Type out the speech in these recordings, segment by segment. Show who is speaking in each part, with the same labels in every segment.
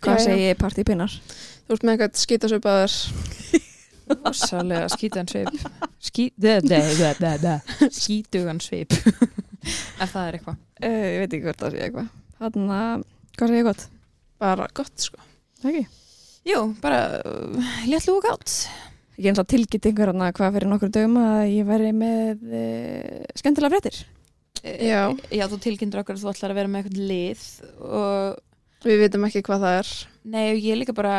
Speaker 1: Hvað
Speaker 2: Já, já.
Speaker 1: segi ég partípinnar?
Speaker 2: Þú ert með eitthvað skítasvipaðar
Speaker 3: Rosalega skítan svip Skí, da, da, da, da, da. Skítugan svip Ef það er eitthvað
Speaker 1: Uh, ég veit ekki hvort það sé eitthvað. Þannig að, hvað segir ég gott?
Speaker 2: bara gott sko.
Speaker 1: Ekki.
Speaker 3: Jú, bara uh, létt lúk átt
Speaker 1: Ég eins og tilkynnt einhver hann að hvað fyrir nokkur dögum að ég væri með uh, skemmtilega fréttir.
Speaker 2: Já.
Speaker 3: Eh, Já, þú tilkynntur okkur að þú ætlar að vera með eitthvað lið og
Speaker 2: Við vitum ekki hvað það er.
Speaker 3: nei, ég er líka bara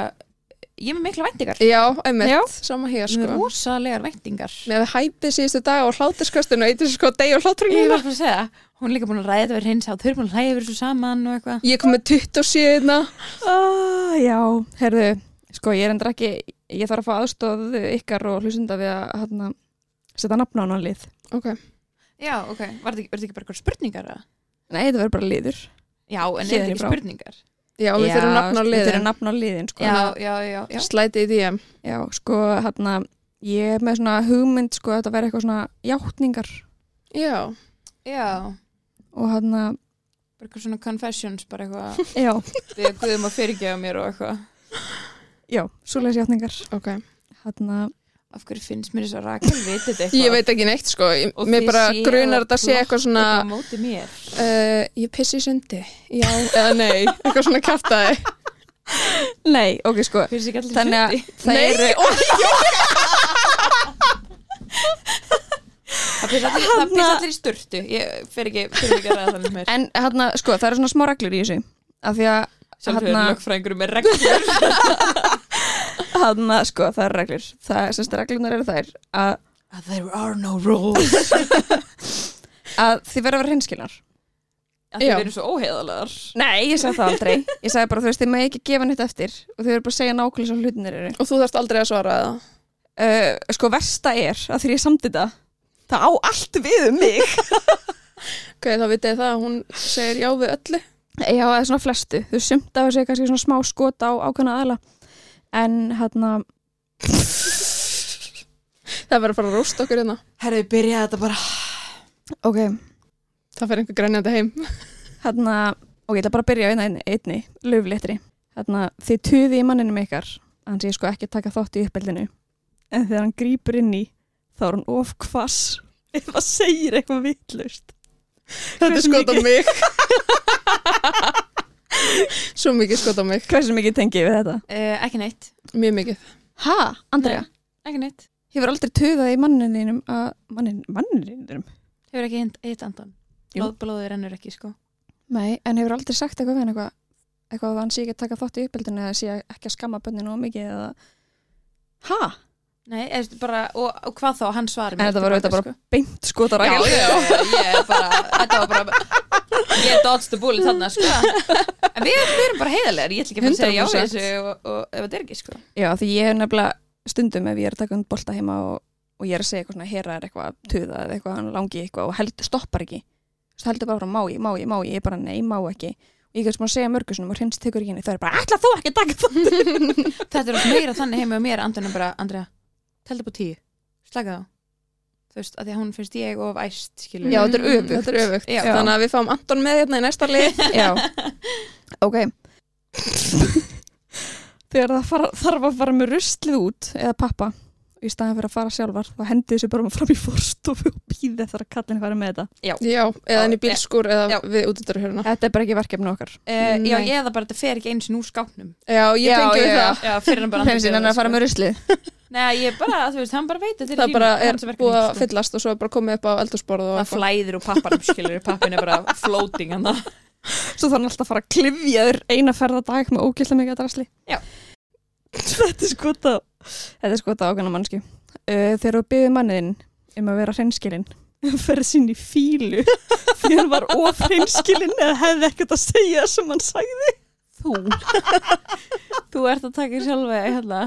Speaker 3: ég er með mikla væntingar
Speaker 2: Já, einmitt,
Speaker 1: Já.
Speaker 2: sama hér
Speaker 3: Ég er með
Speaker 2: sko.
Speaker 3: rosalegar væntingar
Speaker 2: Með við hæpið síðustu dag og hláturskastinu og eitthvað sko deg og
Speaker 3: Ég
Speaker 2: hláturinn
Speaker 3: var bara að segja, hún er líka búin að ræða þetta við hreins á þau eru búin að hlæða yfir þessu saman og eitthvað
Speaker 2: Ég kom með 27 hérna.
Speaker 1: Ah, já, herðu, sko ég er endur ekki, ég þarf að fá aðstóð ykkar og hlustunda við að hana, setja nafn á hann lið.
Speaker 2: Ok,
Speaker 3: Já, ok, var þetta ekki, var þetta ekki bara eitthvað spurningar? eða?
Speaker 1: Nei, þetta verður bara liður.
Speaker 3: Já, en
Speaker 1: Héðan
Speaker 3: er þetta
Speaker 1: í
Speaker 3: ekki
Speaker 1: frá.
Speaker 3: spurningar?
Speaker 2: já, við þurfum nafn á
Speaker 1: Við
Speaker 2: liðin.
Speaker 1: þurfum nafn á liðin, sko.
Speaker 3: Já, já, já, já.
Speaker 2: Slæti í DM.
Speaker 1: Já, sko, hérna, ég er með svona hugmynd, sko, að þetta verður eitthvað svona játningar
Speaker 2: Já,
Speaker 3: Já,
Speaker 1: og hérna,
Speaker 3: bara eitthvað svona confessions, bara eitthvað
Speaker 1: já,
Speaker 3: við guðum að fyrirgefa mér og eitthvað.
Speaker 1: já, svoleiðis játningar.
Speaker 2: ok.
Speaker 1: Hérna,
Speaker 3: Af hverju finnst mér þess að Rakel veit þetta eitthvað?
Speaker 2: Ég veit ekki neitt sko. Ég,
Speaker 3: Og
Speaker 2: mér
Speaker 3: þið
Speaker 2: bara
Speaker 3: séu
Speaker 2: grunar
Speaker 3: að
Speaker 2: þetta sé eitthvað svona
Speaker 3: Eitthvað á móti mér.
Speaker 2: uh, ég pissi í sundi. Já, eða nei, eitthvað svona kæftæði.
Speaker 1: nei, ok, sko,
Speaker 3: Finnst ekki allir
Speaker 1: þannig að
Speaker 3: sundi?
Speaker 1: það eru...
Speaker 3: Það pissa allir, það pissa allir í sturtu. Ég fer ekki, fer ekki að ræða þannig mér.
Speaker 1: En hérna, sko, það eru svona smá reglur í þessu af því að
Speaker 3: Sjálfur
Speaker 1: þarna-
Speaker 3: lögfræðingur með reglur.
Speaker 1: Hanna, sko, það eru reglur það, semst reglunar eru þær að,
Speaker 3: There are no rules.
Speaker 1: að þið verður að vera hinskilar
Speaker 3: Það
Speaker 2: Já.
Speaker 3: eru svo óheðalegar.
Speaker 1: Nei, ég sagði það aldrei Ég sagði bara, þú veist, þið maður ekki gefa nýtt eftir og þið verður bara að segja nákvæmlega svo hlutinir eru
Speaker 2: Og þú þarft aldrei að svara það.
Speaker 1: uh, Sko, versta er að þegar ég samdi þetta það á allt við um mig
Speaker 2: Ok, þá vitið þið það að hún segir já við öllu.
Speaker 1: eh, Já, eða svona flestu Þú sumt af þessu er kannski svona smá skot á ákveðna aðla en hérna,
Speaker 2: Það verður að fara að rústa okkur hérna.
Speaker 3: Herðu, byrjaði þetta bara.
Speaker 1: ok
Speaker 2: Það fer einhver grænjandi heim.
Speaker 1: hérna, og ég ætla bara að byrja á einna einni, einni löfléttri hérna, þið tuði í manninum ykkar hann sé sko ekki að taka þátt í uppeldinu en þegar hann grýpur inn í þá er hann of hvass ef hann segir eitthvað vittlust
Speaker 2: Þetta er skot á mig Svo mikið skot á mig
Speaker 1: hversu mikið tengið við þetta?
Speaker 3: Uh, ekki neitt.
Speaker 2: Mjög mikið
Speaker 1: Ha, Andrea?
Speaker 3: Andrea? Ekki neitt.
Speaker 1: Hefur aldrei tuðað í mannininum að mannin, mannininum?
Speaker 3: Hefur ekki hitt- hitt andan.
Speaker 1: Jú.
Speaker 3: Blóð, blóðið rennur ekki, sko.
Speaker 1: Nei, en hefur aldrei sagt eitthvað við hann eitthvað eitthvað að hann sé ekki að taka þátt í uppeldinu eða sé ekki að skamma bönninu of mikið eða ha?
Speaker 3: Nei, eða bara, og, og hvað þá, hann svarir
Speaker 1: En þetta var sko. auðvitað bara beint skotar
Speaker 3: Já, já, já, ég er bara, þetta var bara, ég dodge the bullet þarna, sko. En við, við erum bara heiðarlegar, ég ætla ekki að fara að segja já við
Speaker 2: 100%.
Speaker 3: þessu og, og ef þetta er ekki, sko.
Speaker 1: Já, því ég er nefnilega stundum ef ég er að taka um bolta heima og, og ég er að segja eitthvað svona, hera er eitthvað, tuða eða eitthvað, hann langi í eitthvað og held, stoppar ekki. Svo heldur bara, frá, má ég, má ég, má ég, ég er bara, nei, má ekki. Og ég kannski maður að segja mörgursunum og hreinst tekur ekki henni, það er bara, ætla þú ekki að taka það.
Speaker 3: Þetta er oft meira þannig heima og mér, Andunum bara, Andrea, telda upp á tíu, slaka þá. Þú veist, að því að hún finnst ég of æst, skilur.
Speaker 1: Já, þetta er öfugt.
Speaker 2: Þetta er öfugt.
Speaker 3: Já.
Speaker 2: Þannig að við fáum Anton með hérna í næsta lið
Speaker 1: Já, ok. Þegar það fara, þarf að fara með ruslið út eða pappa í staðan fyrir að fara sjálfar, þá hendi þessu bara fram í forstofu og býði þar að kallin fara með þetta.
Speaker 2: Já, eða inn í bílskur eða
Speaker 3: Já.
Speaker 2: við útundur hérna
Speaker 1: Þetta er bara ekki verkefni okkar.
Speaker 3: Eh, já,
Speaker 2: Nei.
Speaker 3: ég eða bara, þetta fer ekki eins og nú skáknum.
Speaker 2: Já, ég
Speaker 1: Já,
Speaker 2: tengi við
Speaker 1: já.
Speaker 2: það
Speaker 3: Já, fyrir hann bara
Speaker 1: Hreinst
Speaker 3: Andrea,
Speaker 1: henni að fara
Speaker 3: sko.
Speaker 1: með ruslið.
Speaker 3: Nei, ég bara, þú veist, hann bara veit að þetta
Speaker 2: Það bara
Speaker 3: lífið,
Speaker 2: er
Speaker 3: hans verkefni,
Speaker 2: búið
Speaker 3: sko.
Speaker 2: að fyllast og svo er bara komið upp á eldursborð og
Speaker 3: það flæðir úr pappanum skilur pappin er bara floating hann
Speaker 1: Svo þarf hann alltaf að fara að klifja þér eina ferða dag með ógæslega mikið drasli.
Speaker 3: Já.
Speaker 1: Þetta er skota, þetta er skota ákveðna mannsku. Uh, þegar þú byggði manniðinn um að vera hreinskilinn, ferði sinni í fílu því hann var of hreinskilinn eða hefði ekkert að segja sem hann sagði.
Speaker 3: þú þú ert að taka sjálfa hérna,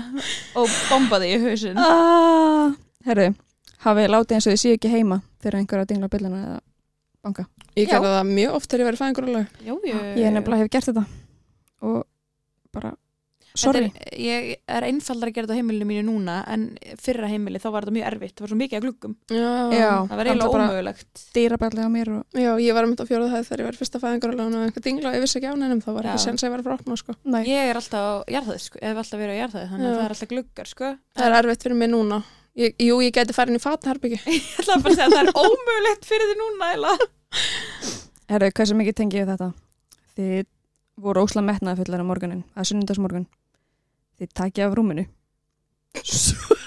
Speaker 3: og bomba þig í hausin
Speaker 1: Ah. Herðu, hafið látið eins og þið séu ekki heima þegar einhverja dingla byllina eða banka.
Speaker 2: Ég
Speaker 3: Já.
Speaker 2: gerði það mjög oft þegar ég verið fæðingur alveg
Speaker 3: já,
Speaker 1: Ég nefnilega hef gert þetta og bara sorry,
Speaker 3: Þetta er, ég er einfaldar að gera þetta á heimilinu mínu núna en fyrra heimili þá var þetta mjög erfitt það var svo mikið að gluggum,
Speaker 2: Já.
Speaker 1: Já.
Speaker 3: það var
Speaker 1: Það var
Speaker 3: eiginlega
Speaker 1: bara-
Speaker 3: ómögulegt
Speaker 1: dýraballið á mér og
Speaker 2: Já, ég var um þetta á fjóruð hæð þegar ég var fyrsta fæðingaralán og einhver dingla og ég vissi ekki á neinum, þá var
Speaker 3: Já.
Speaker 2: ekki sens að ég var frá opna, sko.
Speaker 1: næ,
Speaker 3: ég er alltaf á jarðaði sko, eða alltaf verið á jarðaði þannig að
Speaker 2: Já.
Speaker 3: það er alltaf gluggar sko
Speaker 2: Það er erfitt fyrir mig núna. Ég, jú, ég gæti farin í fatnaherbyggi.
Speaker 3: ég ætla bara að segja að það er ómögulegt fyrir því núna eða
Speaker 1: herru, hversu mikið tengi ég við þetta? Þið voru ósla metnaða fullar á morgunin, að sunnundasmorgun þið takja af rúminu Svo-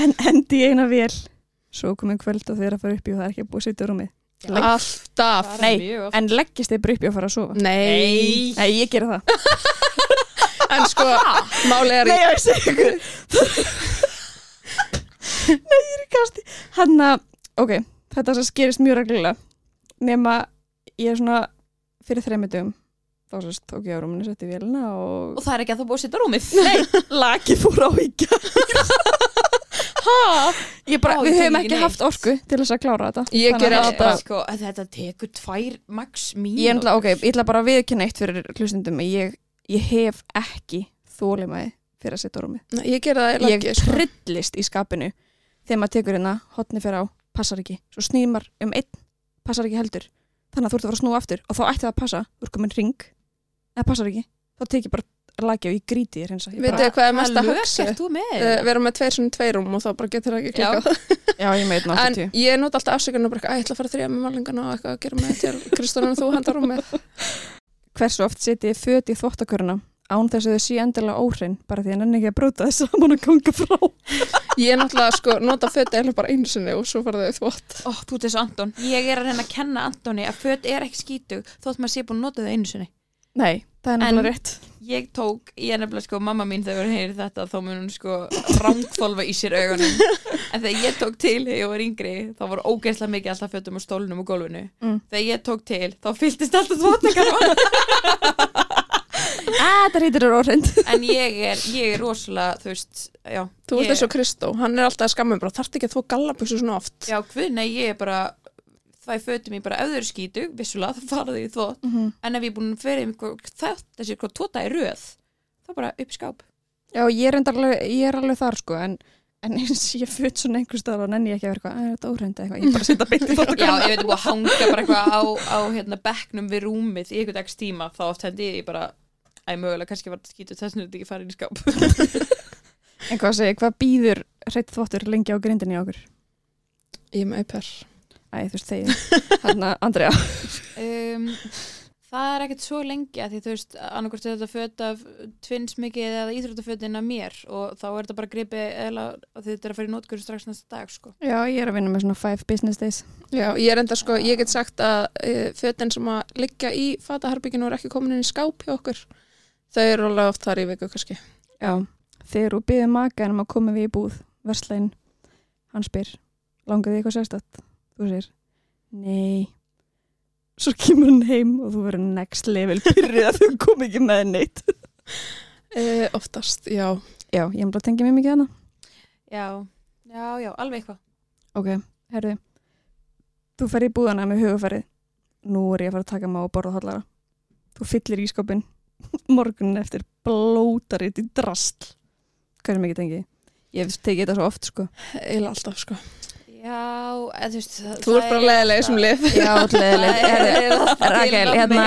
Speaker 1: Hen, hendi í eina vél svo komið kvöld og þið er að fara upp í og það er ekki búið að setja rúmið
Speaker 2: Alltaf.
Speaker 1: Nei,
Speaker 3: mjög oft.
Speaker 1: en leggist þið bara upp í og fara að sofa
Speaker 2: Nei.
Speaker 1: Nei, ég gera það
Speaker 2: En sko, málið er í...
Speaker 1: ég segi ykkur Nei, ég er í kasti Hann að, ok, þetta sem skerist mjög reglulega nema ég er svona fyrir þreymyndum þá sérst tók ég á rúminu, setti vélina og
Speaker 3: og það er ekki að þú búið að setja rúmið
Speaker 1: laki fór á íkja Ég bara,
Speaker 3: Ó,
Speaker 1: við
Speaker 3: ég tek
Speaker 1: höfum
Speaker 3: ekki
Speaker 1: ekki
Speaker 3: neitt.
Speaker 1: haft orku til þess að klára þetta
Speaker 2: Ég
Speaker 1: Þannig
Speaker 2: geri
Speaker 1: að
Speaker 2: það
Speaker 1: bara-
Speaker 3: sko, að þetta tekur tvær max mín
Speaker 1: Ég ætla, ok, ég ætla bara að viðkynna eitt fyrir hlustundum ég, ég hef ekki þólimaði fyrir að setja á rúmið
Speaker 2: Nei, Ég gera það eiginlega
Speaker 1: ég
Speaker 2: ekki, sko.
Speaker 1: trillist í skapinu þegar maður tekur hérna, hotni fyrir á, passar ekki svo snýmar um einn, passar ekki heldur þannig að þú ert að fara að snúa aftur og þá ætti það að passa, þú ert komin ring eða passar ekki, þá tekið bara lagja og ég gríti þér hins að
Speaker 2: Veitu þið hvað er mesta
Speaker 3: að
Speaker 2: högsi?
Speaker 3: lögert þú með
Speaker 1: Eh,
Speaker 2: Uh, Við erum með tveir svona tveirum og þá bara getur það ekki
Speaker 3: Já.
Speaker 2: klikkað.
Speaker 1: Já, ég meit
Speaker 2: En
Speaker 1: náttúrulega
Speaker 2: ég nota alltaf afsökunum og bara, að ég ætla að fara þrjá með málingana og eitthvað að gera með til Kristórun og þú handar um með.
Speaker 1: Hversu oft seti ég föt í þvottaköruna án þess að þau sé endilega óhrein bara því að nenni ekki að brjóta þess saman og ganga frá
Speaker 2: Ég náttúrulega sko nota föt eða bara einu sinni og svo farið þau þvott.
Speaker 3: Ó, þú ert þessu Anton. Ég er að reyna að kenna Antoni að föt er ekki skítug þótt maður sé búin að nota þau einu sinni.
Speaker 1: Nei, það er
Speaker 3: En-
Speaker 1: náttúrulega rétt
Speaker 3: Ég tók, ég er nefnilega sko, mamma mín þegar hún heyri þetta þá mun hún sko rángþolfa í sér augunum. En þegar ég tók til þegar ég var yngri þá var ógeðslega mikið alltaf fötum og stólnum og gólfinu.
Speaker 1: Mm.
Speaker 3: Þegar ég tók til þá fylltist alltaf þvottakar
Speaker 1: Æ, það Ah, heitir er óhreind
Speaker 3: En ég er, ég er rosalega, þú veist, já.
Speaker 2: Þú
Speaker 3: ég,
Speaker 2: ert eins og Kristó, hann er alltaf að skamma mig bara, þarft ekki að þú gallabjöksu svona oft.
Speaker 3: Já, hvað, nei, ég er bara, það er fötum ég bara ef þau eru skítug, vissulega, þá fara þau í þvott. en ef ég er búin að fyrir einhver, það, þessi eitthvað tóta í röð þá bara upp í skáp
Speaker 1: Já, ég er, reyndar alveg, ég er alveg þar sko en, en eins ég föt svona einhvers staðar og nenni ég ekki að vera eitthvað, "Æ, þetta óreinda eitthvað ég bara setja beint í
Speaker 3: já,
Speaker 1: þvottaköruna
Speaker 3: ég veit ekki að hanga bara eitthvað á, á hérna, bekknum við rúmið í einhvern dags tíma þá oft hendi ég bara æ, mögulega, kannski var þetta skítið þess að þetta ekki farið í skáp
Speaker 1: En hvað segir, hvað býður hreitt þvottur lengi á grindinni á okkur?
Speaker 2: Ég er með auper.
Speaker 1: Æ, þú veist þegið, hérna, Andrea
Speaker 3: um, það er ekkert svo lengi að því þú veist, annarkvort er þetta föt af tvinnsmikið eða íþróttafötin af mér og þá er þetta bara gripið eða þetta er að fara í nótgöru strax næsta dag sko.
Speaker 1: Já, ég er að vinna með svona five business days
Speaker 2: Já, ég er enda sko, ég get sagt að e, fötin sem að liggja í fataherbygginu og er ekki komin inn í skáp hjá okkur, þau eru alveg oft þar í viku kannski.
Speaker 1: Já, þegar þú býður maka en maður komið við í búð, verslæn hann spyr, langar þig eitthvað sérstætt? Þú segir, nei Svo kemur hann heim og þú verður next level pyrrið að þú kom ekki með neitt
Speaker 2: E, oftast, já.
Speaker 1: Já, ég er bara að tengja mér mikið hana
Speaker 3: já, já, já, alveg eitthvað
Speaker 1: Ok, herðu Þú fer í búðana með hugafærið Nú er ég að fara að taka maður og borða hallara Þú fyllir ískopin morgunin eftir blótar í drast Hvernig mikið tengi? Ég hef tekið þetta svo oft sko
Speaker 2: Eila alltaf sko.
Speaker 3: já, eða, þú veist það-
Speaker 2: Þú ert
Speaker 3: það
Speaker 2: bara leðilega sem lið.
Speaker 1: Já, leðileg Rakel, hérna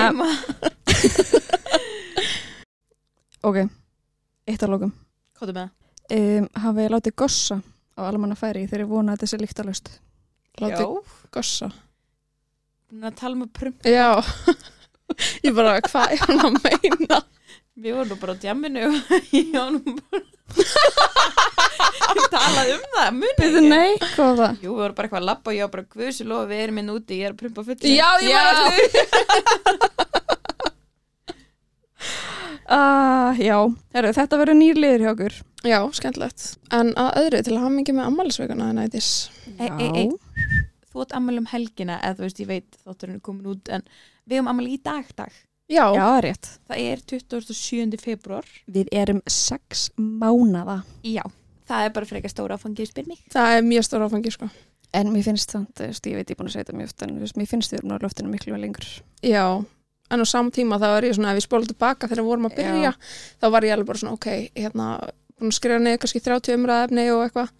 Speaker 1: Ok, eitt að lókum
Speaker 3: Kóttu með það
Speaker 1: um, Hafið ég látið gossa á almanna færi þegar ég vona að þetta sé líktalust
Speaker 2: Láti gossa.
Speaker 3: Búin að tala með prum
Speaker 2: Já. ég bara, hvað er hann að meina?
Speaker 3: Við vorum nú bara á djamminu og ég var nú bara Talað um það, muni
Speaker 1: Byrðu nei, hvað var það?
Speaker 3: Jú, við vorum bara eitthvað að labba og ég var bara Guðsir lofa, við erum inn úti, ég er að prumpa fullu
Speaker 2: Já, ég var eftir því.
Speaker 1: Ah, já, herru, þetta verður nýr liður hjá okkur
Speaker 2: Já, skemmtilegt. En að öðru til að hafa mikið með ammálisveikuna en ætis.
Speaker 3: Ei, ei, ei. Þú átt ammæli um helgina, eða þú veist, ég veit þátturinn er komin út En við erum ammæli í dag, dag
Speaker 2: Já.
Speaker 1: Já, það er rétt
Speaker 3: Það er 27. februar
Speaker 1: Við erum sex mánada
Speaker 3: Já, það er bara frekar stóra áfangið spyr mig
Speaker 2: Það er mjög stór áfangi sko.
Speaker 1: En mér finnst það, þú veist, ég veit ég er búin að segja þetta mjög oft en þú veist, mér finnst við erum á loftinu miklu lengur
Speaker 2: Já. en á sama tíma þá er ég svona, ef ég spóla tilbaka þegar við vorum að byrja,
Speaker 1: Já.
Speaker 2: þá var ég alveg bara svona, ok, hérna, búin að skrifa niður kannski 30 umræða efni og eitthvað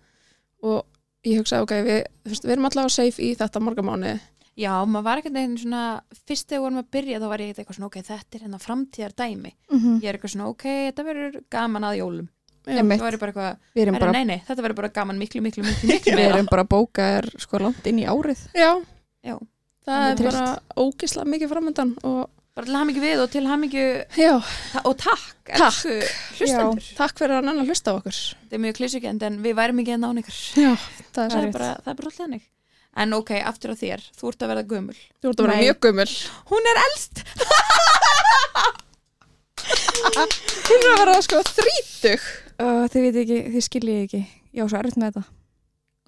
Speaker 2: og ég hugsaði, ok, við, þú veist, við erum allavega safe í þetta morgamáni
Speaker 3: Já, maður var ekkert neginn svona, fyrst þegar við vorum að byrja þá var ég eitthvað svona, ok, þetta er hérna framtíðar dæmi.
Speaker 1: Mhm.
Speaker 3: Ég er eitthvað svona, ok, þetta verður gaman að jólum.
Speaker 1: Einmitt.
Speaker 3: Það verður bara eitthvað,
Speaker 1: Við erum
Speaker 3: "Herra,
Speaker 1: bara,
Speaker 3: nei, nei, þetta verður bara gaman miklu, miklu, miklu, miklu
Speaker 1: við
Speaker 3: meira.
Speaker 1: erum bara bókaðar sko langt inn í árið.
Speaker 2: Já,
Speaker 3: Já.
Speaker 2: það
Speaker 1: Alveg
Speaker 2: er bara ógislega mikið framöndan og
Speaker 3: Bara til hamingju við og til hamingju
Speaker 2: já,
Speaker 3: og takk,
Speaker 2: Takk.
Speaker 3: elsku hlustendur.
Speaker 2: takk fyrir að nanna hlusta á okkur.
Speaker 3: Þetta er mjög klísugjönd en við værum ekki að nána ykkur.
Speaker 2: Já, það er
Speaker 3: Það er
Speaker 2: særið.
Speaker 3: bara, það er bara alltaf hannig. En ok, aftur á þér, þú ert að verða gömul.
Speaker 2: Þú ert að vera
Speaker 1: Nei.
Speaker 2: mjög gummul.
Speaker 3: Hún er elst!
Speaker 2: Hún er að vera sko þrítug.
Speaker 1: Uh, þið veit ekki, þið skiljið ekki. Já, svo erfitt með þetta.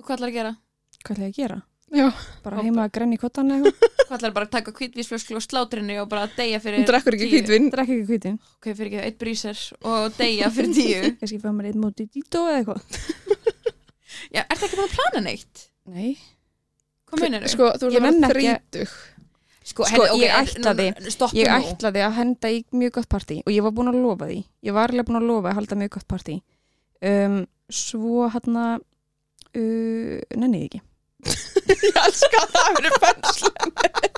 Speaker 3: Og hvað ætlar að gera?
Speaker 1: Hvað ætlaði ég að gera?
Speaker 2: Já,
Speaker 1: Bara
Speaker 3: Hoppa.
Speaker 1: heima að grenni kottan eða eitthvað?
Speaker 3: Hvað ætlar bara að taka kvítvísflösklu og slátrinni og bara deyja
Speaker 2: hún
Speaker 3: fyrir
Speaker 2: drekkur ekki
Speaker 3: tíu?
Speaker 2: hvítvinn.
Speaker 1: Drekk ekki kvítin.
Speaker 3: Ok, fyrir ekki, eitt brísir og deyja fyrir tíu.
Speaker 1: Kannski fá mér einn móti dító eða eitthvað.
Speaker 3: Já, ert það ekki búin að plana neitt?
Speaker 1: Nei.
Speaker 3: Hvað munir þau?
Speaker 2: Sko, þú
Speaker 1: Ég
Speaker 2: ert að
Speaker 1: nenni
Speaker 2: vera
Speaker 1: ekki að-
Speaker 2: þrítug.
Speaker 3: Sko,
Speaker 1: sko, ég
Speaker 3: en-
Speaker 1: ætlaði-
Speaker 3: nú- Stoppum
Speaker 1: Ég
Speaker 3: nú.
Speaker 1: ætlaði að henda í mjög gott partí og ég var búin að lofa því. Ég var alveg búin að lofa að halda mjög gott partí. Um, svo hann að, uh, nennið ekki.
Speaker 2: Ég elska að um það verið fennslan.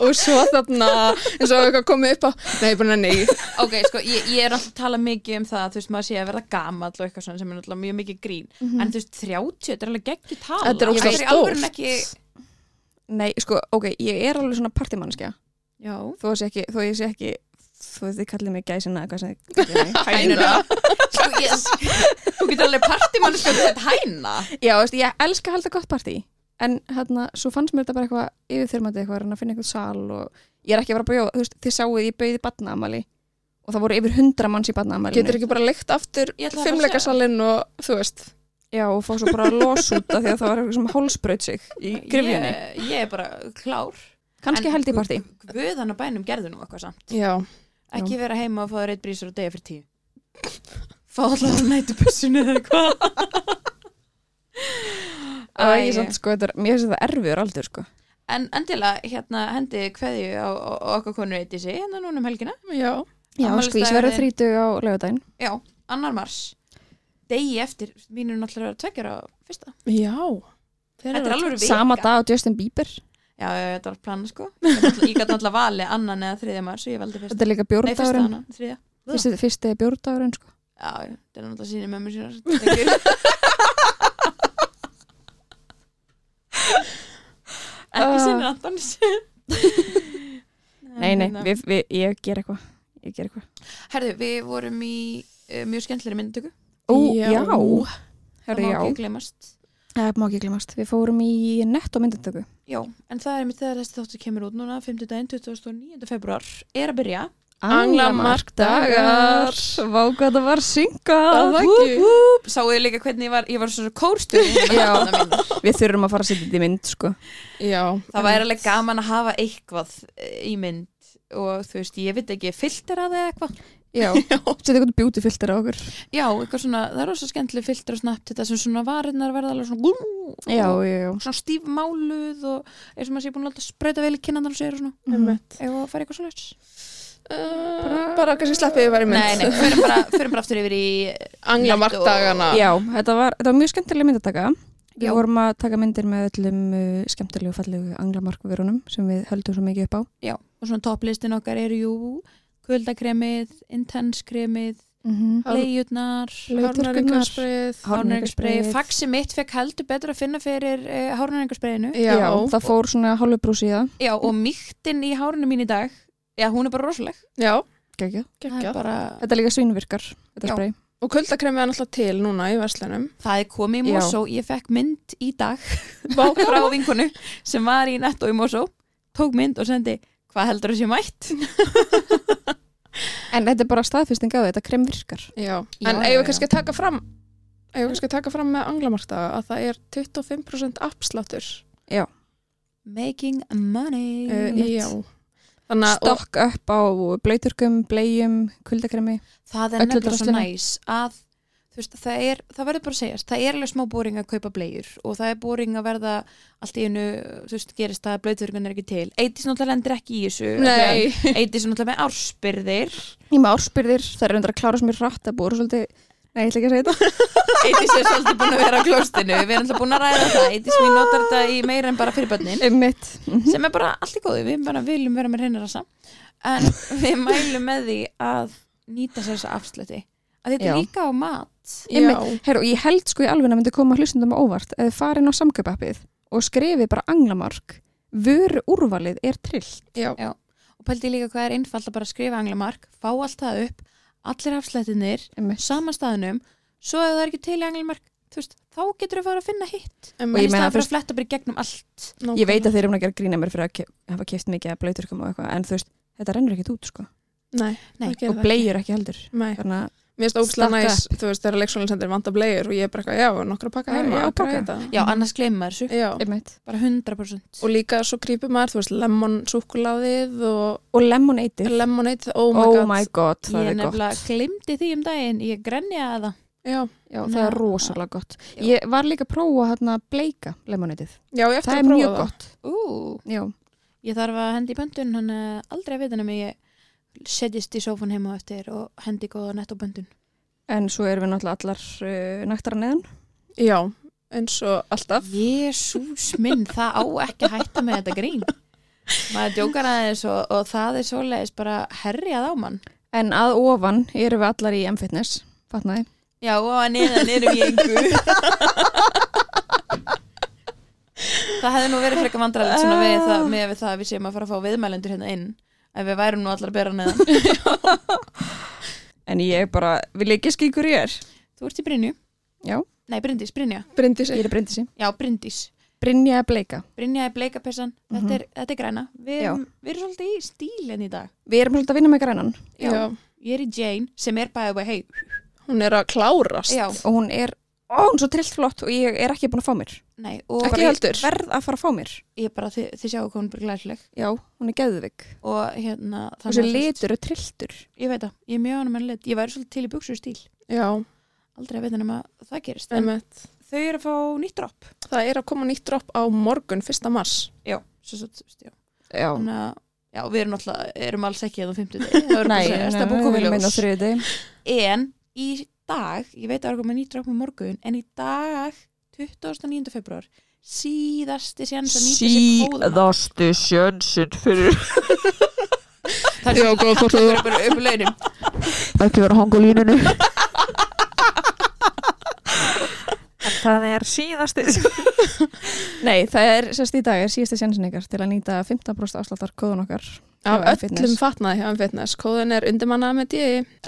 Speaker 2: og svo þarna, eins og eitthvað komið upp á, nei, bara nei.
Speaker 3: Ok, sko, ég, ég er alltaf að tala mikið um það, þú veist, maður sé að verða gamall og eitthvað svona sem er náttúrulega mjög mikið grín. En þú veist, 30, þetta er alveg geggjur tala.
Speaker 2: Mhm. Þetta er
Speaker 3: Ég
Speaker 2: ógeðslega
Speaker 3: var í alvörunni
Speaker 2: stórt.
Speaker 3: Ekki...
Speaker 1: Nei, sko, ok, ég er alveg svona partímannskja.
Speaker 3: Já.
Speaker 1: Þó, að sé ekki, þó ég sé ekki, þó þið kallið mig gæsina eða hvað sem þið kallið mig.
Speaker 3: Hænuna. Sko, ég, þú getur alveg partimann, sko, þetta hæna.
Speaker 1: Já, veist, ég elska að halda gott partí en hérna, svo fannst mér þetta bara eitthvað yfirþyrmandi eitthvað, en að finna eitthvað sal og ég er ekki að vera að bjóða, þú veist, þið sáuð ég bauði barnaamali og það voru yfir hundra manns í barnaamalinu
Speaker 2: Getur ekki bara leikt aftur
Speaker 3: Ég ætlaði bara að
Speaker 2: fimmleikasalinn og þú veist.
Speaker 1: Já, og fá svo bara los út af því að það var eitthvað sem hálsbraut sig í grifjunni
Speaker 3: Ég, ég er bara klár.
Speaker 1: Kannski
Speaker 3: En
Speaker 1: held í partí
Speaker 3: guð- Guðan og bænum gerðu nú eitthvað samt.
Speaker 2: Já.
Speaker 3: Ekki vera heima og fá þér eitt brísur og degja fyrir tíu. Fá allavega nætubussunni eða hvað.
Speaker 1: Það er ekki samt, sko, þetta er, mér finnst þetta erfiður aldur, sko
Speaker 3: En endilega, hérna, hendi kveðju á, á, á okkar konu Eidísi, hérna núna um helgina.
Speaker 2: Já.
Speaker 1: Já, sko, ég sverðu þrítu á laugardaginn
Speaker 3: Já, annar mars. Degi eftir, mínu náttúrulega tveggjara á fyrsta.
Speaker 2: Já. Þeir
Speaker 3: Þetta er
Speaker 2: eru
Speaker 3: alveg vika.
Speaker 1: Sama dag á Justin Bieber
Speaker 3: Já, já, já, þetta var plana, sko. Ég gat náttúrulega- Ég gæti náttúrulega valið annan eða þriðja mars og ég valdi fyrsta.
Speaker 1: Þetta er líka
Speaker 3: Nei, fyrsta
Speaker 1: bjórdagurinn
Speaker 3: annan, þriðja.
Speaker 1: Fyrsti, fyrsti er bjórdagurinn, sko
Speaker 3: Já, já, þetta er náttúrulega síni mömmu sínar. Ekki- Ekki síni Antonis.
Speaker 1: Nei, nei, við, við, ég ger eitthvað Ég ger eitthvað
Speaker 3: hérna. Herðu, við vorum í uh, mjög skemmtilegri myndtöku.
Speaker 1: Ó,
Speaker 2: Já.
Speaker 1: já,
Speaker 3: Það
Speaker 1: Herri,
Speaker 3: má
Speaker 1: já.
Speaker 3: ekki glemast.
Speaker 1: Það má ekki glemast. Við fórum í netto myndindöku.
Speaker 3: Já, en það er mitt þegar þessi þáttu kemur út núna, 5. daginn, 29. februar, er að byrja.
Speaker 2: Anglamarkdagar.
Speaker 1: Vá hvað það var syngað.
Speaker 2: Það var ekki.
Speaker 3: Sáuðu líka hvernig ég var, ég var svona kórstuð.
Speaker 1: Já. Við þurfum að fara að setja þetta í mynd, sko.
Speaker 2: Já.
Speaker 3: Það væri alveg gaman að hafa eitthvað eh, í mynd og þú veist, ég veit ekki, filter að eða eitthvað.
Speaker 1: Já. Setja eitthvað beauty filter á okkur.
Speaker 3: Já, eitthvað svona, það er rosa skemmtileg filter og snabbt þetta sem svona varinnar verða alveg svona gúm,
Speaker 1: Já, já, já.
Speaker 3: svona stíf máluð og eins og maður sé búin að láta sprauta vel í kynnandan og segir og svona,
Speaker 2: Einmitt.
Speaker 3: ef að fara eitthvað svo leys.
Speaker 2: Uh, bara kannski sleppið við væri mynd.
Speaker 3: Nei, nei, förum bara, förum bara aftur yfir í,
Speaker 2: Anglamarkdagana.
Speaker 1: Já, þetta var, þetta var mjög skemmtilega mynd að taka.
Speaker 3: Já.
Speaker 1: Við vorum að taka myndir með öllum uh, skemmtilegu og fallegu anglamarkverunum sem við höldum svo mikið upp á.
Speaker 3: já, og svona topplistin okkar eru jú, kvöldakremið, intensekremið,
Speaker 1: Mm -hmm.
Speaker 3: leiðjurnar,
Speaker 2: Hárnæringarspreyið.
Speaker 3: hárnæringarspreið, faxi mitt fekk heldur betur að finna fyrir uh, hárnæringarspreiðinu.
Speaker 1: Já, það fór svona hálfubrús í það.
Speaker 3: Já, og mýttin í hárinu mín í dag, já, hún er bara rosaleg.
Speaker 2: Já.
Speaker 1: Gækja.
Speaker 3: Það er
Speaker 2: Geggjað.
Speaker 3: bara,
Speaker 1: Þetta er líka svínvirkar,
Speaker 3: Já.
Speaker 1: þetta spray.
Speaker 2: Og kuldakremið er náttúrulega til núna í verslunum.
Speaker 3: það er komið í
Speaker 1: Já.
Speaker 3: Mosó, ég fekk mynd í dag
Speaker 2: Vá,
Speaker 3: frá vinkonu sem var í netto í Mosó, tók mynd og sendi, hvað heldur þessi mætt?
Speaker 1: En þetta er bara staðfesting af því, þetta krem virkar.
Speaker 2: Já,
Speaker 1: Já,
Speaker 2: en
Speaker 1: já,
Speaker 2: eigum
Speaker 1: já.
Speaker 2: við kannski að taka fram eigum við kannski að taka fram með anglamarta að það er 25% uppsláttur
Speaker 3: Making money.
Speaker 2: uh,
Speaker 1: Einmitt.
Speaker 2: Já Þannig að og,
Speaker 1: Stokk upp á blöyturkum, blegjum, kuldakremi.
Speaker 3: það er
Speaker 1: Öllu
Speaker 3: nefnilega svo
Speaker 1: draslinu.
Speaker 3: næs að þú veist, það, er, það verður bara að segjast, það er alveg smá bóring að kaupa bleiur og það er bóring að verða allt í einu, þú veist, gerist það að blöyturgan er ekki til. Eittis náttúrulega lendir ekki í þessu.
Speaker 2: Nei,
Speaker 3: Eittis náttúrulega með ársbyrðir.
Speaker 1: Ég með ársbyrðir, það er reyndar að klára sem mér rætt að búið svolítið, nei, ég ætla ekki að segja þetta.
Speaker 3: Eittis er svolítið búin að vera á klóstinu. Við erum alltaf búin að ræða það. Eittis við notar þetta í meira en bara fyrir börnin.
Speaker 1: Um mitt.
Speaker 3: sem er bara allt í góðu, við bara viljum vera með reynarasa en við mælum með því að nýta sér þessa afsluti að þetta
Speaker 1: Já.
Speaker 3: er líka á mat
Speaker 2: já,
Speaker 1: Herru, og ég held sko í alveg að myndi koma hlustundum á óvart ef þið farin á samkaupappið og skrifi bara anglamark, vöru úrvalið er trillt.
Speaker 2: já.
Speaker 3: og pældi líka hvað er einfalt að bara skrifa anglamark fá allt það upp, allir afslutinir
Speaker 1: Um
Speaker 3: samanstæðunum, svo ef það er ekki til í anglamark, þú veist, þá getur við fara að finna hitt
Speaker 2: En
Speaker 1: Og ég meina,
Speaker 3: en í staðan
Speaker 1: þú
Speaker 3: fyrir
Speaker 1: veist-
Speaker 3: að fletta bara í gegnum allt
Speaker 1: Ég veit að þeir eru að gera grína mér fyrir að ke- hafa keft mikið að blöyturkum og eitthvað, en þú veist, þetta rennur ekkit út sko.
Speaker 2: Nei,
Speaker 3: Nei,
Speaker 2: það gerir
Speaker 1: Og
Speaker 2: það
Speaker 1: blegjur ekki heldur. Hérna,
Speaker 2: ekki. Nei.
Speaker 1: Þannig að,
Speaker 2: Mér finnst ógslag
Speaker 1: Stack
Speaker 2: næs, þú veist, þegar leikskólinsendir vantar bleiur og ég er bara eitthvað, já, nokkra pakka
Speaker 1: Já,
Speaker 2: heima,
Speaker 1: já,
Speaker 2: já,
Speaker 1: pakka.
Speaker 2: þetta.
Speaker 3: já, annars gleyma maður þessu,
Speaker 2: Já,
Speaker 1: um mitt.
Speaker 3: bara 100%
Speaker 2: og líka svo krýpur maður, þú veist, lemon súkuladið og
Speaker 1: Og lemonade.
Speaker 2: lemonade, oh my
Speaker 1: oh
Speaker 2: god.
Speaker 1: my god, það
Speaker 3: ég
Speaker 1: er gott.
Speaker 3: nefnilega glimti því um daginn ég grenja að það
Speaker 2: Já,
Speaker 1: Já, það er
Speaker 3: Ná,
Speaker 1: rosalega gott.
Speaker 3: já.
Speaker 1: Ég var líka að prófa hérna að bleika lemonadið.
Speaker 2: já, ég eftir
Speaker 1: Það
Speaker 2: að
Speaker 1: er
Speaker 2: prófa
Speaker 1: mjög
Speaker 2: það.
Speaker 1: gott.
Speaker 3: Ú,
Speaker 1: Já,
Speaker 3: ég þarf að hendi í pöntun hann aldrei að vita nema ég setjist í sófan heima á eftir og hendi góða nett á pöntun
Speaker 1: en svo erum við náttúrulega allar uh, nættara neðan.
Speaker 2: Já, eins og alltaf.
Speaker 3: Jésús minn, það á ekki að hætta með þetta grín maður djókar aðeins og, og það er svoleiðis bara herjað á mann
Speaker 1: En að ofan erum við allar í M-Fitness, fatnaði.
Speaker 3: já og að niðan erum ég engu það hefði nú verið frekar vandrarlegt svona við það, með við það að við séum að fara að fá viðmælendur hérna inn ef við værum nú allar að bera neðan
Speaker 1: En ég bara, vil ekki skýkur ég er?
Speaker 3: þú ert í Brynju?
Speaker 1: Já.
Speaker 3: nei, Bryndís, Brynja
Speaker 2: Brindi
Speaker 1: Ég
Speaker 2: sig.
Speaker 1: er að brindi
Speaker 3: já, Bryndís
Speaker 1: Brynja er bleika.
Speaker 3: Brynja er bleikapessan, þetta, er, þetta er græna við
Speaker 1: Mhm. Já.
Speaker 3: erum, við erum svolítið í stílinn í dag
Speaker 1: Við erum svolítið að vinna með grænan
Speaker 2: Já.
Speaker 3: ég er í Jane sem er by the way hey,
Speaker 2: hún er að klárast.
Speaker 3: já,
Speaker 1: og hún er, ó, hún er svo trillt flott og ég er ekki búin að fá mér.
Speaker 3: nei, og
Speaker 2: Ekki
Speaker 3: bara, ég,
Speaker 2: heldur.
Speaker 1: Verð að fara að fá mér.
Speaker 3: ég bara, þið, þið sjáu hvað hún er bara glæsleg
Speaker 1: Já, hún er geðvig.
Speaker 3: og hérna,
Speaker 1: Og svo
Speaker 3: að þú veist,
Speaker 1: litur og trilltur.
Speaker 3: ég veit það, ég er mjög ánum en lit ég væri svolítið til í buksu stíl,
Speaker 2: Já,
Speaker 3: aldrei að vita nema það gerist, en
Speaker 2: einmitt.
Speaker 3: þau eru að fá nýtt dropp,
Speaker 2: Það er að koma nýtt dropp á morgun, 1. mars.
Speaker 3: já, svo svo, svo, já
Speaker 1: Já.
Speaker 3: þannig að, já, við erum alltaf erum alls ekki eða á fimmtudegi, það verður bara
Speaker 1: Nei,
Speaker 3: að segja,
Speaker 1: nei,
Speaker 3: það er búið að
Speaker 1: við
Speaker 3: koma í
Speaker 1: erum einn á
Speaker 3: ljós.
Speaker 1: þriðið
Speaker 3: en í dag, ég veit að það er komið nýtt drafn á morgun, en í dag 29. februar síðasti séns að nýta sér kóðum
Speaker 4: sjönsinn fyrir
Speaker 3: það er
Speaker 2: góð, hvort þú
Speaker 3: bara upp launum
Speaker 4: ekki vera hang á línunni það er síðasti
Speaker 1: Nei, það er sérst í dag er síðasta sjansin ykkar til að nýta 15% afsláttar kóðun okkar.
Speaker 2: Af
Speaker 1: Já, fitness.
Speaker 2: öllum fatnaði hjá um fitness. Kóðan er undirmannað með DI.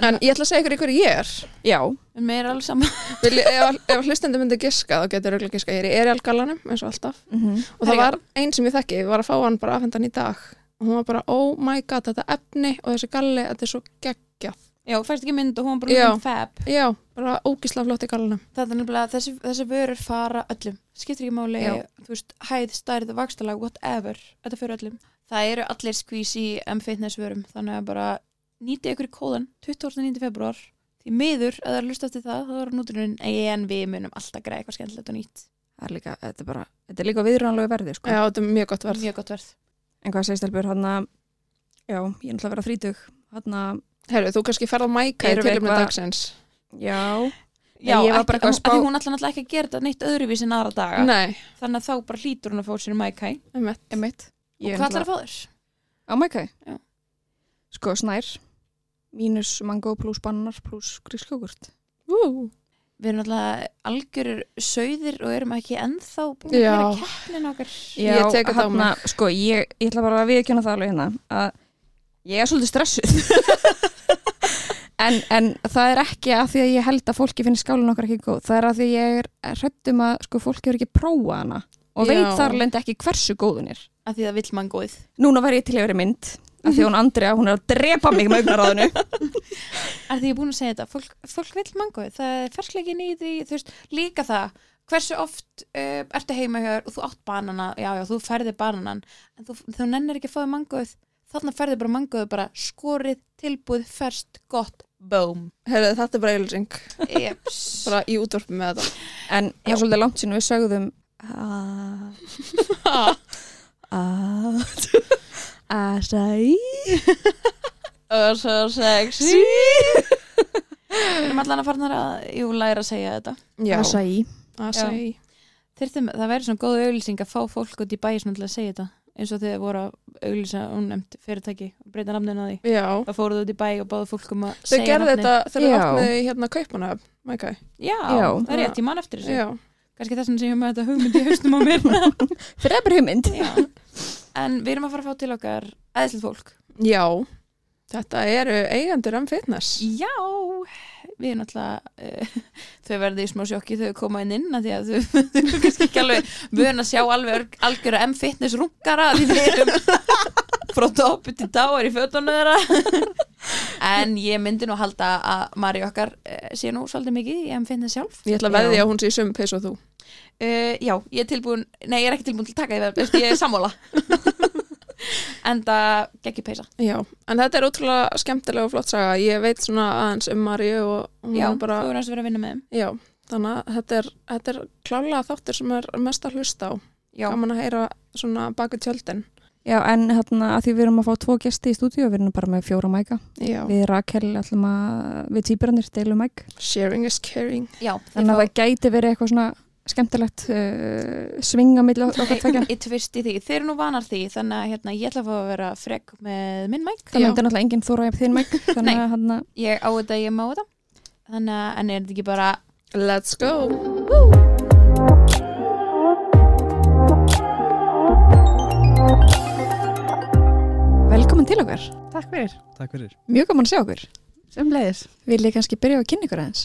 Speaker 2: En ég ætla að segja ykkur ykkur ég er.
Speaker 1: Já,
Speaker 3: en mér er alveg saman
Speaker 2: Vil, ef, ef hlustandi myndi giska, þá getur auðvitað giska. Ég er í Erial-galanum, eins og alltaf.
Speaker 1: Mhm.
Speaker 2: Og það
Speaker 3: Herjá.
Speaker 2: var einn sem ég þekki, ég var að fá hann bara afhendan í dag. Og hún var bara, oh my god, þetta efni og þessi galli, þetta er svo geggjað.
Speaker 3: já, fæst ekki mynd og hún bara
Speaker 2: Já.
Speaker 3: um fab
Speaker 2: Já, bara ógislega flott í gallanum.
Speaker 3: það er nefnilega, þessi, þessi vörur fara öllum skiptir ekki máli,
Speaker 2: Já.
Speaker 3: þú veist, hæð stærð, vakstalag, whatever, þetta fyrir öllum það eru allir skvís í M-Fitness vörum þannig að bara nýti ykkur í kóðan 29. februar því miður, ef það er lust eftir það, þá er núturinn en við munum alltaf græða eitthvað skemmtilegt og nýtt
Speaker 1: það er líka, þetta er bara, þetta er líka viðrjónalegu verði, sko.
Speaker 2: Já, þetta er mjög gott verð.
Speaker 3: mjög gott verð
Speaker 1: En hvað segist Elbjör, hann að, já, ég er náttúrulega að vera þrítug, hann að,
Speaker 2: Herru, þú kannski ferð að mæka í
Speaker 1: Erum við
Speaker 2: tilumni
Speaker 1: eitthvað-
Speaker 2: dagsins.
Speaker 1: já, ég
Speaker 3: Já,
Speaker 1: var
Speaker 3: ekki,
Speaker 1: bara eitthvað að
Speaker 3: hún-
Speaker 1: spá-
Speaker 3: af því hún ætlar náttúrulega ekki að gera þetta neitt öðruvís en aðra daga
Speaker 2: Nei,
Speaker 3: þannig að þá bara hlýtur hún að fá sér mækæ
Speaker 2: einmitt.
Speaker 1: emitt.
Speaker 3: og hvað ætlar að fá þér?
Speaker 1: Á mækæ?
Speaker 3: Já.
Speaker 1: Sko, snær, mínus mango plus bannar plus grískjókurt.
Speaker 2: Ú,
Speaker 3: Við erum náttúrulega algjörur sögðir og erum ekki ennþá búin að
Speaker 2: Já.
Speaker 3: gera keppnin okkar
Speaker 2: Ég tek þetta á
Speaker 1: þarna, Sko, ég, ég ætla bara að viðkjöna það alveg hérna að ég er svolítið stressuð en, en það er ekki að því að ég held að fólki finnir skálin okkar ekki góð það er að því að ég er hrættum að sko, fólki hefur ekki prófað hana og
Speaker 2: Já.
Speaker 1: veit þar lendi ekki hversu góð hún er
Speaker 3: af því það vill mann góð
Speaker 1: Núna væri ég til að vera í mynd að því að hún Andrea, hún er að drepa mig með augnaráðinu
Speaker 3: af því ég er búin að segja þetta, fólk, fólk vill mann góð það er fersleikin í því, þú veist, líka það hversu oft uh, ertu heima hér og þú átt banana, já já, þú færði bananan en þú, þú nennir ekki að fá þér mann góð þannig færði bara mann góð bara skorið, tilbúð, ferskt, gott Boom.
Speaker 2: Herðu, þetta er bara eilsing,
Speaker 3: Jeps.
Speaker 2: bara í útvarpi með þetta.
Speaker 1: En það er svolítið langt sín við sögðum að- að Asai
Speaker 3: Og svo sexy. Við erum allan að farnar að, jú, læra að segja þetta.
Speaker 2: Já,
Speaker 1: Asai
Speaker 2: Asai.
Speaker 3: Þyrftum, það væri svona góð auglýsing að fá fólk út í bæi svona til að segja þetta eins og þegar voru að auglýsa ónefnd fyrirtæki og breyta namninu á því
Speaker 2: Já.
Speaker 3: það fóruð út í bæi og báðu fólk um að
Speaker 2: Þau
Speaker 3: segja
Speaker 2: gerðu þetta þegar
Speaker 1: Já.
Speaker 2: þau opnaði hérna kaupanahöfn, mækæ.
Speaker 3: Já,
Speaker 1: Já.
Speaker 3: það er rétt, ég man eftir þessu
Speaker 2: Já.
Speaker 3: kannski þess vegna sem ég hef með þetta hugmynd í hausnum á mér
Speaker 1: Fyrir ebbur hugmynd
Speaker 3: Já. en við erum að fara að fá til okkar eðslut fólk
Speaker 2: Já. Þetta eru eigendur um fitness.
Speaker 3: Já, við erum alltaf uh, þau verði í smá sjokki þau koma inn inn af því að þau, þau eru kannski ekki alveg vön að sjá alveg algjöra M-fitness rungara því við erum frá topu til dáar í fötunum þeirra en ég myndi nú halda að Mari okkar uh, sé nú svolítið mikið í M-fitness sjálf
Speaker 2: Ég ætla að
Speaker 1: Já.
Speaker 2: veðja að hún sé í sömu peys og þú.
Speaker 3: Uh, já, ég er tilbúin, nei ég er ekki tilbúin til að taka því verð, ég er sammála en það gekk í peysa
Speaker 2: Já, en þetta er ótrúlega skemmtilega og flott saga. Ég veit svona aðeins um Maríu og hún
Speaker 3: Já,
Speaker 2: er bara,
Speaker 3: þú er hans að vera að vinna með þeim
Speaker 2: já, þannig að þetta er, þetta er klálega þáttur sem er mest að hlusta á.
Speaker 3: Já,
Speaker 2: Gaman að heyra svona baku tjöldin.
Speaker 1: Já, en hérna að því við erum að fá tvo gesti í stúdíu við erum bara með fjóra mæka
Speaker 2: Já,
Speaker 1: Við Rakel ætlum að, við týpirannir deilum mæk
Speaker 2: sharing is caring.
Speaker 3: já
Speaker 1: Þannig að það gæti verið eitthvað svona skemmtilegt uh, svinga milli okkar tvekja
Speaker 3: Eitt fyrst í því, þeir eru nú vanar því þannig að hérna, ég ætla að fá að vera frekk með minn mæk
Speaker 1: Þannig að þetta er náttúrulega enginn þóra ef þín mæk Þannig að hérna
Speaker 3: ég á þetta, ég má þetta þannig að en er þetta ekki bara
Speaker 2: Let's go!
Speaker 1: Velkomin til okkar
Speaker 4: Takk fyrir.
Speaker 5: Takk fyrir.
Speaker 1: Mjög gaman að sjá okkur
Speaker 4: Sem leiðis.
Speaker 1: Vil ég kannski byrja á að kynna ykkur aðeins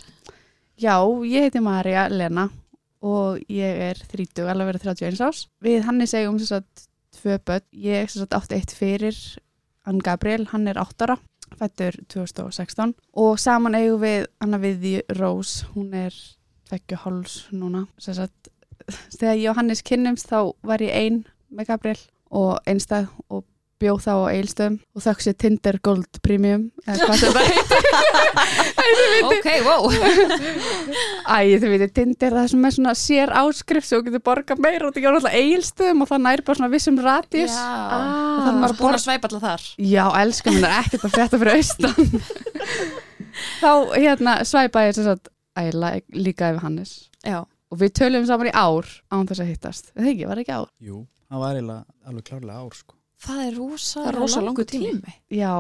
Speaker 4: Já, ég heiti Marja Lena og ég er 30, alveg verið 31 ás. Við Hannes eigum sem sagt tvö börn. Ég sem sagt átti eitt fyrir Ann Gabriel, hann er 8 ára, fættur 2016 og saman eigum við Anna Viði Rós, hún er 2,5 núna. Sem sagt, þegar ég og Hannes kynnumst þá var ég ein með Gabriel og einstæð og bjóð þá á Egilstöðum og þökk sér Tinder Gold Premium eða hvað sem það heitir
Speaker 3: ok, wow
Speaker 4: Æ, þið veitir, Tinder, það sem er svona sér áskrift svo þú getur borgað meira og það er alltaf eigilstöðum og það nær bara svona vissum radius.
Speaker 3: já,
Speaker 4: Og það
Speaker 3: þú
Speaker 4: er maður
Speaker 3: er
Speaker 4: að
Speaker 3: búin
Speaker 4: borga.
Speaker 3: að svæpa alltaf þar
Speaker 4: Já, elskum, það er ekkert að frétta fyrir austan. Þá, hérna, svæpa ég sem sagt, æ, ég læ- líka yfir Hannes.
Speaker 3: já,
Speaker 4: Og við töluðum saman í ár án þess að hittast. Það ekki, var það ekki ár.
Speaker 5: Jú, það var eiginlega alveg klárlega ár sko.
Speaker 3: það er rosa,
Speaker 1: Það er rosa langur tími.
Speaker 4: Já,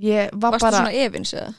Speaker 4: ég var
Speaker 1: Varstu
Speaker 4: bara,
Speaker 1: svona efins eða?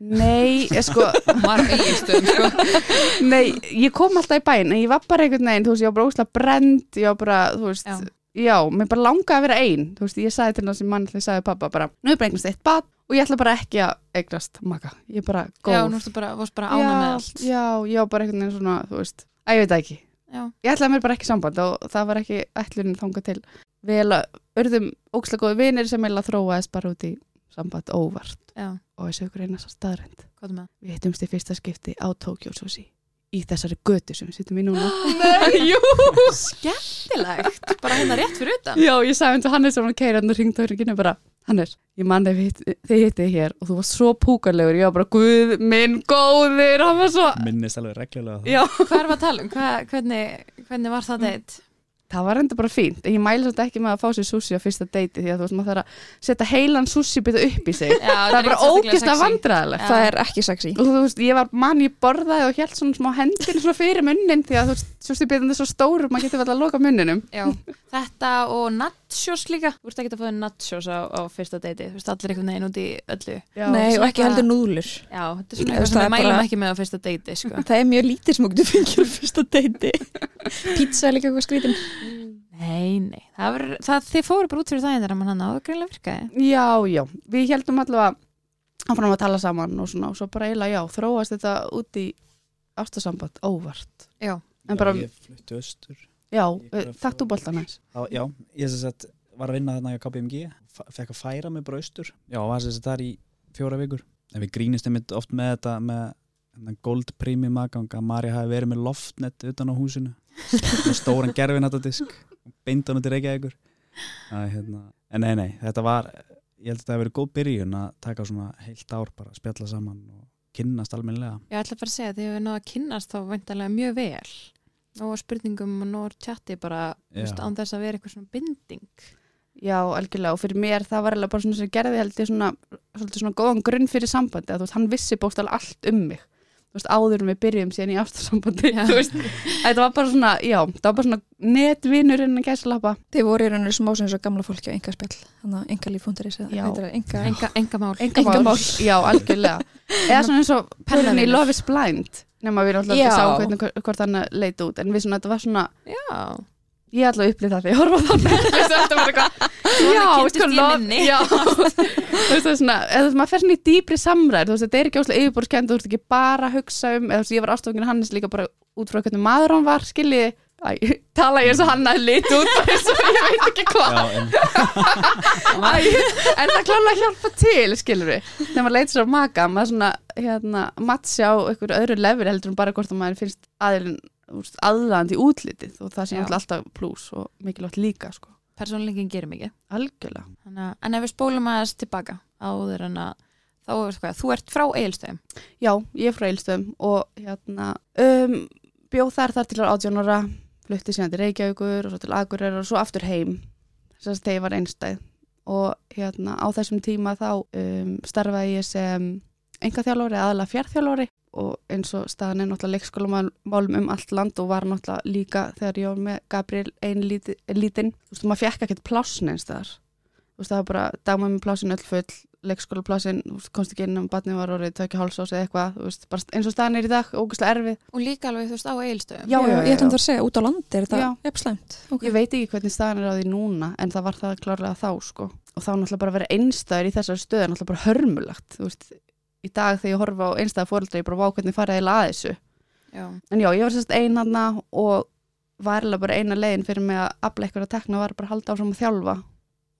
Speaker 4: nei, ég sko,
Speaker 3: var eiginstöðum sko
Speaker 4: nei, ég kom alltaf í bæinn, en ég var bara einhvern veginn, þú veist, ég var bara óslega brend, ég var bara, þú veist,
Speaker 3: já,
Speaker 4: já, mér bara langaði að vera ein þú veist, ég sagði til hans sem mann ég sagði pappa bara, nú er bara eignast eitt bad og ég ætla bara ekki að eignast maka ég er bara góð
Speaker 3: já nú ertu bara, varst bara ána með allt
Speaker 4: já, já, bara einhvern veginn svona, þú veist að ég veit það ekki,
Speaker 3: já,
Speaker 4: ég ætlaði mér bara ekki samband og það var ekki ætlunin þangað til við eiginlega urðum ókslega góði vinir sem eiginlega þróaðist bara út í samband óvart
Speaker 3: já,
Speaker 4: og þessu ykkur einast staðrænt
Speaker 3: hvað er með
Speaker 4: við hittumst í fyrsta skipti á Tokyo Sushi í þessari götu sem við sittum í núna
Speaker 3: Nei, jú, skemmtilegt bara hérna rétt fyrir utan
Speaker 4: Já, ég sagði hendur Hannes og hann keiri hann og ringdi á hringinu bara Hannes, ég man þegar við hitt- þið hitti þig hér og þú var svo púkarlegur, ég var bara Guð minn góður, hann var svo
Speaker 5: Minnist alveg reglulega það.
Speaker 4: Já,
Speaker 3: hvað er að tala um, Hvað- hvernig, hvernig var það deitt
Speaker 4: það var enda bara fínt en ég mæli svolítið ekki með að fá sér sushi á fyrsta deiti því að þú veist maður þarf að setja heilan sushi byrja upp í sig,
Speaker 3: Já,
Speaker 4: það er bara ógist að
Speaker 3: Já.
Speaker 4: vandræðilegt
Speaker 1: Það er ekki sexy
Speaker 4: og þú veist, ég var mann, ég borðaði og held svona smá hendin svona fyrir munnin því að þú veist, sushi byrjum er svo stórum, maður getur vel að loka munninum
Speaker 3: Já, þetta og nachos líka Þú ert ekki að fá þér nachos á, á fyrsta deiti Þú veist allir einhvern veginn út í öllu Já,
Speaker 4: Já.
Speaker 1: Nei, og ekki
Speaker 3: Svona-
Speaker 1: heldur núðlur
Speaker 3: þetta
Speaker 1: Þú
Speaker 3: er svona eitthvað
Speaker 1: veist,
Speaker 3: sem
Speaker 1: það
Speaker 3: við
Speaker 1: er
Speaker 3: mælum
Speaker 1: bara-
Speaker 3: ekki með á fyrsta deiti sko.
Speaker 1: Það er mjög lítið sem þú getur fengið á fyrsta deiti Pizza er líka eitthvað skrítin
Speaker 3: Nei, nei það var, það, Þið fóru bara út fyrir það en þegar mann hann á það greinlega virkaði
Speaker 4: Já, já, við heldum allavega áfram að tala saman og svona og svo bara eiginlega, já, þróast þetta út í ástasamband, óvart
Speaker 3: Já,
Speaker 4: en bara-
Speaker 5: Ég fluttu austur.
Speaker 4: Já,
Speaker 5: Ég bara fór-
Speaker 4: þakkt úr boltan hans
Speaker 5: Á, já, ég sem sagt var að vinna þarna hjá KPMG, f- fekk að færa mig bara austur. Já, var sem sagt þar í fjóra vikur. En við grínist einmitt oft með þetta með þennan gold premium aðgang að Marja hafi verið með loftnett utan á húsinu. og stóran gerfin þetta disk. Beindan út í reykja ykkur. Æ, hérna. En nei, nei, þetta var ég held að það hefur verið góð byrjun að taka svona heilt ár bara að spjalla saman og kynnast almennilega
Speaker 3: Ég ætla bara að segja að þið hefur náða að kynnast þá væntanlega mjög vel. Nó að spurningum og nó að chatti bara þú veist,
Speaker 5: Já.
Speaker 3: án þess að vera eitthvað svona binding.
Speaker 4: Já, algjörlega og fyrir mér það var eiginlega bara svona sem gerði held ég svona, svolítið svona góðan grunn fyrir sambandi að þú veist, hann vissi bókstala allt um mig þú veist, áður en við byrjum síðan í ástarsambandi þú veist, þetta var bara svona já, það var bara svona netvinur innan gæslappa
Speaker 1: Þið voru í rauninu smá sem þessu gamla fólki á engaspjall, þannig að engalíf.is eða
Speaker 4: Já.
Speaker 1: heitir það enga,
Speaker 3: Enga, enga mál.
Speaker 4: Einkamál. já, algjörlega eða svona eins og pennin í
Speaker 3: Pennavinur.
Speaker 4: Love is Blind nema við náttúrulega
Speaker 1: Já.
Speaker 4: ekki sáum hvernig hvort hann leit út en við svona, þetta var svona,
Speaker 3: Já.
Speaker 4: ég ætla að upplýta það þegar ég horfa á þannig, þú veist, þetta var eitthvað
Speaker 3: Svona
Speaker 4: Já,
Speaker 3: kynntist
Speaker 4: sko,
Speaker 3: ég
Speaker 4: lof-
Speaker 3: minni.
Speaker 4: já. þú veist það er svona, eða þú veist maður fer svona í dýpri samræður, þú veist þetta er ekki óslega yfirborðskend þú veist ekki bara að hugsa um, eða þú veist ég var ástofungin Hannes líka bara út frá hvernig maður hann var skiljiði, æ, tala ég eins og hann að lit út, bara eins og ég veit ekki hvað
Speaker 5: Já, en,
Speaker 4: Æ, en það klála að hjálpa til skilur við, þegar maður leit sér á maka maður svona, hérna, mattsi á einhverju öðru lefur heldur en bara hvort að maður finnst aðilin, aðlandi útlitið og það sé
Speaker 3: Já.
Speaker 4: náttúrulega alltaf plús og mikilvægt líka sko,
Speaker 3: Persónleikin gerir mikið.
Speaker 4: algjörlega
Speaker 3: Þannig, að- en ef við spólum aðeins tilbaka áður en að þá er hvað, þú ert frá eigilstöðum.
Speaker 4: Já, ég er frá Eilstöðum og hérna, um, bjóð þar þar til ára 18 ára, flutti síðan til Reykjavíkur og svo til Akureyrar og svo aftur heim þess að þegar ég var einstæð og hérna á þessum tíma þá um, starfaði ég sem engaþjálfari, aðalega fjárþjálfari og eins og staðan er náttúrulega leikskólamálum um allt land og var náttúrulega líka þegar ég var með Gabriel ein líti, lítinn, þú veist, maður fekk ekkert plássin eins þar, þú veist, það var bara dagmæmi með plássin öll full, leikskólaplássin þú veist, komst ekki inn um barnið var orðið tökja hálsás eða eitthvað, þú veist, bara eins og staðan er í dag ógustlega erfið.
Speaker 3: Og líka alveg, þú veist, á eigilstöðum.
Speaker 4: Já, já, já,
Speaker 1: Ég ætlum
Speaker 4: já.
Speaker 1: það að segja, út á landi er
Speaker 4: Já.
Speaker 1: þetta jafnslæmt.
Speaker 4: Ég veit ekki hvernig staðan er á því núna en það var það klárlega þá, sko og þá náttúrulega bara að vera einstæður í þessari stöðu er náttúrulega bara hörmulagt, þú veist í dag þegar ég horfa á einstæða fóreldra, ég bara vá hvernig fara eða að þessu.
Speaker 3: Já.
Speaker 4: En já, ég var sérst einn hann og var eiginlega bara eina leiðin fyrir mig að afla eitthvað að tekna var bara að halda áfram að þjálfa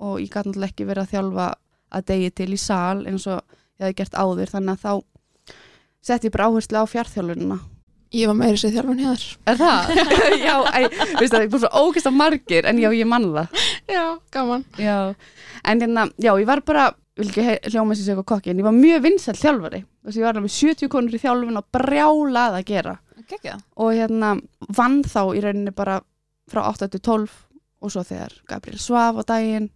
Speaker 4: og ég gæti náttúrulega ekki verið að þjálfa að degi til í sal eins og ég hafði gert áður þannig að þá setti ég bara áherslu á fjárþjálfunina.
Speaker 2: Ég var meiri sér þjálfun hér.
Speaker 4: Er það? já, æ, veistu það, ég búið svo ógist á margir en já, ég mann það.
Speaker 2: Já, gaman.
Speaker 4: Já, en hérna, já, ég var bara, vil ekki he- hljóma sér eitthvað kokki, en ég var mjög vinsæll þjálfari. Þess að ég var alveg 70 konur í þjálfun og brjálað að gera.
Speaker 3: Gekja.
Speaker 4: og hérna vann þá í rauninni bara frá 8 til 12 og svo þegar Gabriel svaf á daginn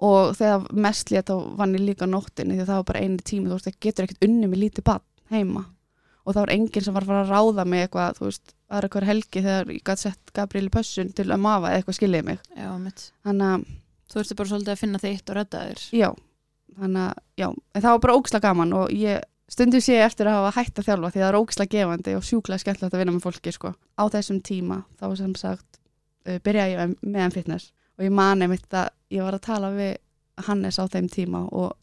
Speaker 4: og þegar mest lét þá vann ég líka á nóttinni því að það var bara einu tími þú veist það getur ekkert unni með lítið bann heima og það var enginn sem var að fara að ráða mig eitthvað þú veist aðra hver helgi þegar ég gæti sett Gabriel í pössun til að mafa eða eitthvað skiljaði mig
Speaker 3: Já, mitt.
Speaker 4: þannig að
Speaker 3: Þú ertu bara svolítið að finna þitt og redda þér.
Speaker 4: já þannig að já en það var bara ógislega gaman og ég stundum sé ég eftir að hafa hætt að þjálfa því að það er ógislega gefandi og sjúklega skemmtilegt að vinna með fólki sko. á þessum tíma þá sem sagt uh, byrjaði ég með meðan fitness og ég mani mitt að ég var að tala við Hannes á þeim tíma og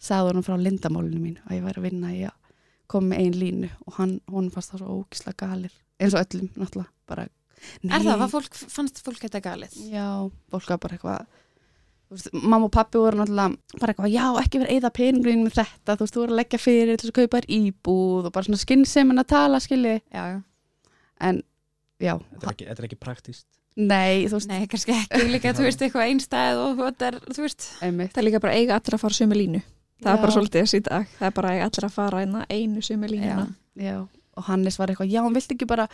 Speaker 4: sagði honum frá lindamálinu mín að ég væri að vinna í að koma með ein línu og hann, hún fannst það svo ógislega galir eins og öllum náttúrulega bara,
Speaker 3: Er það,
Speaker 4: "Nei."
Speaker 3: var fólk, fannst fólk þetta galið?
Speaker 4: Já, fólk var bara eitthvað þú veist, mamma og pappi voru náttúrulega bara eitthvað, já, ekki vera eða peningurinn með þetta, þú veist, þú voru að leggja fyrir til þess að kaupa þér íbúð og bara svona skinnsemin að tala, skilji,
Speaker 3: Já, já.
Speaker 4: en já,
Speaker 5: þetta, er ekki, þetta er ekki praktíst
Speaker 4: nei, þú veist,
Speaker 3: Nei, kannski ekki líka, þú veist, eitthvað einstæð og þetta er, þú veist,
Speaker 4: einmitt
Speaker 1: Það er líka bara eiga allir að fara sömu línu. Það er bara
Speaker 4: Já.
Speaker 1: svolítið þessi í dag. Það er bara eiga allir að fara einna einu sömu línuna.
Speaker 4: Já, og Hannes var eitthvað, já, hann vildi ekki bara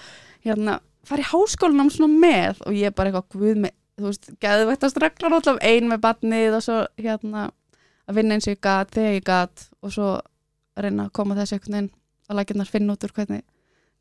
Speaker 4: hérna, fara í háskólanum svona með og ég bara eitthvað, guð með, þú veist, geðvættast reglar alltaf ein með barnið og svo hérna að vinna eins og ég gat, þegar ég gat og svo reyna að koma þessu einhvern veginn að lækjarnar finna út úr hvernig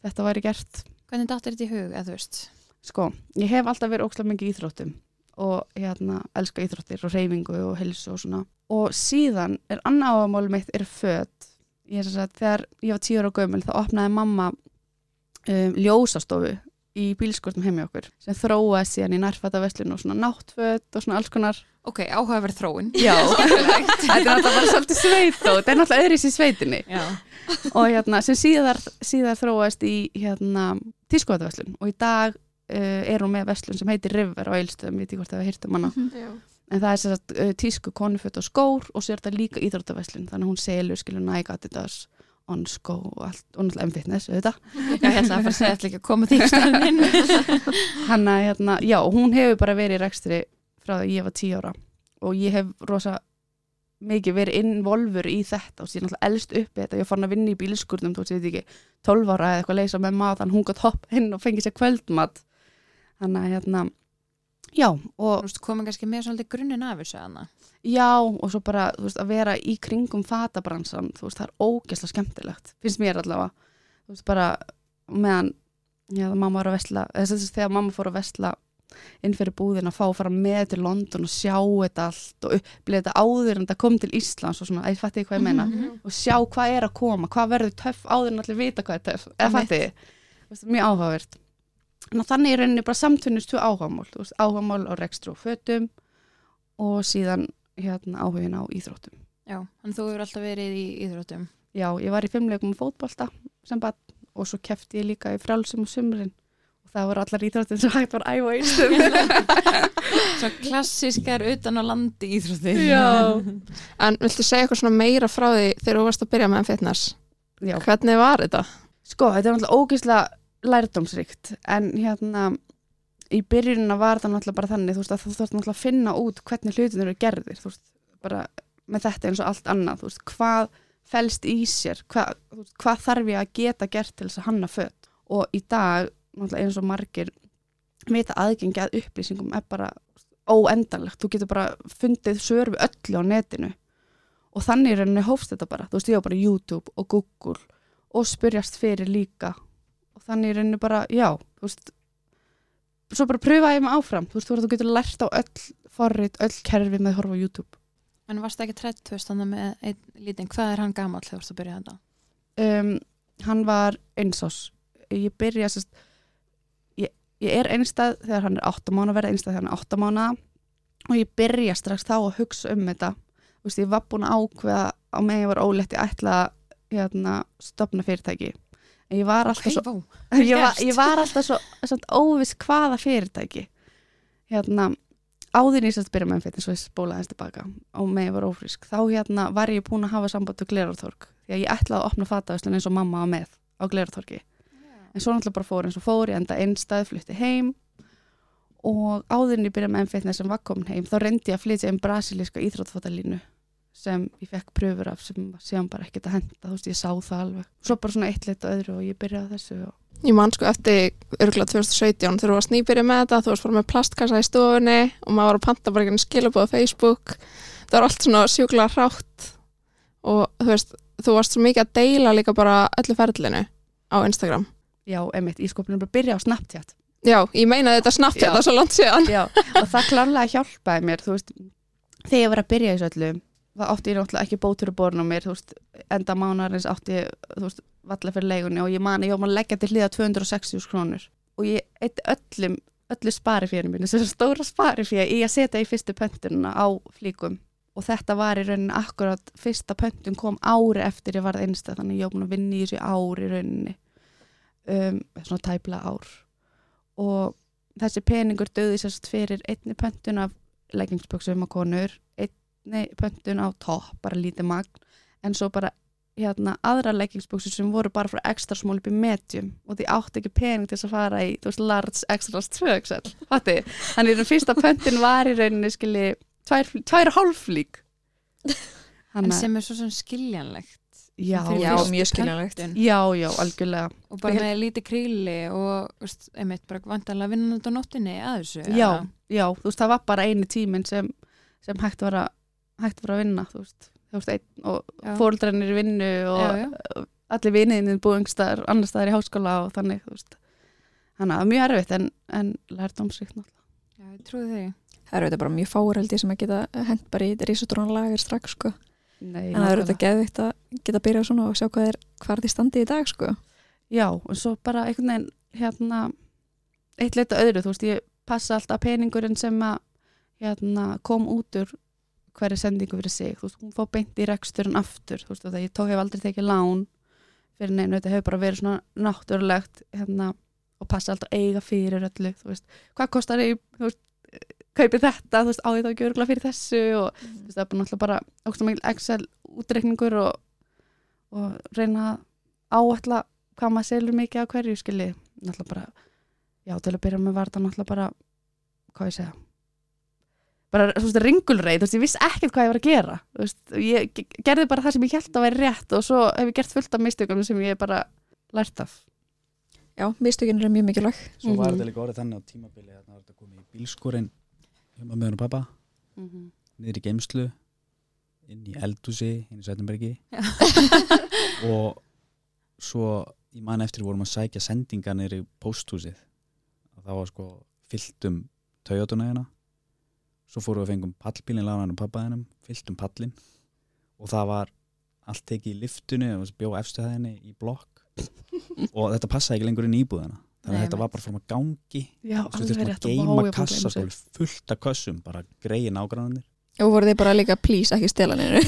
Speaker 4: þetta væri gert.
Speaker 3: hvernig dáttir þetta í hug, eða þú veist.
Speaker 4: Sko, ég hef alltaf verið ókslega mikið í íþróttum og hérna elska íþróttir og reyfingu og helsu og svona. Og síðan er annað áhugamál mitt er föt. Ég er sem sagt, þegar ég var tíur og gömul þá opnaði mamma um, ljósastofu í bílskortum heim í okkur sem þróaði síðan í nærfæta og svona náttföt og svona alls konar.
Speaker 3: Ok, áhugaverð þróun.
Speaker 4: Já, þetta er náttúrulega bara svolítið sveit og þetta er náttúrulega öðris í sveitinni
Speaker 3: Já.
Speaker 4: og hérna, sem síðar, síðar þróast í hérna, tískoðaverslun og í dag uh, er hún með verslun sem heitir River á Eilstöðum, ég veit ekki hvort það var hýrt um hana
Speaker 2: Já.
Speaker 4: en það er sér að uh, tísku konuföt og skór og svo er þetta líka íþróttaverslun þannig að hún selur skilur næg að þetta on skó og allt, og náttúrulega M-fitness auðvitað,
Speaker 3: Já, ég ætla að fara að segja þetta líka að koma því í staðinn inn.
Speaker 4: hann að hérna, já, hún hefur bara verið í rekstri frá því að ég var 10 ára og ég hef rosa mikið verið involvur í þetta og síðan alltaf elst upp í þetta, ég fann að vinna í bílskurnum þú veist, ég veit ekki, 12 ára eða eitthvað leysa með mat, hann hún gott hopp inn og fengið sér kvöldmat þannig að hérna já, og
Speaker 3: Þú veist, komið kannski með svolítið grunnin af þessu hana.
Speaker 4: Já, og svo bara, þú veist, að vera í kringum fatabransan, þú veist, það er ógeðslega skemmtilegt, finnst mér allavega þú veist, bara meðan já, það mamma var að vesla, þess að þess þegar mamma fór að vesla inn fyrir búðin að fá að fara með til London og sjá þetta allt og upplýða þetta áður en þetta kom til Íslands og svona, æ, fatti ég hvað ég meina
Speaker 3: Mhm.
Speaker 4: og sjá hvað er að koma, hvað verður töff áður en allir vita hvað er töff, eða
Speaker 3: Einmitt.
Speaker 4: fatti þú veist, mjög áhugavert Ná, þannig er rauninni bara samtvinnust þú áhugamál, þú veist, áhugamál á rekstru og fötum og síðan hérna áhugin á íþróttum
Speaker 3: Já, en þú hefur alltaf verið í íþróttum.
Speaker 4: já, ég var í fimmleikum og fótbolta sem bara, og svo kefti ég líka í frálsum og sumrin og það voru allar íþróttum sem hægt var að æfa í stöðum
Speaker 3: Svo klassískar utan á landi íþróttir.
Speaker 2: En viltu segja eitthvað svona meira frá því þegar þú varst að byrja með fitness?
Speaker 4: já,
Speaker 2: Hvernig var þetta?
Speaker 4: Sko, þetta er náttúrulega ógeðslega lærdómsrikt en hérna í byrjunina var það náttúrulega bara þannig þú veist að þú þarf náttúrulega að finna út hvernig hlutin eru gerðir þú veist, bara með þetta eins og allt annað, þú veist, hvað felst í sér, hvað, þú veist, hvað þarf ég að geta gert til þess að hanna fött og í dag, náttúrulega eins og margir vita aðgengi að upplýsingum er bara óendalegt þú getur bara fundið svör við öllu á netinu og þannig í rauninni hófst þetta bara, þú veist, ég var bara YouTube og Google og spyrjast fyrir líka og þannig er henni bara, já þú veist, svo bara pröfa ég mig áfram, þú veist, þú, þú getur lært á öll forrit, öll kerfi með að horfa á YouTube
Speaker 3: En varst ekki trætt, þú veist, þannig með einn lítinn, hvað er hann gamall þegar þú varst að byrja þetta?
Speaker 4: um, hann var einsás ég byrja sérst, ég, ég er einstað þegar hann er 8 mánu verða einstað þegar hann er 8 mánu og ég byrja strax þá að hugsa um þetta þú veist, ég var búin að ákveða á meðan ég var ólétt, ég ætla að hérna, stopna fyrirtæki en ég var alltaf svo
Speaker 3: vó.
Speaker 4: ég var,
Speaker 3: gert.
Speaker 4: ég var alltaf svo samt, óviss hvaða fyrirtæki hérna áður en ég sérst byrja með fitness og ég spóla aðeins tilbaka og með ég var ófrísk þá hérna var ég búin að hafa samband á Glerartorg því að ég ætlaði að opna fataðuslun eins og mamma var með á Glerartorgi en svo náttúrulega bara fór eins og fór ég enda einstað flutti heim og áður en ég byrja með fitness sem var komin heim þá reyndi ég að flytja um brasilíska íþróttfótalínu sem ég fekk pröfur af sem var síðan bara ekkert að henda þú veist ég sá það alveg svo bara svona eitt leitt og öðru og ég byrjaði á þessu og
Speaker 2: Ég man sko eftir örgulega 2017 þegar þú varst nýbyrja með þetta, þú varst bara með plastkassa í stofunni og maður var að panta bara ekki skilabóð á Facebook. Það var allt svona sjúklega hrátt og þú veist, þú varst svo mikið að deila líka bara öllu ferlinu á Instagram.
Speaker 4: Já, einmitt, ég sko búin að bara byrja á Snapchat
Speaker 2: Já, ég meina þetta snabbt
Speaker 4: Já.
Speaker 2: þetta er svo langt síðan.
Speaker 4: Já, og það klárlega hjálpaði mér, þú veist þegar ég var að byrja í þessu öllu það átti ég náttúrulega ekki bótur að borna á mér þú veist, enda mánarins átti ég þú veist, valla fyrir leigunni og ég man að ég var að leggja til hliða 260 krónur og ég eitt öllum, öllu spari fyrir mínu, þessu stóra spari fyrir í að setja í fyrstu pöntununa á flíkum og þetta var í rauninni akkurat fyrsta pöntun kom ári eftir ég varð einstæð þannig að ég var búin að vinna í þessu ári í rauninni um, svona tæpla ár og þessi peningur döði sérst fyrir einni pöntun af leggingsbuksum á konur, einni pöntun á topp, bara lítið magn en svo bara hérna aðra leggingsbuksur sem voru bara frá ekstra smól upp í medium og því átti ekki pening til þess að fara í þú veist, large extra large 2 XL Fatti? þannig að den fyrsta pöntun var í rauninni skilji tvær, fl- tvær og hálf flík
Speaker 3: En
Speaker 4: Þannig að-
Speaker 3: sem er svo sem skiljanlegt.
Speaker 4: já,
Speaker 3: fyrir
Speaker 1: Já,
Speaker 4: já,
Speaker 3: fyrstu
Speaker 1: mjög skiljanlegt.
Speaker 3: pöntun.
Speaker 4: já, já, algjörlega
Speaker 3: Og bara með lítið kríli og, þú veist, einmitt, bara vantanlega vinnan út á nóttinni að þessu.
Speaker 4: já,
Speaker 3: eða?
Speaker 4: já, þú veist, það var bara eini tíminn sem, sem hægt, var að, hægt var að vinna, þú veist, þú veist, einn og
Speaker 3: Já.
Speaker 4: fóreldrarnir í vinnu og
Speaker 3: Já, já.
Speaker 4: allir viniðinni búingstar, annar staðar í háskóla og þannig, þú veist, þannig að það er mjög erfitt en, en lært náttúrulega.
Speaker 3: Já, ég trúi því.
Speaker 1: Það eru þetta bara mjög fáur held ég sem að geta hent bara í risutrónan lagar strax sko.
Speaker 4: Nei,
Speaker 1: En það eru
Speaker 4: nákvæmlega.
Speaker 1: þetta geðvikt að geta byrjað svona og sjá hvað er hvar því standi í dag sko.
Speaker 4: Já, og svo bara einhvern veginn hérna eitt leita öðru, þú veist, ég passa alltaf peningurinn sem að hérna, kom út úr hverju sendingu fyrir sig, þú veist, hún fór beint í reksturinn aftur, þú veist, og það ég tók hef aldrei tekið lán fyrir neina, þetta hefur bara verið svona náttúrulegt, hérna og passa alltaf að eiga fyrir öllu, þú veist hvað kostar ég, þú veist kaupi þetta, þú veist, á ég þá ekki örgla fyrir þessu og þú veist, það er bara náttúrulega bara ókstum ekki Excel útreikningur og, og reyna að áætla hvað maður selur mikið á hverju skilji náttúrulega bara já, til að byrja með var þetta náttúrulega bara hvað ég segja bara þú veist, ringulreið, þú veist, ég vissi ekkert hvað ég var að gera þú veist, og ég ge- gerði bara það sem ég held að væri rétt og svo hef ég gert fullt af mistökum sem ég bara lært af
Speaker 1: Já, mistökin eru mjög mikilvæg.
Speaker 5: Svo
Speaker 3: mm-hmm.
Speaker 5: var
Speaker 4: Mhm.
Speaker 5: þetta líka orðið þannig á tímabili að það var þetta komið í bílskorinn hjá með hennar pappa, niður í geimslu inn í eldhúsi, inn í Sætnumbergi og svo ég man eftir við vorum að sækja sendingar niður í pósthúsið og það var sko fyllt um taujátuna hérna svo fórum við að fengum pallbílinn lána hann og pappa hennum, fyllt um pallinn og það var allt tekið í liftinu og bjó efstu það henni í blokk og þetta passaði ekki lengur inn í íbúðina þannig að
Speaker 4: Nei,
Speaker 5: þetta var bara frá maður gangi
Speaker 4: Já,
Speaker 5: Þú veist, þurftum að geima kassa svo fullt af kössum, bara greiði nágrannanir
Speaker 1: Og voru þið bara líka, please, ekki stela neinu.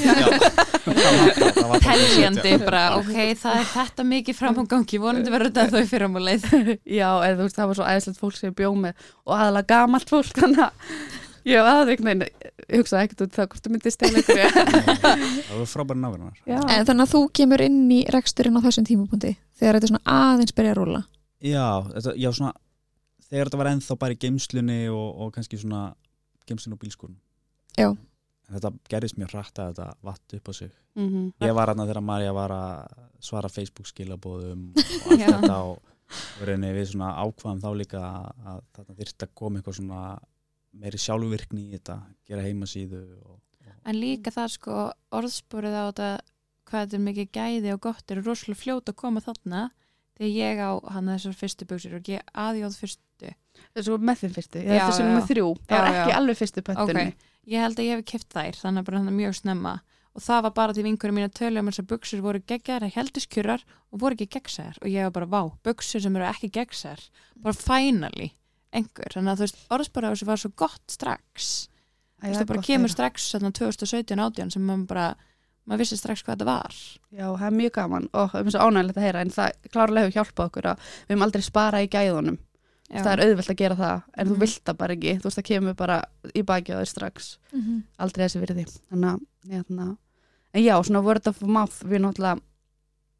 Speaker 3: Teljandi bara, ok, það er þetta mikið fram á gangi, vonandi verður þetta þau fyrir á múleið.
Speaker 4: Já, eða þú veist, það var svo æðislegt fólk sem ég bjóð með og aðalega gamalt fólk þannig að ég hef aðeignin hugsaði ekkert út í það hvort þú myndist eða ykkur
Speaker 5: það var frábæri nágrannar
Speaker 4: Já.
Speaker 1: En þannig að þú kemur inn í reksturinn á þessum tímapunkti þegar þetta er svona aðeins byrja að rúla.
Speaker 5: Já, þetta, já svona, þegar þetta var ennþá bara í geimslunni og, og kannski svona geimslunni og bílskúrun.
Speaker 1: Já.
Speaker 5: En þetta gerðist mjög hratt að þetta vatt upp á sig.
Speaker 4: mm -hmm.
Speaker 5: Ég var hann þegar Marja var að svara Facebook skilabóðum og allt
Speaker 3: Já.
Speaker 5: þetta og og í rauninni við svona ákvaðum þá líka að að þarna þyrfti að koma eitthvað svona meiri sjálfvirkni í þetta, gera heimasíðu og
Speaker 3: En líka það sko orðspúrið á þetta hvað þetta er mikið gæði og gott er rosalega fljót að koma þarna þegar ég á hann þessar fyrstu buksir og ég aðjóð fyrstu.
Speaker 4: Svo með þeim fyrstu,
Speaker 3: Já,
Speaker 4: þetta er sem
Speaker 3: já,
Speaker 4: nummer þrjú það var
Speaker 3: Já, já.
Speaker 4: ekki alveg fyrstu pöntunni
Speaker 3: Ok. Ég held að ég hef kipt þær þannig að bara hann mjög snemma og það var bara til vinkurum mína tölu um þessar buksir voru geggjar, heldiskjurar og voru ekki geggsæðar og ég var bara vá, buksir sem eru ekki geggsæðar, bara finally einhver, þannig að þú veist orðspúrið á þessu var svo gott strax. Þú
Speaker 4: Æ, það
Speaker 3: veist
Speaker 4: er
Speaker 3: það bara
Speaker 4: gott að
Speaker 3: kemur
Speaker 4: heyra.
Speaker 3: strax 2017-18 sem maður bara, maður vissi strax hvað þetta var.
Speaker 4: Já, það er mjög gaman og það er svo ánægilegt að heyra en það klárlega hefur hjálpað okkur að við höfum aldrei sparað í gæðunum
Speaker 3: Já.
Speaker 4: það er auðvelt að gera það en þú
Speaker 3: Mhm.
Speaker 4: vilt það bara ekki, þú veist það kemur bara í baki á þér strax,
Speaker 1: Mhm.
Speaker 4: aldrei þessi virði þannig að hérna. en já, svona word of mouth við náttúrulega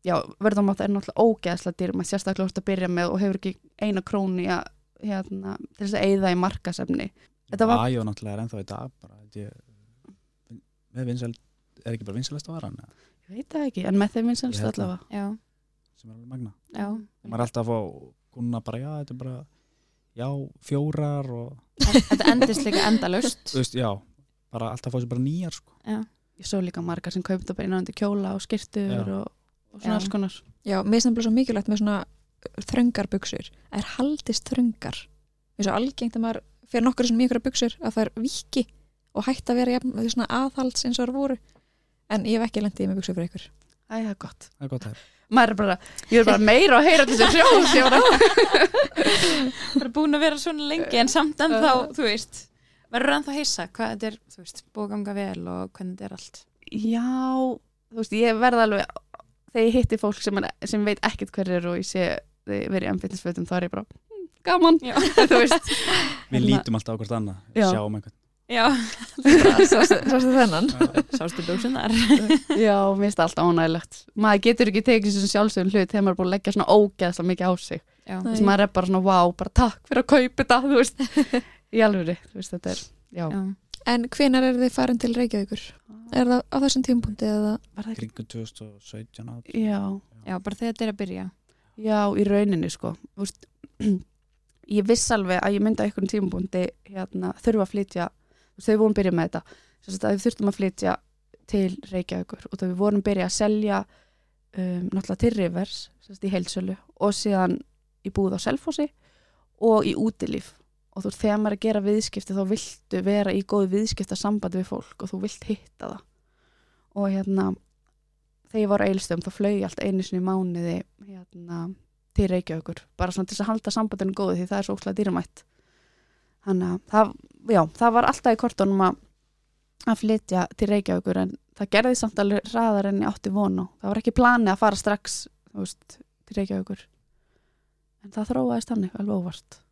Speaker 4: já, word of mouth er náttúrulega ógeðsla dýrum að sérstaklega úrst að byrja með og hefur ekki eina krónu í að, hérna, til þess að eigða í markasefni Þetta var-
Speaker 5: Ajó náttúrulega er ennþá í dag bara, þetta er, með vinsæl, er ekki bara vinsælasta varan eða?
Speaker 4: ég veit það ekki, en með þeim eins og
Speaker 5: Ég held það.
Speaker 4: allavega
Speaker 3: Já,
Speaker 5: sem er alveg magna.
Speaker 3: já.
Speaker 5: maður er alltaf að fá kunna bara, já, þetta er bara já, fjórar og,
Speaker 3: Þetta endist líka endalaust
Speaker 5: þú veist, já bara alltaf að fá sér bara nýjar, sko
Speaker 4: ég svo líka margar sem kaupið það bara innanandi kjóla og skirtur
Speaker 5: Já.
Speaker 4: og, og svona
Speaker 3: Já.
Speaker 4: alls konar
Speaker 1: Já, mér sem bara svo mikilvægt með svona þröngar buksur. Það er haldist þröngar. Mér er svo algengt að maður fyrir nokkur sem mikilvægt buksur að það er viki og hætt að vera jafn, því svona aðhalds eins og það voru. En ég hef ekki lendið með buksur fyrir ykkur.
Speaker 4: Æ, það er gott
Speaker 5: það er gott þær
Speaker 4: maður er bara, ég er bara meira að heyra þessu hrjóð ég var að,
Speaker 3: Það er búin að vera svona lengi en samt en þá, þú veist verður ennþá heisa hvað þetta er, þú veist, búið að ganga vel og hvernig þetta er allt
Speaker 4: já, þú veist, ég verð alveg þegar ég hitti fólk sem, er, sem veit ekkert hver er og ég sé þau verið í amfittisfötum, þá er ég bara "Hmm, gaman,
Speaker 3: Já.
Speaker 4: þú veist
Speaker 5: við
Speaker 4: Hérna-
Speaker 5: lítum alltaf á hvort annað,
Speaker 4: Já.
Speaker 5: sjáum einhvern
Speaker 3: Já,
Speaker 1: Sástu þennan?
Speaker 3: sástu bjóksinnar
Speaker 4: já, mér finnst það alltaf ánægilegt maður getur ekki tekið þessu sjálfsögum hlut þegar maður er búin að leggja svona ógeðslega mikið á sig
Speaker 3: Já,
Speaker 4: þess maður er bara svona, wow, bara takk fyrir að kaupa þetta, þú veist í alvöru, þú veist, þetta er, já,
Speaker 3: já.
Speaker 1: En hvenar er þið farin til Reykjavíkur? Er það á þessum tímapunkti eða?
Speaker 4: var það ekki,
Speaker 5: kringu 2017 át
Speaker 4: já
Speaker 3: já bara þegar þetta er að byrja
Speaker 4: Já, í rauninni sko Þú veist, ég viss alveg að ég myndi á einhvern tímabundi hérna, þurfa að flytja þú veist, þau vorum byrjað með þetta þess að við þurftum að flytja til Reykjavíkur og þau við vorum byrjað að selja um, náttúrulega til Rivers sérst, í heilsölu og síðan í búð á Selfossi og í útilíf og þú veist, þegar maður er að gera viðskipti þá viltu vera í góðu viðskipta sambandi við fólk og þú vilt hitta það og hérna þegar ég var á eilstöðum þá flög ég allt einu sinni í mánuði hérna, til Reykjavíkur bara svona til þess að halda sambandinu góðu því það er svo ókslega dýramætt þannig að það, já, það var alltaf í kortunum að, að flytja til Reykjavíkur en það gerði samt alveg hraðar en ég átti vonu það var ekki planið að fara strax þú veist, til Reykjavíkur en það þróaðist þannig alveg óvart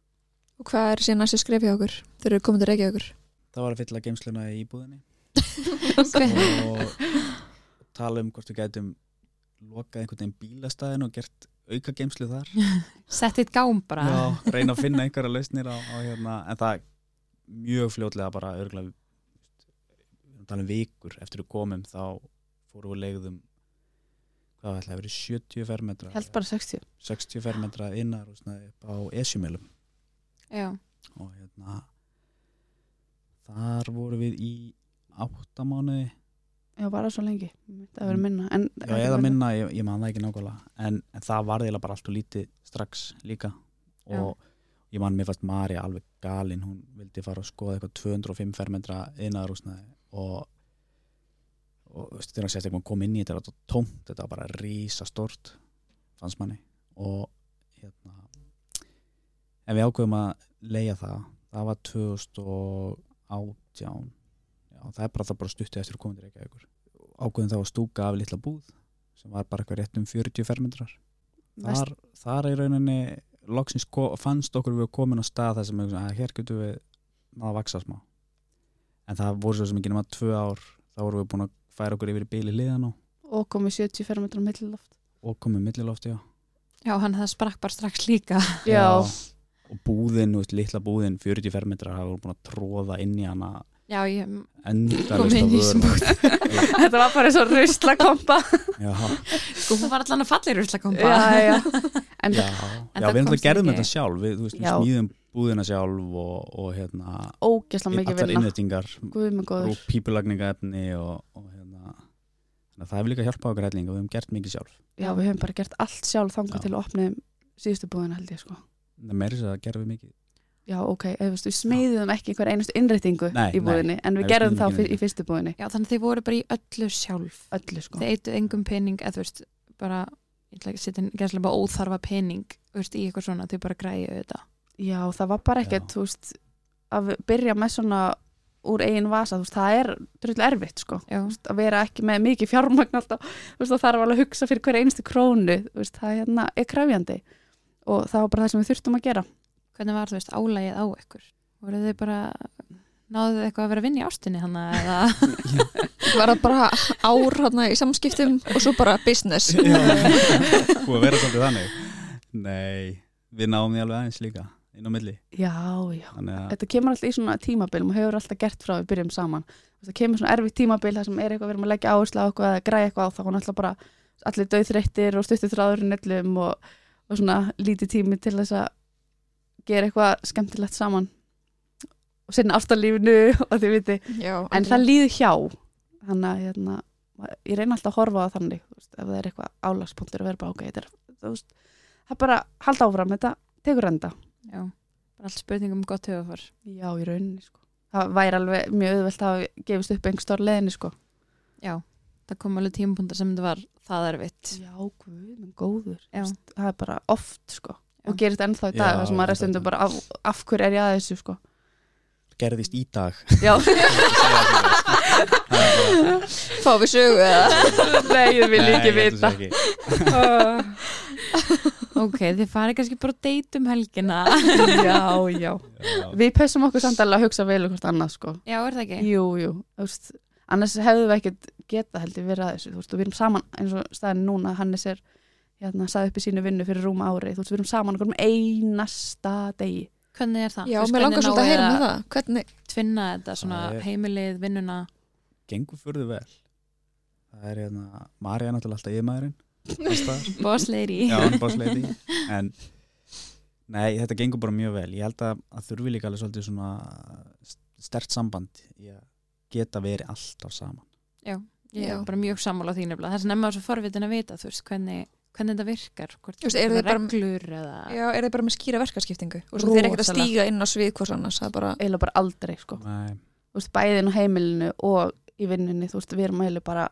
Speaker 1: Og hvað er síðan næstu skref hjá okkur? Þeir eru komin til Reykjavíkur.
Speaker 5: það var að fylla geimsluna í íbúðinni
Speaker 1: Okay.
Speaker 5: og tala um hvort við gætum lokað einhvern veginn bílastæðin og gert auka geimslu þar
Speaker 3: Sett eitt gám bara
Speaker 5: já, reyna að finna einhverja lausnir á, á hérna, en það mjög fljótlega bara örgulega að tala um vikur eftir við komum þá fórum við og legðum hvað ætlaði að vera 70 fermetra
Speaker 4: held bara 60
Speaker 5: 60 fermetra innar og svona upp á Esjumilum
Speaker 3: já,
Speaker 5: og hérna þar vorum við í áttamánuði
Speaker 4: já, bara svo lengi, það verið minna en,
Speaker 5: Mm. Já, eða minna, ég, ég man það ekki nákvæmlega en, en það var eiginlega bara allt og lítið strax líka og ég man mér fast Marja alveg galin hún vildi fara að skoða eitthvað 205 fermetra innarúsnaði og og þú veist, þegar sérstaklega kom inn í þetta þetta var tómt, þetta var bara rísa stort fannst manni og hérna en við ákveðum að leia það það var 2018 já, það er bara það er bara stuttið eftir að koma til Reykjavíkur ákveðin þá að stúka af litla búð sem var bara eitthvað rétt um 40 fermetrar
Speaker 4: Vest,
Speaker 5: þar, þar í rauninni loksins ko- fannst okkur við komin á stað þar sem við, að hér getum við náða að vaksa smá en það voru svo sem ekki nema tvö ár þá vorum við búin að færa okkur yfir í bíli liðan og,
Speaker 4: og komið 70 fermetrar milliloft
Speaker 5: og komið millilofti já.
Speaker 3: já, hann það sprakk bara strax líka
Speaker 4: já,
Speaker 5: og búðin, þú veist, litla búðin 40 fermetrar, það voru búin að tróða inn í hana
Speaker 3: já, ég kom
Speaker 5: endalist
Speaker 3: inn í sem bútt
Speaker 4: þetta var bara eins og ruslakompa
Speaker 5: já,
Speaker 3: sko, hún var allan að falla í ruslakompa
Speaker 4: já, já. en
Speaker 5: já,
Speaker 3: En
Speaker 5: já
Speaker 3: það
Speaker 5: við erum
Speaker 3: komst
Speaker 5: það gerðum
Speaker 3: ekki-
Speaker 5: þetta sjálf við, þú veist, við
Speaker 4: Já.
Speaker 5: smíðum búðina sjálf og, og hérna,
Speaker 4: ógeðslega mikið
Speaker 5: allar
Speaker 4: vinna
Speaker 5: innvettingar
Speaker 4: Guð minn góður,
Speaker 5: og pípulagningaefni og, og hérna þannig að það hefur líka hjálpað okkur helling og við hefum gert mikið sjálf
Speaker 4: já við höfum bara gert allt sjálf þangað
Speaker 5: Já.
Speaker 4: til að opna síðustu búðina held ég sko
Speaker 5: en meiri þess að gerum við mikið
Speaker 4: já ok, eða veist, við smeiðum ekki einhver einustu innréttingu
Speaker 5: Nei,
Speaker 4: í búðinni en við
Speaker 5: Nei, við
Speaker 4: gerðum
Speaker 5: smíðum
Speaker 4: þá
Speaker 5: ekki
Speaker 4: fyr,
Speaker 5: neitt.
Speaker 4: í fyrstu búðinni
Speaker 3: já, þannig þið voru bara í öllu sjálf
Speaker 4: öllu sko,
Speaker 3: þið eitu engum pening eða þú veist, bara ég ætla ekki að setja gæslega bara óþarfa pening þú veist, í eitthvað svona, þau bara græju þetta
Speaker 4: já það var bara ekkert þú veist, að við- byrja með svona úr eigin vasa, þú veist, það er drullu erfitt sko,
Speaker 3: já,
Speaker 4: Þú veist, að vera ekki með mikið fjármagn alltaf, þú veist, það þarf alveg að hugsa fyrir hver einustu krónu, þú veist, það hérna er krefjandi og það var bara það sem við þurftum að gera
Speaker 3: hvernig var þú veist álægið á ykkur voru þau bara náðu þau eitthvað að vera að vinna í ástinni hann eða
Speaker 1: var það bara ár hana, í samskiptum og svo bara business
Speaker 5: búið að vera svolítið þannig nei, við náum því alveg aðeins líka inn á milli
Speaker 4: já, já
Speaker 5: þannig að
Speaker 4: þetta kemur alltaf í svona tímabilum og hefur alltaf gert frá að við byrjum saman það kemur svona erfitt tímabil þar sem er eitthvað við erum að leggja áherslu á eitthvað eða græja eitthvað á þá hún alltaf bara allir döðþreyttir og stuttir þráður í nellum og, og svona lítið tími til þess að gera eitthvað skemmtilegt saman og sinna ástarlífinu og þið viti
Speaker 1: Já,
Speaker 4: en það líður hjá þannig að hérna, ma- ég reyna alltaf að horfa á það þannig þú veist, ef það er eitthvað álagspunktur að vera bara ok, þetta er, þú veist, það er bara halda áfram, þetta tekur enda
Speaker 3: já, bara allt spurning um gott höfafar
Speaker 4: Já, í rauninni sko. Það væri alveg mjög auðvelt að gefist upp einhver stór leðinni sko.
Speaker 3: já, það kom alveg tímapunktar sem þetta var það erfitt
Speaker 4: Já, guð, menn góður.
Speaker 3: Já.
Speaker 4: Vist, Það er bara oft sko.
Speaker 3: Já.
Speaker 4: Og gerist ennþá í
Speaker 5: Já,
Speaker 4: dag þar sem maður er
Speaker 5: ennþá í
Speaker 4: stundum
Speaker 5: dag.
Speaker 4: bara af, af hverju er ég að þessu sko.
Speaker 5: gerðist í dag
Speaker 4: Já,
Speaker 1: fá við sögu eða
Speaker 4: nei, ég vil
Speaker 5: Nei,
Speaker 4: ekki
Speaker 5: ég held
Speaker 4: vita.
Speaker 5: að sé ekki.
Speaker 3: Ah. ok, þið farið kannski bara að deyta um helgina
Speaker 4: já, já.
Speaker 5: Já.
Speaker 4: Við pessum okkur samt alveg að hugsa vel okkur annað sko.
Speaker 3: já, er það ekki?
Speaker 4: Jú, jú. Þú Veist, annars hefðum við ekkert geta held ég verið að þessu. Þú veist, og við erum saman eins og staðin núna, Hannes er hérna, saði upp í sínu vinnu fyrir rúma ári. Þú veist, við erum saman okkur um einasta degi.
Speaker 3: hvernig er það?
Speaker 1: Já,
Speaker 3: Þú veist,
Speaker 1: mér langar
Speaker 3: hvernig
Speaker 1: svolítið að heyra
Speaker 3: náið
Speaker 1: með það Hvernig,
Speaker 3: tvinna þetta svona
Speaker 5: Það er-
Speaker 3: heimilið, vinnuna
Speaker 5: gengur furðu vel það er hérna, Marja er náttúrulega alltaf yfirmaðurinn alls staðar.
Speaker 3: boss lady
Speaker 5: Já, hann er bara sleiti En Nei, þetta gengur bara mjög vel Ég held að, að þurfi líka alveg svolítið svona stert samband í að geta verið alltaf saman
Speaker 3: ég
Speaker 1: Já.
Speaker 3: er bara mjög sammála á því nefnilega það er nefnilega svo forvitin að vita þú veist hvernig, hvernig þetta virkar hvort
Speaker 1: Þú veist, eru
Speaker 3: það
Speaker 1: þið bara-
Speaker 3: reglur eða
Speaker 1: já, er þið bara með skýra verkaskiptingu og svo þeir eru ekkert að
Speaker 4: Rosalega.
Speaker 1: stíga inn á svið hvers annars það er bara,
Speaker 4: Eila bara aldrei sko.
Speaker 5: Nei,
Speaker 4: þú veist, bæðin á heimilinu og í vinnunni, þú veist, við erum eiginlega bara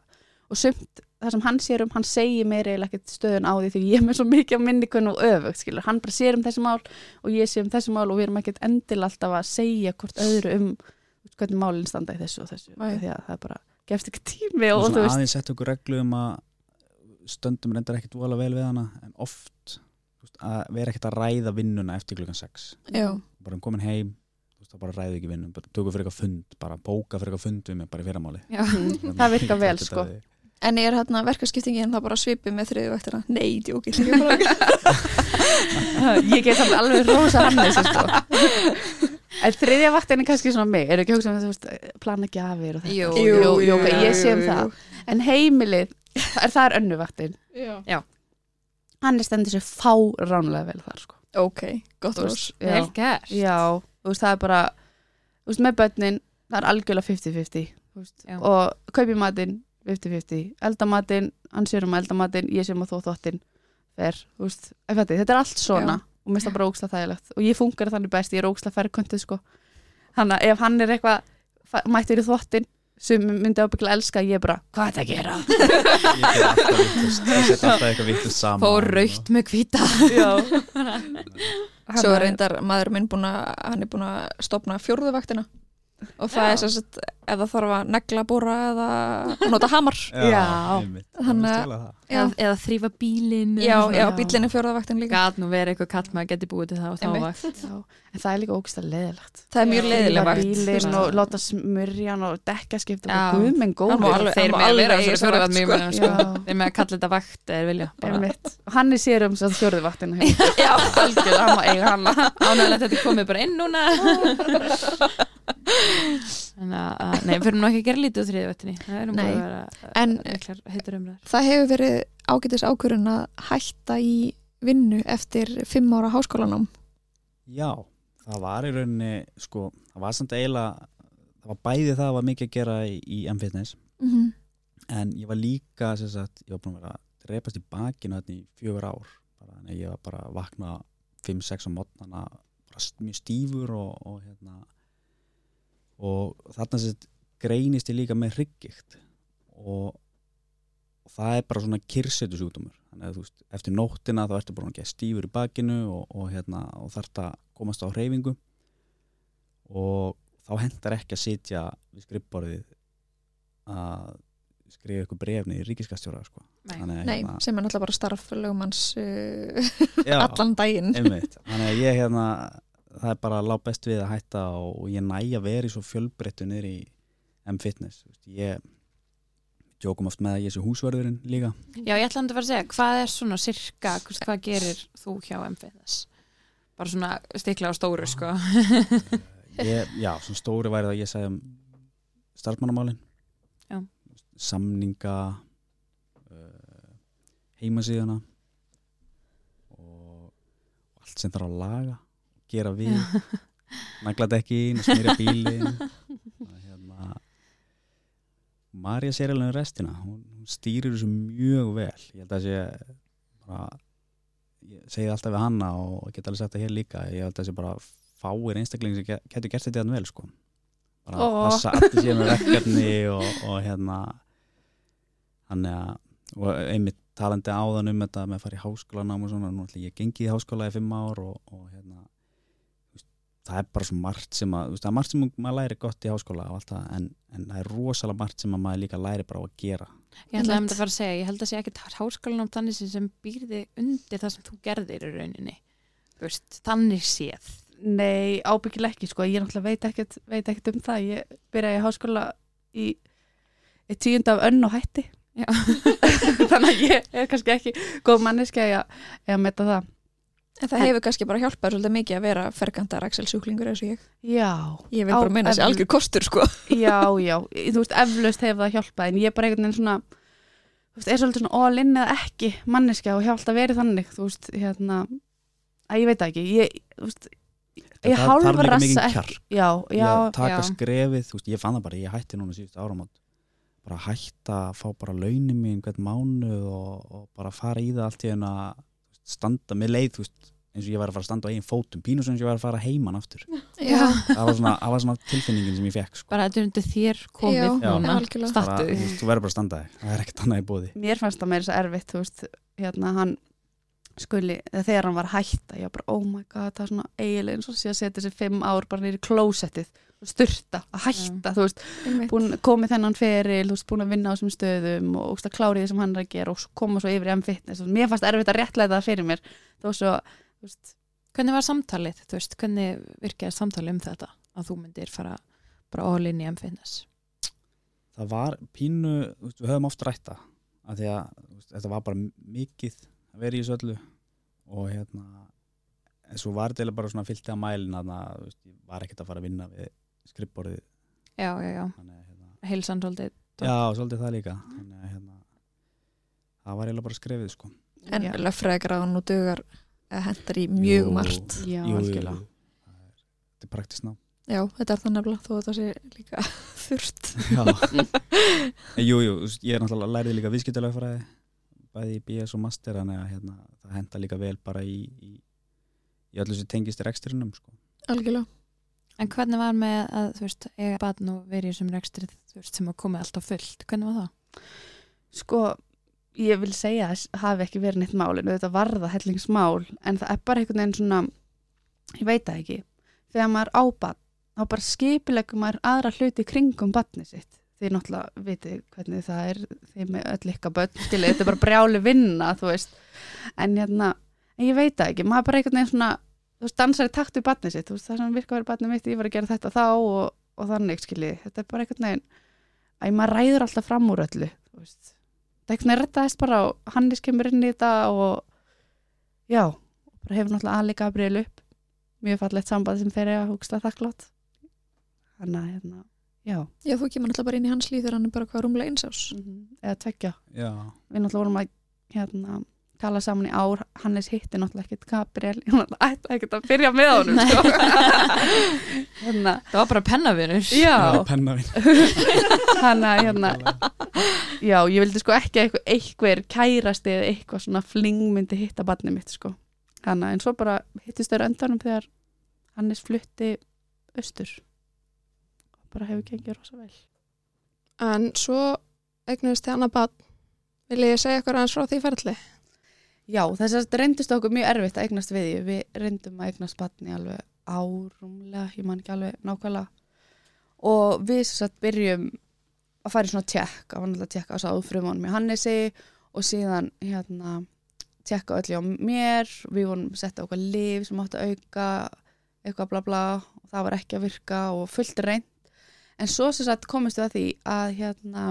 Speaker 4: og sumt, það sem hann sér um, hann segir mér eiginlega ekkert stöðun á því því ég er með svo mikið á minnikunn og öfugt, skilur hann bara sér um þessi mál og ég sér um þessi mál og við erum ekkert endil alltaf að segja hvort öðru um þú veist, hvernig málinn standa í þessu og þessu
Speaker 1: Nei.
Speaker 4: því að það er bara, gefst ekki tími
Speaker 5: og
Speaker 4: og þú
Speaker 5: svona
Speaker 4: veist,
Speaker 5: aðeins setja okkur reglu um að stöndum reyndar ekkit vola vel við hana en oft þú veist, að vera ekkit að ræða vinnuna eftir klukkan 6
Speaker 1: já,
Speaker 5: bara um komin heim, þú veist, þá bara ræðu ekki vinnun bara tökum fyrir eitthvað fund, bara bóka fyrir eitthvað fund við mig bara í fyrramáli
Speaker 4: Mhm. Það virkar vel, sko.
Speaker 1: en er hérna verkaskiptingin það bara svipið með þriðu vektina nei, djókið ég bara-
Speaker 4: ég get samt alveg rosa hann þessu sko En þriðja vaktin er kannski svona mig, eru ekki hugsað um þetta, þú veist, plana gjafir og þetta.
Speaker 3: Jú,
Speaker 2: Jú, jú, jú,
Speaker 4: ok,
Speaker 2: jú,
Speaker 4: ég sé um
Speaker 2: jú,
Speaker 4: það. En heimilið, það er, það er önnu vaktin.
Speaker 2: Já.
Speaker 4: Hann er stendur sér fáránlega vel þar, sko.
Speaker 1: Ok, gott
Speaker 4: Þú
Speaker 1: rós.
Speaker 4: veist, já.
Speaker 3: vel gert
Speaker 4: Já, þú veist, það er bara, þú veist, með börnin, það er algjörlega 50-50. þú veist.
Speaker 3: Já.
Speaker 4: Og kaupi matinn, 50-50. Eldamatinn, hann sér um eldamatinn, ég sér um að þó þóttinn fer, þú veist, ef þetta, þetta er allt svona
Speaker 1: Já.
Speaker 4: og mér finnst það bara ógslag þægilegt og ég fungar þannig best, ég er ógslag færköntu sko. þannig að ef hann er eitthvað fa- mættur í þóttinn sem myndi ábyggla elska, ég er bara, hvað er það að gera?
Speaker 5: Ég ger alltaf vittust, ég set alltaf eitthvað vittust saman. sko.
Speaker 3: fór raukt með hvita
Speaker 4: Já
Speaker 1: Svo er reyndar maður minn búin að, hann er búin að stopna fjórðuvaktina og það er sem sagt, ef það þarf að negla bóra eða nota hamar
Speaker 4: Já.
Speaker 5: einmitt.
Speaker 1: Þannig að-
Speaker 5: Ég stela það.
Speaker 1: já,
Speaker 3: eða þrýfa bílin
Speaker 1: já, já
Speaker 4: Já.
Speaker 1: bíllinn er fjórðuvaktin líka
Speaker 3: gat nú verið eitthvað kall maður geti búið til það og þá
Speaker 1: Einmitt.
Speaker 3: vakt
Speaker 4: Já, en það er líka ógslag leðilegt
Speaker 1: það er mjög
Speaker 3: Já.
Speaker 1: leiðileg vakt
Speaker 4: bílinn
Speaker 3: Já.
Speaker 4: og láta smurjan og dekka skipta
Speaker 3: Já.
Speaker 4: og guð minn góð
Speaker 1: Hann má alveg-
Speaker 3: þeir
Speaker 1: hann má
Speaker 3: með að
Speaker 1: alveg
Speaker 3: vera
Speaker 1: eiga
Speaker 3: þessari
Speaker 1: þessa vakt,
Speaker 3: fjórðan
Speaker 1: sko.
Speaker 3: mjög með sko. þeir með að kalla þetta vakt eða vilja bara.
Speaker 4: hann er sér um svo að fjórðu vaktina já, algjörlega, hann má eiga hana
Speaker 3: ánægilegt að þetta komið bara inn núna en að, að nei, við fyrir nú ekki að gera lítið á þriðvættinni það erum bara
Speaker 1: Nei.
Speaker 3: að vera uh,
Speaker 1: En-
Speaker 3: miklar heitur umræður
Speaker 1: það hefur verið ágætis ákvörun að hætta í vinnu eftir fimm ára háskólanám
Speaker 5: Já, það var í rauninni, sko, það var samt eiginlega, það var bæði það var mikið að gera í, í M-Fitness,
Speaker 1: mm -hmm.
Speaker 5: en ég var líka, sem sagt, ég var búin að vera að drepast í bakinu þarna í fjögur ár, bara, þannig að ég var bara að vakna 5-6 á mótnana, bara st- mjög stífur og, og hérna, og þarna sem sagt, greinist ég líka með hryggikt og, og það er bara svona kyrsetu þannig að þú veist, eftir nóttina þá ertu bara ekki stífur í bakinu og, og, hérna, og þarft að komast á hreyfingu og þá hendar ekki að sitja við skrifborðið að skrifa ykkur brefni í ríkiskastjóra sko.
Speaker 3: Nei.
Speaker 5: Þannig að,
Speaker 1: Nei,
Speaker 5: hérna,
Speaker 1: sem er náttúrulega bara starf lögumanns uh,
Speaker 5: já,
Speaker 1: allan daginn
Speaker 5: einmitt. þannig að ég hérna það er bara að lá best við að hætta og, og ég næ að vera í svo fjölbreyttu niður í M-Fitness Þú veist, ég djókum oft með að ég sé húsverðurinn líka
Speaker 3: já, ég ætla hann að fara að segja, hvað er svona sirka hvers- hvað gerir þú hjá MFS bara svona stikla á stóru sko
Speaker 5: ég, já, svona stóri væri það að ég segja um starfmannamálin
Speaker 3: Já.
Speaker 5: samninga uh, heimasíðuna og allt sem þarf að laga gera við nagladekkin, smýra bílin og hérna Marja sér alveg um restina hún, hún stýrir þessu mjög vel ég held að sé bara, ég segi það alltaf við hanna og geta alveg sagt það hér líka ég held að sé bara fáir einstakling sem ge- getur gert þetta hérna vel sko bara
Speaker 4: Ó.
Speaker 5: passa allir sér með verkefni og, og hérna þannig að og einmitt talandi áðan um þetta með að fara í háskólanám og svona, nú ætla ég að gengi í háskóla í fimm ár og, og hérna þú veist, það er bara svo margt sem að þú veist, það er margt sem maður læri gott í háskóla og allt það, en, en það er rosalega margt sem að maður líka læri bara á að gera
Speaker 3: ég ætla hann
Speaker 1: Einmitt.
Speaker 3: að fara að segja, ég held að sé ekki háskólanum þannig sem, sem býrði undir það sem þú gerðir í rauninni Þú veist, þannig séð
Speaker 4: Nei, ábyggilega ekki sko, ég náttúrulega veit ekkert, veit ekkert um það, ég byrjaði í háskóla í, í tíund af önn og hætti
Speaker 3: Já.
Speaker 4: þannig að ég er kannski ekki góð manneskja í að, í að metta það
Speaker 1: en það hefur kannski bara hjálpað svolítið mikið að vera ferkantar Axel sjúklingur eins og ég
Speaker 4: Já,
Speaker 1: ég vil
Speaker 4: Á,
Speaker 1: bara meina þessi
Speaker 4: en-
Speaker 1: algjör kostur sko
Speaker 4: já, já Ég- þú veist, eflaust hefur það hjálpað en ég er bara einhvern veginn svona þú veist, er svolítið svona all in eða ekki manneskja og hefur alltaf verið þannig, þú veist, hérna að ég veit það ekki, ég, þú veist ég
Speaker 5: það þarf líka mikinn
Speaker 4: hálfrassa
Speaker 5: kjark.
Speaker 4: ekki Já,
Speaker 5: ég
Speaker 4: já,
Speaker 5: að taka
Speaker 3: já.
Speaker 5: skrefið, þú veist, ég fann það bara ég hætti núna síðust áramót bara að hætta að fá bara launin mín hvern mánu og, og bara fara í það allt í hérna standa með leið, þú veist, eins og ég var að fara að standa á eigin fótum, pínu sem eins og ég var að fara heiman aftur
Speaker 1: já,
Speaker 5: það var svona, það var svona tilfinningin sem ég fekk sko.
Speaker 3: bara þetta er undir þér
Speaker 1: já,
Speaker 3: komið núna
Speaker 1: algjörlega
Speaker 5: bara,
Speaker 3: stattu
Speaker 5: þú veist, þú verður bara að standa þig, það er ekkert annað í bóði
Speaker 4: mér fannst það meira svo erfitt þú veist, hérna hann skuli, eða þegar hann var hætt að ég var bara, oh my god, það er svona eiginlega eins og sé að setja þessi fimm ár bara nýri klósettið og styrta, að hætta, þú veist
Speaker 1: einmitt.
Speaker 4: búin, komið þennan feril, þú veist, búin að vinna á þessum stöðum og úst að klári því sem hann er að gera og svo koma svo yfir í M-fitness og mér fannst erfitt að réttlega það fyrir mér, þó svo þú veist,
Speaker 3: Hvernig var samtalið, þú veist, hvernig virkaði samtalið um þetta að þú myndir fara bara all in í M-fitness?
Speaker 5: það var pínu, þú veist, við höfum oft rætta að því að þú veist, þetta var bara mikið að vera í þessu öllu og hérna en svo var þetta eiginlega bara svona fyllt að mælin þannig að þú veist, ég var ekkert að fara að vinna við skrippborðið
Speaker 3: já, já, já,
Speaker 5: þannig, að, hérna,
Speaker 3: heilsan svolítið
Speaker 5: já, svolítið það líka þannig, að, hérna, það var eiginlega bara skrefið sko.
Speaker 4: Já.
Speaker 6: En löffræðagráðan og dugar að hentar í mjög
Speaker 5: Jú.
Speaker 6: margt.
Speaker 4: Já,
Speaker 5: Jú, jú, jú.
Speaker 4: algjörlega.
Speaker 5: Það er- þetta er praktist ná
Speaker 6: Já, þetta er það nefnilega þó að það sé líka þurft.
Speaker 5: En jú, jú, þú veist, ég er náttúrulega lærið líka viðskiptalegfræði bæði í BS og master þannig að hérna, það henda líka vel bara í, í, í öllu sem tengist reksturinnum sko.
Speaker 6: Algjörlega.
Speaker 3: En hvernig var með að, þú veist, eiga batn og verið í þessum rekstri, þú veist, sem að koma alltaf fullt, hvernig var það?
Speaker 4: Sko, ég vil segja að það hafi ekki verið neitt mál en auðvitað var það hellingsmál en það er bara einhvern veginn svona ég veit það ekki, þegar maður ábann þá bara skipilegum maður aðra hluti í kringum batni sitt því náttúrulega vitið hvernig það er því með öll ykkar börn, skilið, þetta er bara brjáli vinna, þú veist en hérna, en ég veit það ekki, maður bara einhvern veginn svona þú veist, dansar í takt við batni sitt þú veist, það sem virka að vera batni mitt, ég var að gera þetta þá og, og þannig, skilið, þetta er bara einhvern veginn að maður ræður alltaf fram úr öllu þú veist, það er einhvern veginn rettaðist bara og Hannes kemur inn í þetta og já, bara hefur náttúrulega Ali Gabriel upp mjög fallegt samband sem þeir eru að hugsta þakklátt þannig að hérna, já
Speaker 6: Já, þú kemur náttúrulega bara inn í hans líð þegar hann er bara hvað rúmlega einsás.
Speaker 4: eða tveggja,
Speaker 5: Já,
Speaker 4: við náttúrulega vorum að hérna, tala saman í ár Hannes hitti náttúrulega ekkert Gabriel ég náttúrulega ætla ekkert að byrja með honum sko. hérna,
Speaker 3: Það var bara pennavinur.
Speaker 4: já
Speaker 5: pennavinn
Speaker 4: hann að hérna já, ég vildi sko ekki að einhver, einhver kærasti eða eitthvað svona fling myndi hitta barnið mitt sko hann að en svo bara hittist þau öndanum þegar Hannes flutti austur bara hefur gengið rosa vel
Speaker 2: En svo eignuðist þið annað barn. Viljið ég segja eitthvað aðeins frá því ferli?
Speaker 4: já, þess að reyndist okkur mjög erfitt að eignast við því. við reyndum að eignast barni alveg árumlega, ég man ekki alveg nákvæmlega og við sem sagt byrjum að fara í svona tjekk, að vanlega tjekka á svo áfrumanum í Hannesi og síðan hérna tjekka á öllu á mér, við vorum sett á eitthvað liv sem átti að auka eitthvað bla bla og það var ekki að virka og fullt reynd en svo sem sagt komist við að því að hérna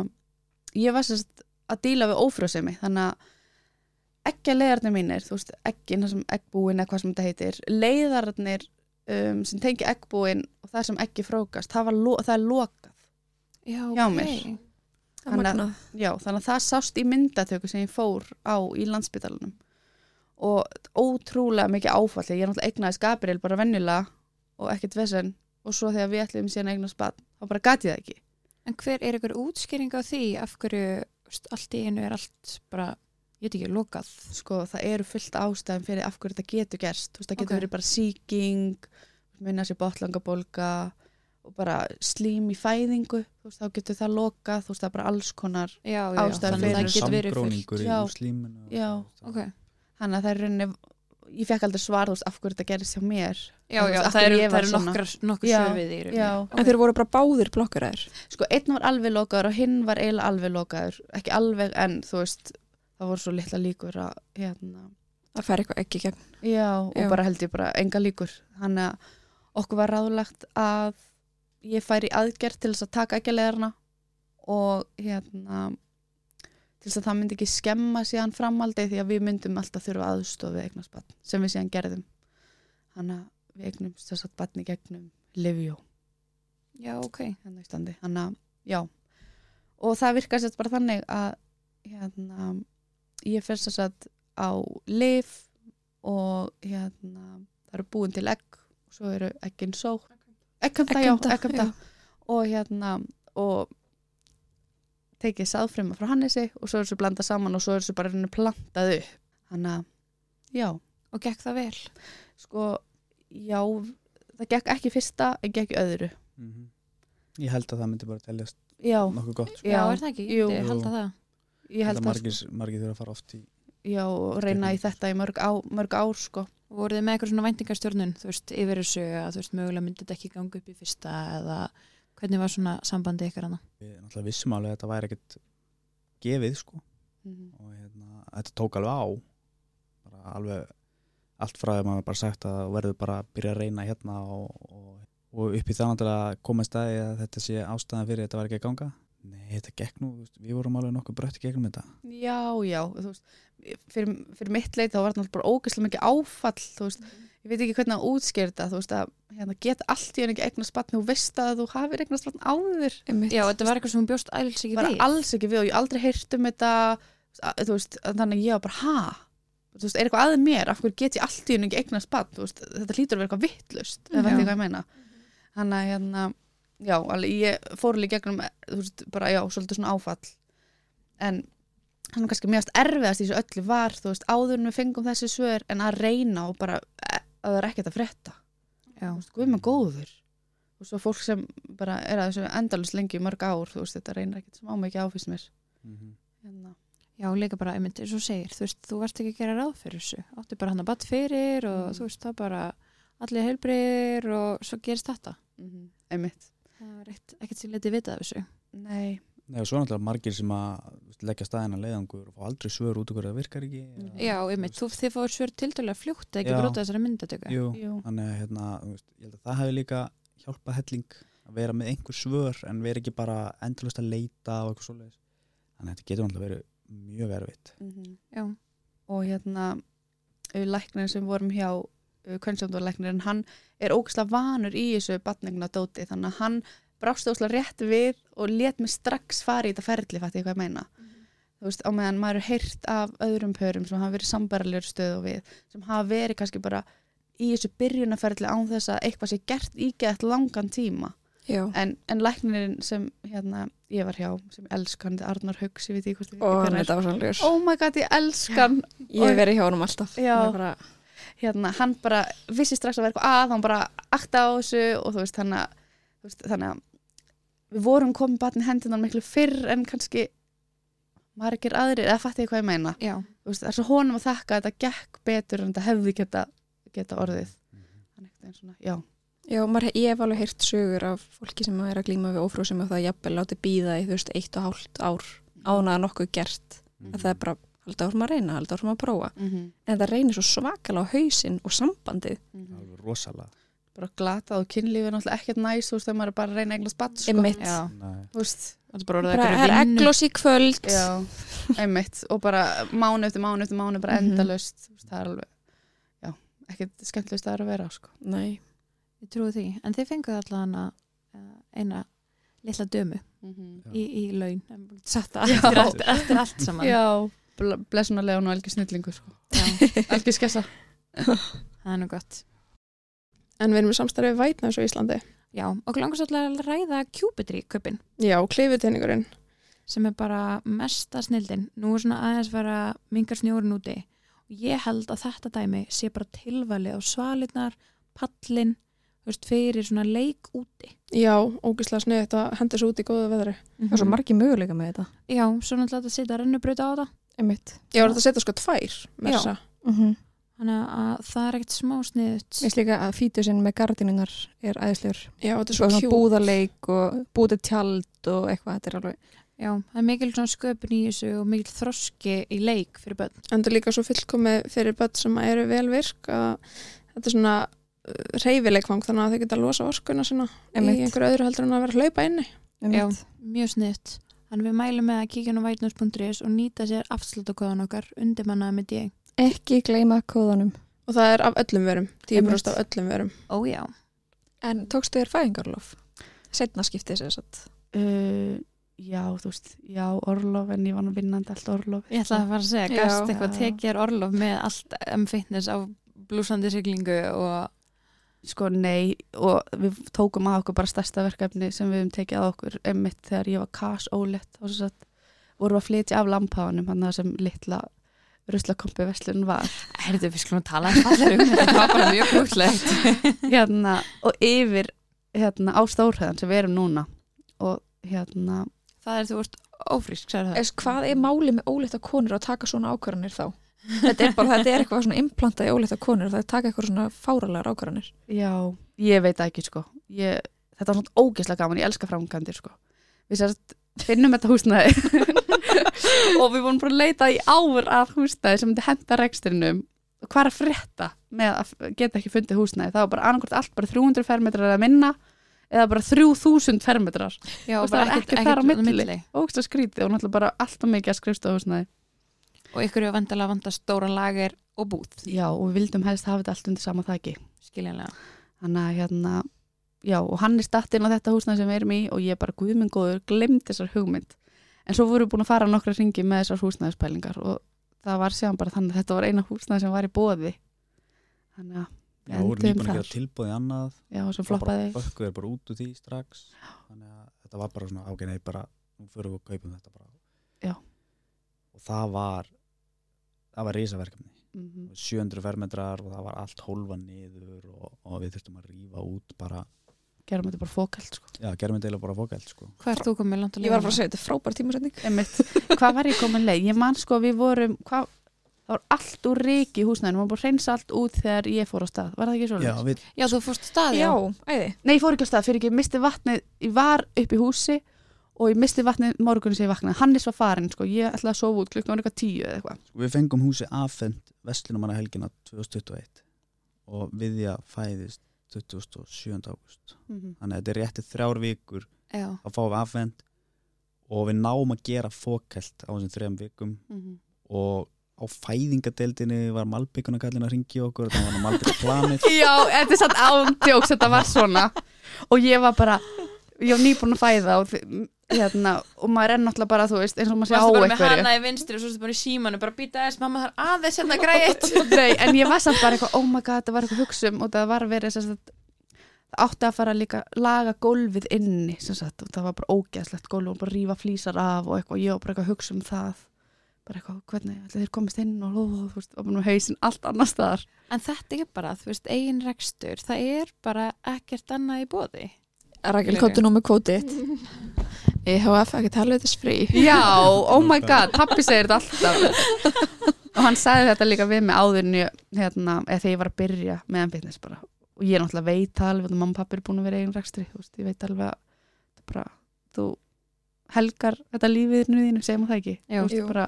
Speaker 4: ég var sem sagt að díla við ófrjósemi þannig að ekki leiðarnir mínir, þú veist, ekki það sem eggbúin eða hvað sem þetta heitir, leiðarnir um, sem tengi eggbúin og það sem ekki frókast, það, var lo, það er lokað
Speaker 3: Já,
Speaker 4: hjá
Speaker 3: ok.
Speaker 4: mér.
Speaker 6: Það er
Speaker 4: Hann að-
Speaker 6: magnað.
Speaker 4: Já, þannig að það sást í myndatöku sem ég fór á í landsbytalanum og ótrúlega mikið áfall ég er náttúrulega eignaðis Gabriel bara venjulega og ekkert vesen og svo þegar við ætlum síðan að eignast bann, þá bara gat ég það ekki
Speaker 3: En hver er ykkur útskýring á því af hverju þú veist, allt í einu er allt bara, ég veit ekki, lokað?
Speaker 4: sko það eru fullt ástæðum fyrir af hverju þetta getur gerst, þú veist það getur
Speaker 3: Ok.
Speaker 4: verið bara sýking, minna sér botlangabólga og bara slím í fæðingu, þú veist þá getur það lokað, þú veist það er bara alls konar
Speaker 3: Já, já,
Speaker 4: Ástæður
Speaker 3: þannig að
Speaker 4: fyrir
Speaker 3: það getur verið fullt.
Speaker 5: Samgróningur í
Speaker 4: Já.
Speaker 5: slíminu
Speaker 4: Já.
Speaker 3: Ok.
Speaker 4: þannig að það er rauninni, ég fekk aldrei svar þú veist af hverju þetta gerist hjá mér
Speaker 3: Já,
Speaker 4: Þú
Speaker 3: já,
Speaker 4: veist, af
Speaker 3: það
Speaker 4: hverju
Speaker 3: eru
Speaker 4: ég
Speaker 3: er
Speaker 4: var svona.
Speaker 3: nokkrar, nokkur
Speaker 4: Já,
Speaker 3: svör við því. í rauninni.
Speaker 4: já.
Speaker 3: Ok.
Speaker 1: En þeir voru bara báðir blokkaraðir.
Speaker 4: sko einn var alveg lokaður og hinn var eiginlega alveg lokaður ekki alveg en þú veist það voru svo litla líkur að hérna,
Speaker 1: Það fer eitthvað ekki í gegn.
Speaker 4: já, og
Speaker 1: Já.
Speaker 4: bara held ég bara enga líkur þannig að okkur var ráðlagt að ég færi í aðgerð til þess að taka ekki leðarna og hérna til þess að það myndi ekki skemma síðan framhaldi því að við myndum alltaf þurfa aðstofi eignarsbann sem við síðan gerðum þannig að við eignumst þess að bann í gegnum Livjó
Speaker 3: Já, ok.
Speaker 4: hérna í standi þannig að, já og það virkar sett bara þannig að hérna, ég fyrst þess að á lif og hérna það eru búin til egg og svo eru eggin só eggkönda, já,
Speaker 6: Eggkanta,
Speaker 4: eggkönda og hérna og tekið sáðfrema frá Hannesi og svo er þessu blanda saman og svo er þessu bara henni plantað upp þannig að, já
Speaker 3: Og gekk það vel?
Speaker 4: sko, já það gekk ekki í fyrsta en gekk í öðru
Speaker 5: Mhm. Ég held að það myndi bara teljast
Speaker 4: já,
Speaker 5: nokkuð gott sko.
Speaker 3: Já, er það ekki?
Speaker 4: Jú.
Speaker 3: Ég myndi halda það.
Speaker 4: ég held
Speaker 5: Þetta
Speaker 4: að
Speaker 5: margir, margir þurfa að fara oft í
Speaker 4: já, og reyna í þetta í mörg, á, mörg ár sko.
Speaker 3: Og voruð þið með eitthvað svona væntingastjórnun, þú veist, yfir þessu að þú veist, mögulega myndið þetta ekki ganga upp í fyrsta eða hvernig var svona sambandi ykkar hana?
Speaker 5: Við náttúrulega vissum alveg að þetta væri ekkert gefið sko og hérna, þetta tók alveg á bara alveg allt frá því að maður bara sagt að þú verður bara að byrja að reyna hérna og, og, og upp í þannig til að koma í staði að þetta sé ástæðan fyrir þetta var ekki að ganga Nei, þetta gekk nú, þú veist, við vorum alveg nokkuð brött í gegnum þetta
Speaker 4: Já, já, þú veist, fyrir, fyrir mitt leit þá var þetta bara ógeðslega mikið áfall, þú veist, ég veit ekki hvernig að útskýra þetta, þú veist, að hérna, geta allt í henni ekki eignast batn og þú veist að þú hafir eignast batn áður.
Speaker 6: einmitt.
Speaker 3: Já, þetta var eitthvað sem hún bjóst alls ekki
Speaker 4: Ég var
Speaker 3: við.
Speaker 4: alls ekki við og ég hef aldrei heyrt um þetta, að- þú veist, að þannig að ég var bara, ha? Þú veist, er eitthvað aðeins mér, af hverju get ég allt í henni ekki eignast batn, þú veist, þetta hlýtur að vera eitthvað vittlust, eða veit
Speaker 6: Já.
Speaker 4: ekki hvað ég
Speaker 3: Mhm.
Speaker 4: meina. Þannig að, hérna, já, alveg, ég fór alveg í gegnum, þú veist, bara, já, svolítið svona áfall. En þannig kannski mjögast erfiðast í þessu öllu var þú veist, áður en við fengum þessi svör en að reyna og bara eh, að það er ekkert að frétta
Speaker 6: Já.
Speaker 4: Þú veist, guð með góður og svo fólk sem bara er að þessu endalus lengi í mörg ár, þú veist, þetta reynir ekkert smá mikið á fyrst mér hérna.
Speaker 3: Já, líka bara, einmitt, eins og þú segir, þú veist, þú varst ekki að gera ráð fyrir þessu. Áttu bara hann að batt fyrir og
Speaker 4: Mm.
Speaker 3: þú veist, það bara allir heilbriðir og svo gerist þetta.
Speaker 4: Mhm, einmitt
Speaker 3: Það var eitt, ekkert sem letið vitað af þessu.
Speaker 4: Nei,
Speaker 5: Nei, og svo er náttúrulega margir sem að þú veist, leggja staðina leiðangur og fá aldrei svör út okkur það virkar ekki eða-
Speaker 3: Já, einmitt, þú, þið fóður svör tildurlega fljótt ekki
Speaker 5: Já.
Speaker 3: brotað þessari myndatöku.
Speaker 5: Jú,
Speaker 4: jú,
Speaker 5: þannig að hérna, þú veist, ég held að það hefði líka hjálpað helling að vera með einhver svör en vera ekki bara endalust að leita og eitthvað svoleiðis þannig að þetta getur náttúrulega verið mjög erfitt
Speaker 1: Mhm.
Speaker 3: Já,
Speaker 4: og hérna uh, læknirinn sem vorum hjá kvönnsjóndurlæknirinn, hann er ógislega vanur í þessu batningna dóti þannig að hann brást ógislega rétt við og let mig strax fara í þetta ferli fætti ég hvað ég meina
Speaker 1: Mhm.
Speaker 4: þú veist, á meðan maður er heyrt af öðrum pörum sem hafa verið sambarilegur stöð og við sem hafa verið kannski bara í þessu byrjunaferli án þess að eitthvað sé gert ígætt langan tíma
Speaker 6: Já.
Speaker 4: en, en læknirinn sem hérna, ég var hjá, sem elskandi Arnar Hauks, ég veit ekki hvort ég
Speaker 1: og
Speaker 4: hver
Speaker 1: hann er
Speaker 4: er
Speaker 1: dásanlegur
Speaker 4: oh my god, ég elskan
Speaker 1: ég hef verið hjá honum alltaf
Speaker 4: Já.
Speaker 1: Hann er bara,
Speaker 4: hérna, hann bara vissi strax að vera eitthvað að, hann bara akta á þessu og þú veist, þannig að, þú veist, þannig að við vorum komin batni hendunar miklu fyrr en kannski margir aðrir, eða fatti ég hvað ég meina
Speaker 3: já.
Speaker 4: þú veist, það er svo honum að þakka að þetta gekk betur en þetta hefði geta, geta orðið hann ekkert einn svona, já,
Speaker 1: já, maður, ég hef alveg heyrt sögur af fólki sem er að glíma við ófrú sem að það jafnvel láti býða í þú veist eitt og hálft ár án að nokkuð gert að Mm. það er bara halda árum að reyna, halda árum að prófa
Speaker 4: mm -hmm.
Speaker 1: en það reynir svo svakalega á hausinn og sambandið
Speaker 5: alveg rosalega
Speaker 4: mhm. bara glatað og kynlífið er náttúrulega ekkert næst þú veist, þegar maður er bara að reyna eignast batt, sko
Speaker 1: Einmitt.
Speaker 3: Já.
Speaker 5: Nei.
Speaker 4: þú veist,
Speaker 3: Þetta er bara orðið
Speaker 1: bara það er
Speaker 3: einhverju vinnu.
Speaker 1: eglós í kvöld
Speaker 4: Já, einmitt og bara mánu eftir mánu eftir mánu bara
Speaker 1: Mhm.
Speaker 4: endalaust mm það er alveg, já, ekkert skemmtlust að vera á sko
Speaker 1: Nei,
Speaker 3: Ég trúi því. En þið fenguðu allan að eh, eina litla dömu
Speaker 4: Mhm.
Speaker 5: Já.
Speaker 3: í, í laun. En bara Satt það eftir, allt- eftir allt saman.
Speaker 4: Já, bl- blessunarlega og algjör snillingu sko,
Speaker 3: Já.
Speaker 4: algjör skessa
Speaker 3: Það er nú gott.
Speaker 2: En við erum í samstarfið vætnafs á Íslandi.
Speaker 3: Já, okkur langar svolítið að ræða kjúpitri kaupin
Speaker 2: Já, klifuteiningurinn.
Speaker 3: sem er bara mesta snildin. Nú er svona aðeins vera mingar snjórun úti. Og Ég held að þetta dæmi sé bara tilvali á svalirnar, pallin, þú veist, fyrir svona leik úti.
Speaker 2: Já, ógislega snið þetta hendur svo út í góðu veðri.
Speaker 1: það er svo margir möguleika með þetta
Speaker 3: Já, svona alltaf að setja rennubrauta á það.
Speaker 1: Einmitt.
Speaker 2: Ég var þetta að setja sko tvær með
Speaker 3: Já.
Speaker 2: þessa.
Speaker 1: Mm
Speaker 6: Mhm.
Speaker 3: Þannig að það er ekkert smá sniðut.
Speaker 1: Mér finnst líka að fítusinn með gardiningar er æðislegur.
Speaker 2: Já, þetta er
Speaker 1: Svo
Speaker 2: svo
Speaker 1: svona
Speaker 2: kjút.
Speaker 1: búðarleik og búðið tjald og eitthvað, þetta er alveg
Speaker 3: Já, það er mikil svona sköpun í þessu og mikil þroski í leik fyrir börn.
Speaker 2: En þetta er líka svo fullkomið fyrir börn sem eru vel virk að þetta er svona reyfileikvang þannig að þau geta að losa orkuna sína í
Speaker 1: emitt.
Speaker 2: einhverju öðru heldur en að vera að hlaupa inni.
Speaker 1: emitt.
Speaker 3: Mjög sniðut. Þannig við mælum með að kíkja nú vætnus.is og nýta sér afslutakóðan okkar undir mannaða með dig.
Speaker 1: Ekki gleyma kóðanum.
Speaker 2: Og það er af öllum verum, 10% af
Speaker 1: Einmitt.
Speaker 2: öllum verum.
Speaker 3: Ó já.
Speaker 6: En tókstu þér fæðingarlof? Setna skiptið sér satt.
Speaker 4: uh, Já, þú veist, já, orlof en ég var nú vinnandi allt orlof
Speaker 3: Ég ætlaði að fara að segja,
Speaker 6: Já.
Speaker 3: gast eitthvað
Speaker 4: Já.
Speaker 3: tekið er orlof með allt M-fitness á blúsandi siglingu og
Speaker 4: Sko, nei, og við tókum að okkur bara stærsta verkefni sem við höfum tekið að okkur einmitt þegar ég var kas ólett og svo satt vorum við að flytja af lampáðanum hann sem litla ruslakompi veslun var
Speaker 3: Herðu, við skulum tala eins allir um þetta, það var bara mjög brúslegt.
Speaker 4: hérna, og yfir hérna, á stórhæðan sem við erum núna og hérna
Speaker 3: það er þú vart ófrísk, sagði það.
Speaker 6: Es, hvað er málið með óleita konur að taka svona ákvarðanir þá? Þetta er bara, þetta er eitthvað svona implantað í óleita konur og það er taka eitthvað svona fáralegar ákvarðanir.
Speaker 4: já, ég veit það ekki sko ég, þetta var svona ógeðslega gaman, ég elska framkvæmdir sko við sérst finnum þetta húsnæði og við vorum bara að leita í ár að húsnæði sem myndi henda rekstrinum og hvað er að frétta með að geta ekki fundið húsnæði það var bara annarkvort allt bara 300 fermetrar að minna eða bara 3000 fermetrar
Speaker 3: Já,
Speaker 4: Þú veist,
Speaker 3: bara
Speaker 4: það er
Speaker 3: ekkert-
Speaker 4: ekkert þar á
Speaker 3: ekkert
Speaker 4: milli. ógsta skrítið og náttúrulega bara alltaf mikið að skrifstofa húsnaði
Speaker 3: Og ykkur er vandalega vanda stóra lager og búð,
Speaker 4: já og við vildum helst hafa þetta allt undir sama þaki
Speaker 3: skiljanlega.
Speaker 4: þannig að hérna já og hann er statt inn á þetta húsnaði sem við erum í og ég bara guðminn góður, glemd þessar hugmynd en svo vorum við búin að fara nokkra ringi með þessar húsnaðispælingar og það var séðan bara þannig að þetta var eina húsnaði sem var í bóði þannig að
Speaker 5: Já, við vorum
Speaker 4: Endum
Speaker 5: nýbúin að
Speaker 4: þar.
Speaker 5: gera tilbúið í annað
Speaker 4: já og svo floppaði
Speaker 5: Bökkuð er bara út úr því strax Þannig að þetta var bara svona ágæðið bara, nú fyrir við að kaupum þetta bara
Speaker 4: Já.
Speaker 5: Og það var það var risaverkefni
Speaker 4: Mhm.
Speaker 5: 700 fermetrar og það var allt hólfa niður og, og við þurftum að rífa út bara,
Speaker 4: gerum þetta bara fókalt sko
Speaker 5: já, gerum við deila bara fókælt sko.
Speaker 3: Hvað ert þú komið langt að
Speaker 1: Ég var bara að segja, þetta er frábær tímasetning.
Speaker 4: Einmitt. hvað var ég komin leið? Ég man sko að við vorum, hvað, það var allt úr ríki í húsnæðinu, maður búið að reynsa allt út þegar ég fór á stað, var það ekki
Speaker 5: Já,
Speaker 4: svona?
Speaker 5: við,
Speaker 3: Já, þú fórst stað,
Speaker 1: Já, æði.
Speaker 4: Nei, ég fór ekki á stað, fyrir ekki, ég misti vatnið, ég var upp í húsi og ég misti vatnið morgunni sem ég vaknaði, Hannes var farinn sko, ég ætlaði að sofa út klukkan var eitthvað tíu eða eitthvað.
Speaker 5: sko, við fengum húsi affend Vestlunumanna helgina 2021 og viðja fæðist 27. águst
Speaker 3: Mhm,
Speaker 5: þannig að þetta er rétti þrjár vikur
Speaker 3: Já.
Speaker 5: að fá við affend og við náum að gera fókælt á þessum þrejum vikum
Speaker 3: mhm.
Speaker 5: og á fæðingadeildinni var malbyggunarkallin að ringi okkur þannig var malbyggunarplanið
Speaker 4: Já, þetta er satt ándjóks, þetta var svona og ég var bara, ég var nýbúin að fæða og, þi- hérna, og maður er náttúrulega bara, þú veist, eins og maður sé á
Speaker 3: Varstu bara með
Speaker 4: eitthvað.
Speaker 3: hana í vinstri og svo erstu bara í símanu, bara býta þess, mamma þar aðeins hérna græðið.
Speaker 4: Nei, en ég var samt bara eitthvað, oh my god, það var eitthvað hugsun og það var verið sem sagt, það átti að fara líka að laga gólfið inni sem sagt, og það var bara ógeðslegt gólf og bara rífa flísar af og eitthvað, ég var bara eitthvað að hugsa um það bara eitthvað, hvernig, allir þeir komist inn og, og, þú veist, og bara með hausinn allt annar staðar
Speaker 3: En þetta er bara, þú veist, eigin rekstur, það er bara ekkert annað í bóði.
Speaker 1: Rakel, kóttu nú með kvótið.
Speaker 2: EHF, ekkert
Speaker 1: um
Speaker 2: helvitis frí
Speaker 4: Já, oh my god, pappi segir þetta alltaf og hann sagði þetta líka við mig áðurinu hérna, eða þegar ég var að byrja með fitness bara og ég náttúrulega veit alveg að mamma og pappi er búin að vera í eigin rekstri þú veist, ég veit alveg að þetta er bara, þú helgar þetta lífiðinu þínu, segjum það ekki
Speaker 3: Jú.
Speaker 4: Þú veist,
Speaker 1: Jú.
Speaker 4: bara,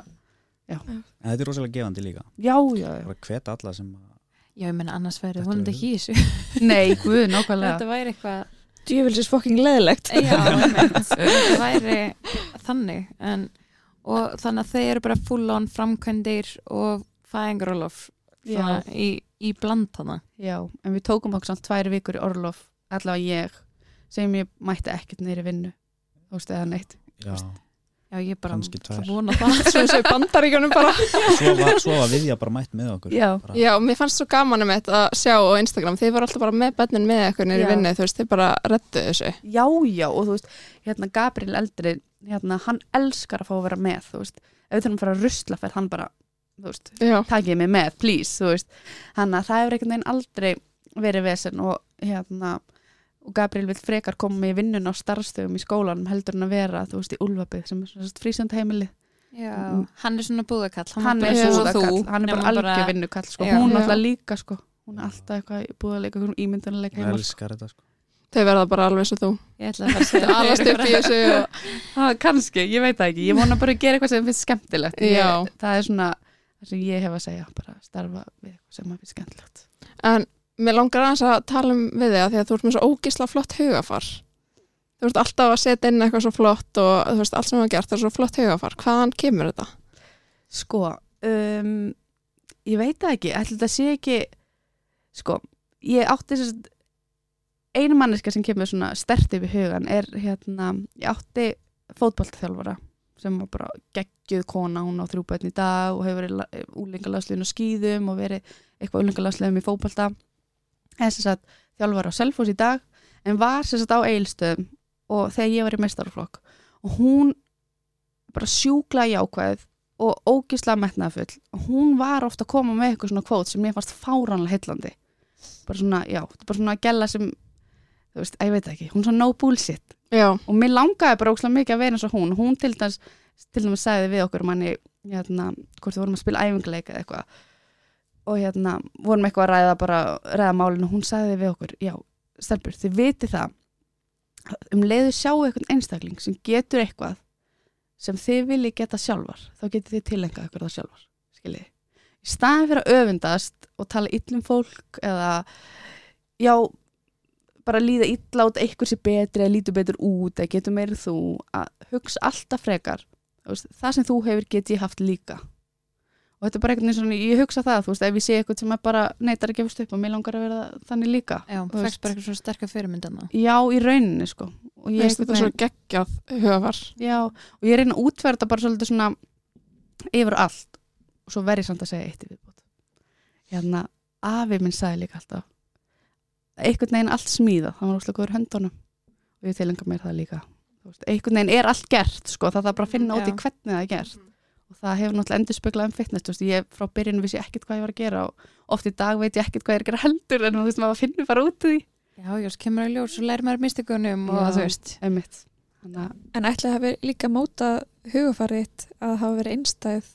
Speaker 5: en þetta er rosalega gefandi líka
Speaker 4: já, já, já,
Speaker 5: bara hveta alla sem að
Speaker 3: Já, ég menna annars væri
Speaker 5: Þetta
Speaker 3: hún
Speaker 5: er-
Speaker 3: ekki í þessu.
Speaker 4: nei, guð, nákvæmlega
Speaker 3: Þetta væri eitthvað,
Speaker 1: Djöfilsins fokking leðilegt.
Speaker 3: já, einmitt. þetta væri þannig. En, og þannig að þeir eru bara full on framkvæmdir og fæðingarólof
Speaker 4: já,
Speaker 3: í, í bland hana.
Speaker 4: já, en við tókum okkur samt tvær vikur í orlof, allavega ég sem ég mætti ekkert neyri vinnu þú veist, eða neitt
Speaker 5: já.
Speaker 3: Já, ég bara
Speaker 5: Kannski tvær.
Speaker 3: það vona það. sko.
Speaker 2: Svo þessu bandaríkunum bara
Speaker 5: svo var, svo var viðja bara mætt með okkur
Speaker 4: já,
Speaker 5: bara,
Speaker 2: Já, mér fannst svo gaman um þetta að sjá á Instagram Þið voru alltaf bara með bönnin með eitthvað nýri
Speaker 4: Já.
Speaker 2: vinnu Þú veist, þið bara rettu þessu
Speaker 4: já, já, og þú veist, hérna Gabriel eldri, hérna, hann elskar að fá að vera með, þú veist, ef við þurfum að fara að rusla fyrir hann bara, þú veist,
Speaker 2: Já,
Speaker 4: takið mig með, please, þú veist þannig að það hefur einhvern veginn aldrei verið vesen og hérna og Gabriel vill frekar koma með vinnun á starfstöðum í skólanum heldur en að vera, þú veist, í Úlfabið sem er frísöndaheimilið
Speaker 3: Já, hann er svona búðakall.
Speaker 4: hann
Speaker 3: var
Speaker 4: er
Speaker 2: bara
Speaker 3: eins
Speaker 2: svo
Speaker 3: og þú,
Speaker 4: búðakall, hann er
Speaker 3: nema
Speaker 4: bara algjör vinnukall sko.
Speaker 3: Já.
Speaker 4: hún
Speaker 2: Já.
Speaker 4: alltaf líka, sko hún er
Speaker 5: Já.
Speaker 4: alltaf eitthvað búðarleika, hún ímyndunarleika
Speaker 5: ég
Speaker 4: heima, sko.
Speaker 5: elskar þetta sko.
Speaker 2: þau verða bara alveg svo þú
Speaker 3: Ég ætla að fara að segja
Speaker 2: Þau alast
Speaker 3: þeir
Speaker 2: upp
Speaker 3: eru
Speaker 2: í þessu og...
Speaker 4: Ah, kannski, ég veit það ekki, ég vona bara að gera eitthvað sem finnst skemmtilegt
Speaker 2: Já.
Speaker 4: ég, það er svona það sem ég hef að segja, bara starfa við eitthvað sem að finnst skemmtilegt
Speaker 2: En mér langar aðeins að tala um við þig af Því að þú ert með svo ógisla flott hugafar Þú ert alltaf að setja inn eitthvað svo flott og þú veist, allt sem þú hafa gert er svo flott hugafar Hvaðan kemur þetta?
Speaker 4: Sko, um, ég veit það ekki, ætli þetta sé ekki, sko, ég átti þess að einu manneska sem kemur svona stert upp í hugan er hérna, ég átti fótballtþjálfara sem var bara geggjuð kona, hún á þrjú börn í dag og hefur verið úlingalagsliðin á skýðum og verið eitthvað úlingalagsliðum í fótballta. En þess að þjálfara á Selfoss í dag en var þess að á eilstöðum og þegar ég var í meistarflokk og hún bara sjúkla jákvæð og ógislega metnaðfull hún var ofta að koma með eitthvað svona kvót sem ég fannst fáránlega heillandi bara svona, já, þetta er bara svona að gæla sem þú veist, að ég veit það ekki, hún er svona no bullshit
Speaker 2: Já,
Speaker 4: og mér langaði bara ógislega mikið að vera eins og hún hún til dæmis, til dæmis sagði við okkur manni, hérna, hvort við vorum að spila æfingleika eða eitthvað og hérna, vorum eitthvað að ræða bara ræða málinu, hún sagði við okkur, já stelpur, þið viti það um leiðu sjáu eitthvað einstakling sem getur eitthvað sem þið viljið geta sjálfar þá getið þið tilengað ykkur það sjálfar skiljið, í um staðin fyrir að öfundast og tala illum fólk eða já, bara líða illa út eitthvað sé betri eða lítur betur út eða getur meira þú að hugsa alltaf frekar Þú veist, það sem þú hefur get ég haft líka og þetta er bara einhvern veginn svona ég hugsa það, þú veist, ef ég sé eitthvað sem er bara neitar að gefast upp og mér langar að vera þannig líka
Speaker 3: Já,
Speaker 4: Þú veist.
Speaker 3: fækst bara eitthvað svona sterkar fyrirmyndana.
Speaker 4: já, í rauninni sko og ég,
Speaker 2: veist
Speaker 4: einhvern
Speaker 2: þetta
Speaker 4: veginn-
Speaker 2: svo geggjað höfar
Speaker 4: Já, og ég reyna að útfæra þetta bara svolítið svona yfir allt og svo verð ég samt að segja eitt í viðbót. Hérna, afi minn sagði líka alltaf einhvern veginn allt smíða, það var óslega góður í höndunum og ég tilhengar mér það líka. Þú Veist, einhvern veginn er allt gert, sko, það þarf bara að finna út í
Speaker 3: Já.
Speaker 4: hvernig það er gert og það hefur náttúrulega endur speklað um fitness, þú veist, ég frá byrjun vissi ég ekkert hvað ég var að gera og oft í dag veit ég ekkert hvað ég er að gera heldur en þú veist, maður finnur bara út í því.
Speaker 3: Já, já, svo kemur að ljós og læri maður mistikunum og
Speaker 4: Já.
Speaker 3: þú veist.
Speaker 4: Einmitt. Þannig að,
Speaker 1: En ætlaði að hafa líka móta hugafarið að hafa verið einstæð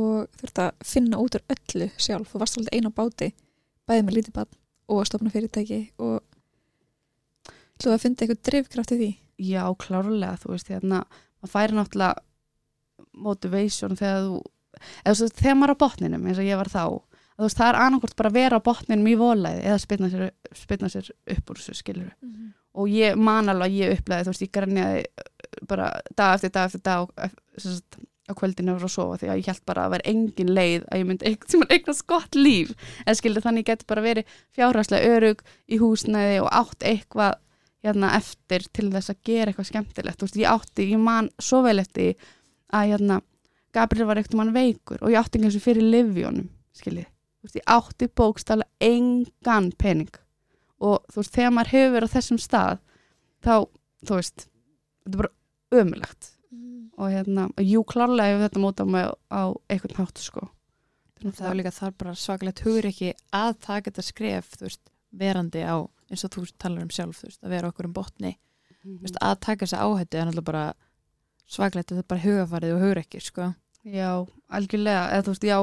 Speaker 1: og þurft að finna út úr öllu sjálf. Þú varst alltaf eina báti, bæði með lítið barn og að stofna fyrirtæki og ætlaði að finna eitthvað drifkraft í því.
Speaker 4: Já, klárlega, þú veist, hérna, maður færi náttúrulega motivation þegar þú, eða þú veist, þegar maður er á botninum, eins og ég var þá, að, þú veist, það er annarkvort bara að vera á botninum í volæði eða spilna sér, spilna sér upp úr þessu skilur. Og ég man alveg að ég upplegaði, þú veist, ég grenjaði eh, bara dag eftir dag eftir dag eh, sem sagt, á kvöldinu fyrir að sofa því að ég held bara að vera engin leið að ég myndi einhvern tímann eignast gott líf en skilur þannig ég geti bara verið fjárhagslega örug í húsnæði og átt eitthvað hérna eftir til þess að gera eitthvað skemmtilegt, þú veist, ég átti, ég man svo vel eftir því að hérna Gabriel var eitthvað mann veikur og ég átti einhversu fyrir livjónum, skiljið þú veist, ég átti bókstala engan pening og þú veist, þegar maður hefur verið á þessum stað þá, þú veist, þetta er bara ömulegt og hérna, og jú klarlega hefur þetta mótað mig á einhvern hátt, sko
Speaker 3: Það var líka þar bara svakalegt hugur ekki að taka þetta skref, þú veist, verandi á, eins og þú talar um sjálf, þú veist, að vera okkur um botni.
Speaker 4: Mhm.
Speaker 3: Þú veist, að taka þessa áhættu er náttúrulega bara svakalegt, þetta er bara hugafarið og hugur ekki, sko.
Speaker 4: Já, algjörlega, eða þú veist, já,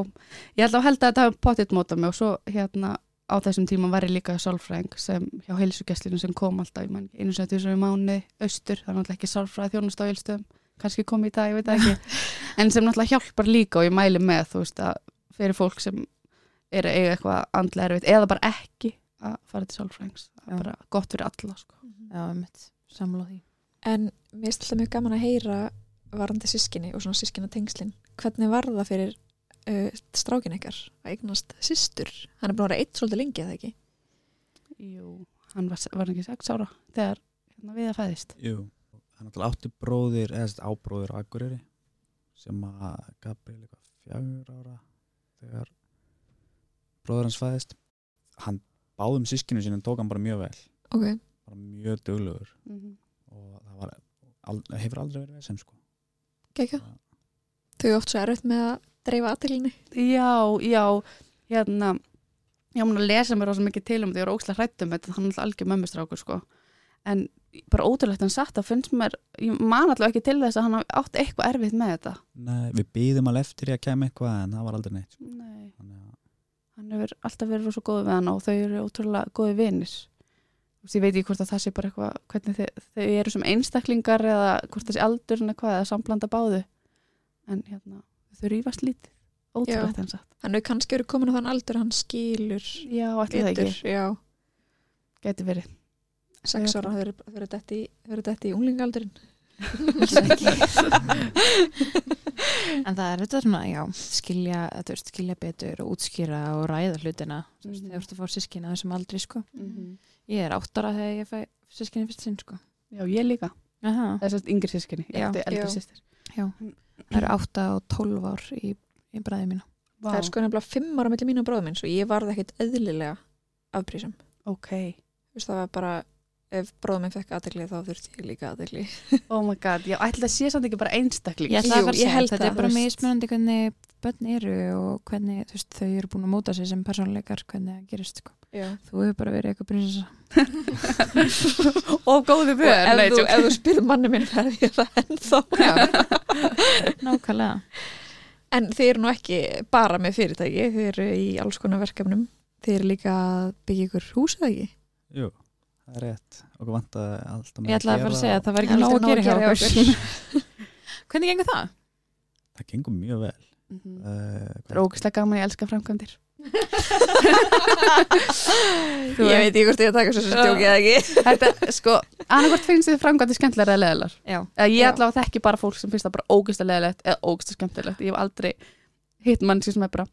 Speaker 4: ég held að held að þetta hafi pottitt mótað mig og svo hérna á þessum tíma var ég líka sálfræðing sem hjá heilsugesslinu sem kom alltaf, ég man, einu sem þetta í mánu, austur, það er náttúrulega ekki sálfræði þjónust á heilstöðum, kannski kom í dag, ég veit það ekki, en sem náttúrulega hjálpar líka og ég mæli með, þú veist, að fyrir fólk sem er að eiga eitthvað andlega erfitt eða bara ekki að fara til sálfræðings, það
Speaker 3: Já.
Speaker 4: er bara gott fyrir alla, sko.
Speaker 3: Já, mitt, samla því.
Speaker 1: En mér er alltaf mjög gaman að heyra varandi sískinni og svona sískina tengslin. Hvernig var það fyrir uh, strákin ykkar að eignast systur? Hann er búin að vera eitt svolítið lengi, eða ekki?
Speaker 4: Jú, hann var, var hann ekki sex ára þegar hérna við að fæðist.
Speaker 5: Jú, hann alltaf átti bróðir eða þessi ábróðir á Akureyri sem að Gabriel eitthvað fjagur ára þegar bróður hans fæðist hann báðum sískinu sínum tók hann bara mjög vel
Speaker 1: Ok.
Speaker 5: bara mjög duglegur
Speaker 4: Mm -hmm.
Speaker 5: og það var, al, hefur aldrei verið vesem sko
Speaker 1: Gekja. Þau eru oft svo erfitt með að dreifa aðtilinni.
Speaker 4: Já, já, hérna ég mun að lesa mér rosa mikið til um því ég var ókslega hrætt um þetta, hann er alltaf algjör mömmustrákur sko, en bara ótrúlegt en satt að finnst mér, ég man allavega ekki til þess að hann hafi átt eitthvað erfitt með þetta
Speaker 5: Nei, við býðum alveg eftir ég að kemja eitthvað en það var aldrei neitt sko.
Speaker 4: Nei,
Speaker 5: Þannig að,
Speaker 4: hann hefur alltaf verið rosa góð við hann og þau eru ótrúlega góði vinir Þú veist, ég veit ekki hvort að það sé bara eitthvað hvernig þau, þau eru sem einstaklingar eða hvort þessi aldur eða hvað, eða samblanda báðu en hérna, þau rýfast lítið ótrúlegt en satt
Speaker 1: Hann hefur kannski verið komin á þann aldur að hann skilur
Speaker 4: Já, allir það
Speaker 1: betur.
Speaker 4: ekki,
Speaker 1: Já,
Speaker 4: geti verið
Speaker 1: sex
Speaker 4: Já.
Speaker 1: ára þau eru- þau eru dett í- þau eru dætt í unglingaldurinn.
Speaker 3: En það er þetta svona, já, skilja, þú veist, skilja betur og útskýra og ræða hlutina. Þú veist,
Speaker 4: Mhm.
Speaker 3: þegar þú ert að fá sískina þessum aldrei, sko.
Speaker 4: -hmm.
Speaker 3: Ég er áttara þegar ég fæ sískina fyrst sinn, sko.
Speaker 4: Já, ég líka.
Speaker 3: Aha.
Speaker 4: Það er sérst yngri sískinni, ég
Speaker 3: Já.
Speaker 4: átti eldri
Speaker 1: Já.
Speaker 4: sýstir.
Speaker 3: Það eru átta og tólf ár í, í bræði mína.
Speaker 4: Vá,
Speaker 1: Það er sko nefnilega fimm ára mellir mín og bróðum minn, svo ég varð ekkit eðlilega afprísum.
Speaker 4: ok.
Speaker 1: Þú veist, það var bara, ef bróðum minn fekk aðtilli þá þurfti ég líka aðtilli.
Speaker 4: Oh my god, já, ætli það sé samt ekki bara einstakling.
Speaker 3: Ég,
Speaker 1: Jú,
Speaker 3: Jú,
Speaker 1: ég held
Speaker 3: þetta
Speaker 1: það,
Speaker 3: er bara
Speaker 1: þú
Speaker 3: með
Speaker 1: veist.
Speaker 3: ísmjöndi hvernig börn eru og hvernig þú veist, þau eru búin að móta sig sem persónleikar hvernig það gerist sko.
Speaker 1: Já.
Speaker 3: þú hefur bara verið eitthvað prinsessa
Speaker 4: Og
Speaker 1: Og
Speaker 4: góðu
Speaker 1: ef,
Speaker 4: börn.
Speaker 1: þú, ef þú spyrð manni minn verði ég það ennþá
Speaker 3: nákvæmlega
Speaker 1: en þið eru nú ekki bara með fyrirtæki þið eru í alls konar verkefnum þið eru líka að byggja ykkur hús eða ekki
Speaker 5: jú, það er rétt okkur vantaði alltaf
Speaker 3: ég ætlaði bara að segja að það
Speaker 1: Já,
Speaker 3: var ekki nóg
Speaker 1: nóg
Speaker 3: að gera hjá
Speaker 1: hjá
Speaker 3: okkur hvernig gengur það?
Speaker 5: það gengur mjög vel
Speaker 4: Mhm.
Speaker 5: uh,
Speaker 4: Það er ógislega gaman, ég elska framkvæmdir.
Speaker 1: Ég veit ekki hvort ég að taka þessu stjóki eða ekki.
Speaker 4: Þetta, sko, annarkort finnst þið framkvæmdi skemmtilegar eða leðilegar.
Speaker 3: Já.
Speaker 4: Eða ég
Speaker 1: Já.
Speaker 4: allavega þekki bara fólk sem finnst það bara ógeðslega leðilegt eða ógeðslega skemmtilegt. Ég hef aldrei hitt mann sem er bara,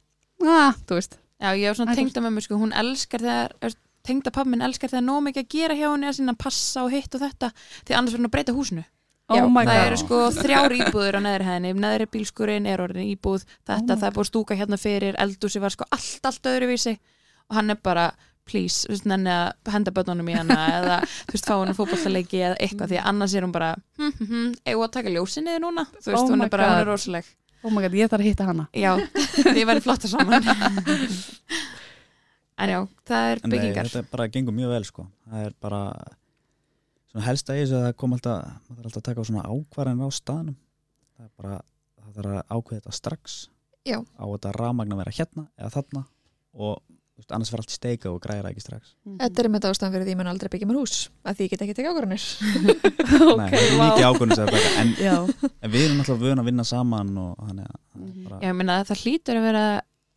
Speaker 4: ah, þú veist.
Speaker 3: Já, ég var svona
Speaker 4: Æ, þú
Speaker 3: tengda með mér, sko, hún elskar þegar, tengda pappminn elskar þegar nóg mikið að gera hjá henni að sinna að passa og hitt og þetta, því annars verður hún að breyta húsinu.
Speaker 1: Já,
Speaker 4: oh my
Speaker 3: það
Speaker 4: god.
Speaker 3: eru sko þrjár íbúður á neðri hæðinni, neðri bílskurinn er orðin íbúð,
Speaker 4: Oh
Speaker 3: þetta,
Speaker 4: my
Speaker 3: það er búið að stúka hérna fyrir, eldúsi var sko allt, allt öðruvísi og hann er bara, please, þú veist, nenni að henda börnunum í hana eða, þú veist, fá henni fótballtaleiki eða eitthvað, því að annars er hún bara, hm, hm, hm, eigum við að taka ljósinni núna, þú veist,
Speaker 4: Oh
Speaker 3: hún
Speaker 4: my
Speaker 3: er bara, hún
Speaker 4: God.
Speaker 3: er rosaleg.
Speaker 4: Oh my god, ég þarf að hitta hana.
Speaker 3: Já, því verður flotta saman. En já, það er
Speaker 5: En nei,
Speaker 3: byggingar.
Speaker 5: þetta bara gengur mjög vel sko. það er bara svona helsta í þessu að það kom alltaf maður þarf alltaf að taka á svona ákvarðan á staðnum það er bara, það þarf að ákveða þetta strax
Speaker 6: Já.
Speaker 5: á þetta rafmagn að vera hérna eða þarna og þú veist, annars verður allt í steika og græra ekki strax
Speaker 4: Mhm.
Speaker 6: Þetta er með ástæðan fyrir því að ég mun aldrei byggja mér hús að því ég get ekki tekið ákvörðanir.
Speaker 5: nei, það er mikið ákvörðin sem þetta en,
Speaker 4: Já.
Speaker 5: en við erum alltaf vön að vinna saman og þannig að það er bara,
Speaker 3: Mhm. Já, ég meina að það hlýtur að vera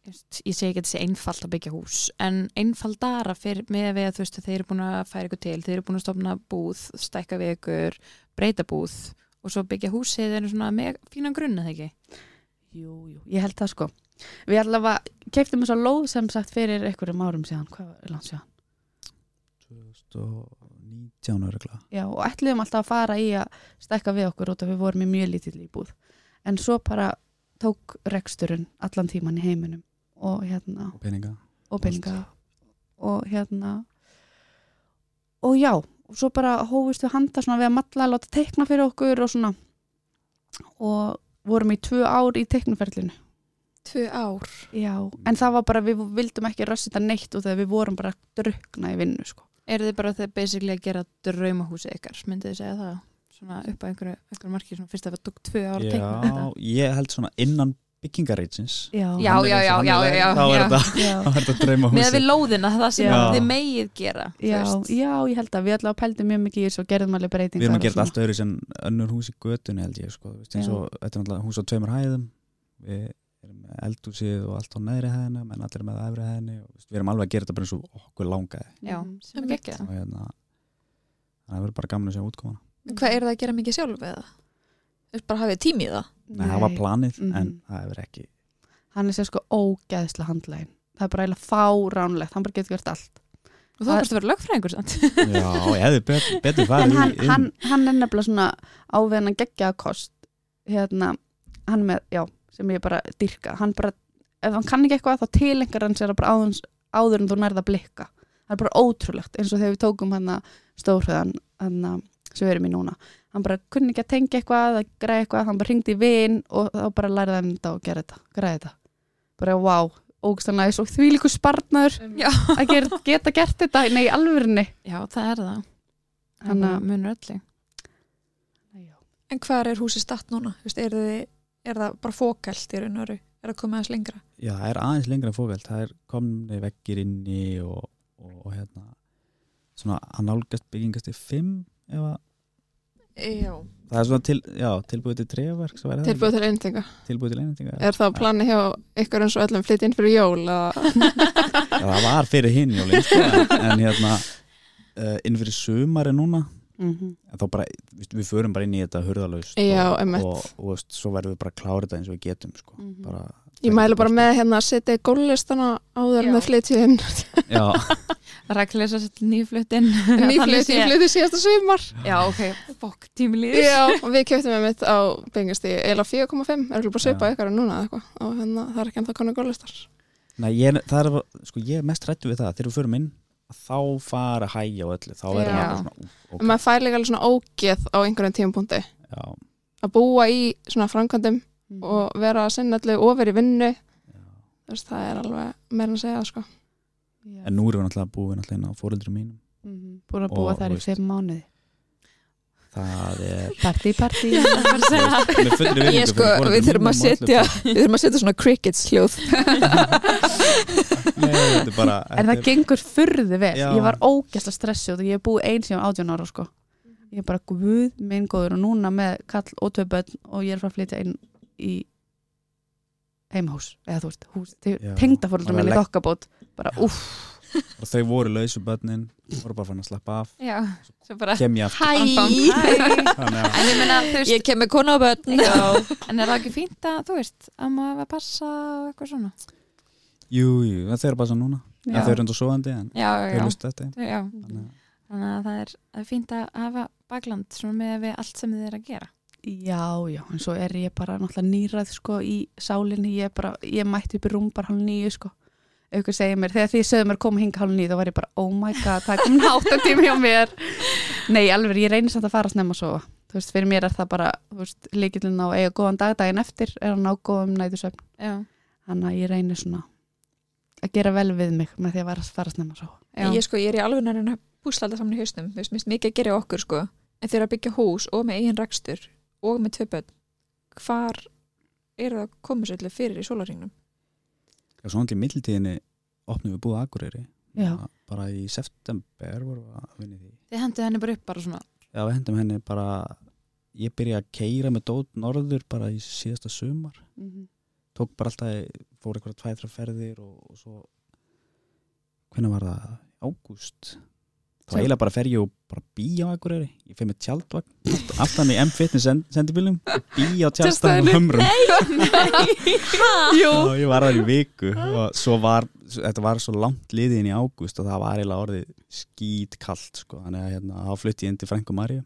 Speaker 3: þú veist, ég segi ekki að þetta sé einfalt að byggja hús en einfaldara fyrir með að við að þú veist að þeir eru búin að færa ykkur til þeir eru búin að stofna búð, stækka við ykkur breyta búð og svo byggja húsið þeir eru svona með fínan grunn eða ekki
Speaker 4: Jú, jú, ég held það sko. Við allavega keiftum þess að lóð sem sagt fyrir einhverjum árum síðan, hvað er langt síðan?
Speaker 5: 2019 örgulega
Speaker 4: Já, og ætluðum alltaf að fara í að stekka við okkur út af við vorum í mjög lítill íbúð. En svo bara tók reksturinn allan tíman í heiminum og hérna,
Speaker 5: og peninga
Speaker 4: og peninga og hérna og já, og svo bara hófist við handa svona við að matla að láta teikna fyrir okkur og svona og vorum í tvö ár í teiknuferlinu
Speaker 6: Tvö ár.
Speaker 4: já, en það var bara, við vildum ekki rössita neitt og þegar við vorum bara að drukna í vinnu sko.
Speaker 3: eru þið bara þeir basically að gera draumahúsið ykkar, myndið þið segja það svona upp á einhverju, einhverju marki svona fyrst að það tók tvö ára að teikna
Speaker 5: já,
Speaker 3: þetta
Speaker 5: ég held svona innan byggingarreitsins
Speaker 4: já,
Speaker 3: Já, já, já, já, já,
Speaker 5: þá er
Speaker 3: já.
Speaker 5: þetta
Speaker 4: já,
Speaker 5: þá er þetta drauma
Speaker 3: með við lóðina, það sem
Speaker 5: Já.
Speaker 3: þið megið gera þú
Speaker 4: já,
Speaker 3: veist.
Speaker 4: já, ég held að við allavega pældum mjög mikið í þessu og gerðum alveg breytingar
Speaker 5: Við erum að
Speaker 4: og
Speaker 5: gera
Speaker 4: svona.
Speaker 5: þetta allt öðru sem önnur hús í götunni held ég sko, þú veist, eins
Speaker 4: Já.
Speaker 5: og þetta er náttúrulega hús á tveimur hæðum við erum með eldhúsið og allt á neðri hæðina menn allir með efri hæðinni og, þú veist, við erum alveg að gera þetta bara eins og okkur langaði
Speaker 3: já,
Speaker 4: Mm.
Speaker 3: sem er geggjað.
Speaker 5: og hérna það verður bara gaman að sjá útkomana
Speaker 6: Hvað er það að gera mikið sjálf eða? Þú veist bara hafið tími í það.
Speaker 5: Nei, það var planið
Speaker 4: Mhm.
Speaker 5: en það verður ekki
Speaker 4: hann er sér sko ógeðslega handlegin það er bara eiginlega fáránlegt, hann bara getur gert allt
Speaker 3: og þú þarfst að vera lögfræðingur samt.
Speaker 5: Já, ég hefði betur, betur
Speaker 4: en
Speaker 5: farið
Speaker 4: hann,
Speaker 5: í,
Speaker 4: hann, hann er nefnilega svona áveðan að gegja að kost hérna, hann með, já, sem ég bara dyrka, hann bara, ef hann kann ekki eitthvað þá tilengar hann sér að bara áður, áður en þú nærða að blikka, það er bara ótrúlegt eins og þegar við tókum hann að stórhöðan hann að, sem við erum í núna hann bara kunni ekki að tengja eitthvað, að græja eitthvað hann bara hringdi í vin og þá bara lærði hann þetta og gera þetta, græja þetta bara wow, ógstæðan aðeins og því líku spartnaður
Speaker 3: Já.
Speaker 4: að gera, geta gert þetta, nei, í alvörinni
Speaker 3: já, það er það
Speaker 4: Þannig
Speaker 3: hann
Speaker 4: að-
Speaker 3: munur öllu
Speaker 6: En hvað er húsið statt núna? Þú veist, er, þið, er það bara fókælt í raun og veru? Er það komið aðeins lengra?
Speaker 5: Já, það er aðeins lengra en fókveld það er komni vekkir inni og, og, og hérna svona að nálgast byggingast í fimm ef að
Speaker 6: Já.
Speaker 5: Það er svona til, já, tilbúið til trefark
Speaker 2: Tilbúið til einninga.
Speaker 5: tilbúið til einintinga
Speaker 2: Er það planið hjá ykkur eins og öllum flytt inn fyrir jól? eða-
Speaker 5: Já, það var fyrir hinn jólin sko, en- en hérna uh, inn fyrir sumari núna
Speaker 4: mm
Speaker 5: en þá bara, við, við förum bara inn í þetta hurðalaust
Speaker 2: Já,
Speaker 5: og,
Speaker 2: einmitt.
Speaker 5: og, og, veist, svo verðum við bara að klára þetta eins og við getum sko.
Speaker 4: Mhm.
Speaker 5: bara,
Speaker 2: Ég mælu bara með hérna að setja í gólistana áður en
Speaker 6: Já.
Speaker 2: það flytja inn.
Speaker 5: já,
Speaker 3: Raklesa sett nýflutin
Speaker 2: Nýflytti, ég flytti síðasta sumar.
Speaker 3: Já, ok, fokk, tími líður
Speaker 2: Já, og við kjöptum með mitt á byggjast í eila 4,5. Er ekki bara að svipa ykkur en núna eða eitthvað. Og hérna það er ekki ennþá konu gólistar.
Speaker 5: Nei, ég, er- það er, bara- sko, ég er mest hrættu við það þegar við förum inn, að þá fara að hægja á öllu, þá er
Speaker 2: Já.
Speaker 5: það bara svona úf,
Speaker 2: En
Speaker 5: okay,
Speaker 2: maður fær líka alveg svona ógeð á einhverjum tímapunkti.
Speaker 5: já,
Speaker 2: Að búa í svona framkvæmdum
Speaker 4: Mhm.
Speaker 2: og vera að sinna allir ofir í vinnu. Þú veist, það er alveg meira en að segja, sko.
Speaker 5: en nú erum við náttúrulega búin alltaf inn á fóreldri mínum
Speaker 4: Mhm. búin að búa
Speaker 5: Og,
Speaker 4: þar
Speaker 5: þú
Speaker 4: í
Speaker 5: veist.
Speaker 4: fimm mánuði
Speaker 5: það er
Speaker 4: partí, partí
Speaker 5: með fullri virðingu
Speaker 6: Ég sko,
Speaker 5: fyrir foreldrum
Speaker 6: við þurfum að
Speaker 5: mínum og öllu,
Speaker 6: setja,
Speaker 5: sko.
Speaker 6: við þurfum að setja svona crickets hljóð.
Speaker 5: Nei, þetta er bara
Speaker 4: en það gengur furðu vel
Speaker 5: Já.
Speaker 4: ég var ógæsla stressuð og ég hef búið eins sem 18 ára sko. ég er bara guð minn góður og núna með kall og tvö börn og ég er frá að flytja inn í heimahús eða þú veist, hús, til
Speaker 5: Já,
Speaker 4: tengdafóreldra
Speaker 5: bara
Speaker 4: minni
Speaker 5: legg-
Speaker 4: þokkabót bara uff,
Speaker 5: og þau voru lausu börnin voru bara fann að slappa af
Speaker 3: Já, svo bara
Speaker 5: kem ég aftur
Speaker 3: Hæ
Speaker 5: þannig að
Speaker 3: En ég meina, þú veist
Speaker 6: Ég kem með konu á börn
Speaker 3: Já, en er það ekki fínt að, þú veist, að maður að passa og eitthvað svona?
Speaker 5: jú, jú, en þau eru bara svo núna en
Speaker 4: Já.
Speaker 5: þau eru enda sofandi en
Speaker 3: Já,
Speaker 5: þau
Speaker 3: já,
Speaker 5: lustu þetta
Speaker 3: já. já.
Speaker 5: þannig að
Speaker 3: Þannig að það er, það er fínt að hafa bakland svona með við allt sem þið er að gera.
Speaker 4: Já, já, en svo er ég bara náttúrulega nýrað sko í sálinni, ég er bara, ég mætti upp í rúm bara hálf nýju sko auðvitað segir mér, þegar því sögðu mér koma hinga hálf nýju þá var ég bara, oh my god, það er komin átta tími hjá mér Nei, alveg, ég reynir samt að fara snemma að sofa, þú veist, fyrir mér er það bara þú veist, líkillin á að eiga góðan dag daginn eftir er að ná góðum nætusöfn
Speaker 3: Já,
Speaker 4: þannig að ég reynir svona að gera vel við mig með því að vera- fara snemma að sofa
Speaker 3: já.
Speaker 6: Ég sko, ég er í alveg nærinn að púsla alltaf saman í hausnum Þú veist, minnst mikið að gera okkur sko En þeir eru að byggja hús og með eigin rakstur og með tvö börn Hvar eru það komið sér fyrir í sólaringnum?
Speaker 5: Já, svona til mittiltíðinni opnum við búið á Akureyri
Speaker 4: Já.
Speaker 5: bara í september vorum við að vinna í því
Speaker 3: Þið hendið henni bara upp bara svona.
Speaker 5: já við hendum henni bara ég byrja að keira með dót norður bara í síðasta sumar tók bara alltaf, í- fór eitthvað tvætra ferðir og, og svo hvernig var það? Ágúst þá
Speaker 4: Sem-
Speaker 5: eiginlega bara fer ég og bara bí á Akureyri ég fer með tjaldvagn aft- aftan í M-Fitness send- sendibílum bí á tjaldstæðum og humrum
Speaker 4: Jú,
Speaker 5: og ég var þar í viku og svo var, þetta var svo langt liðin í ágúst og það var eiginlega orðið skít kallt sko, þannig að hérna, þá flutti ég inn til Frank og Maríu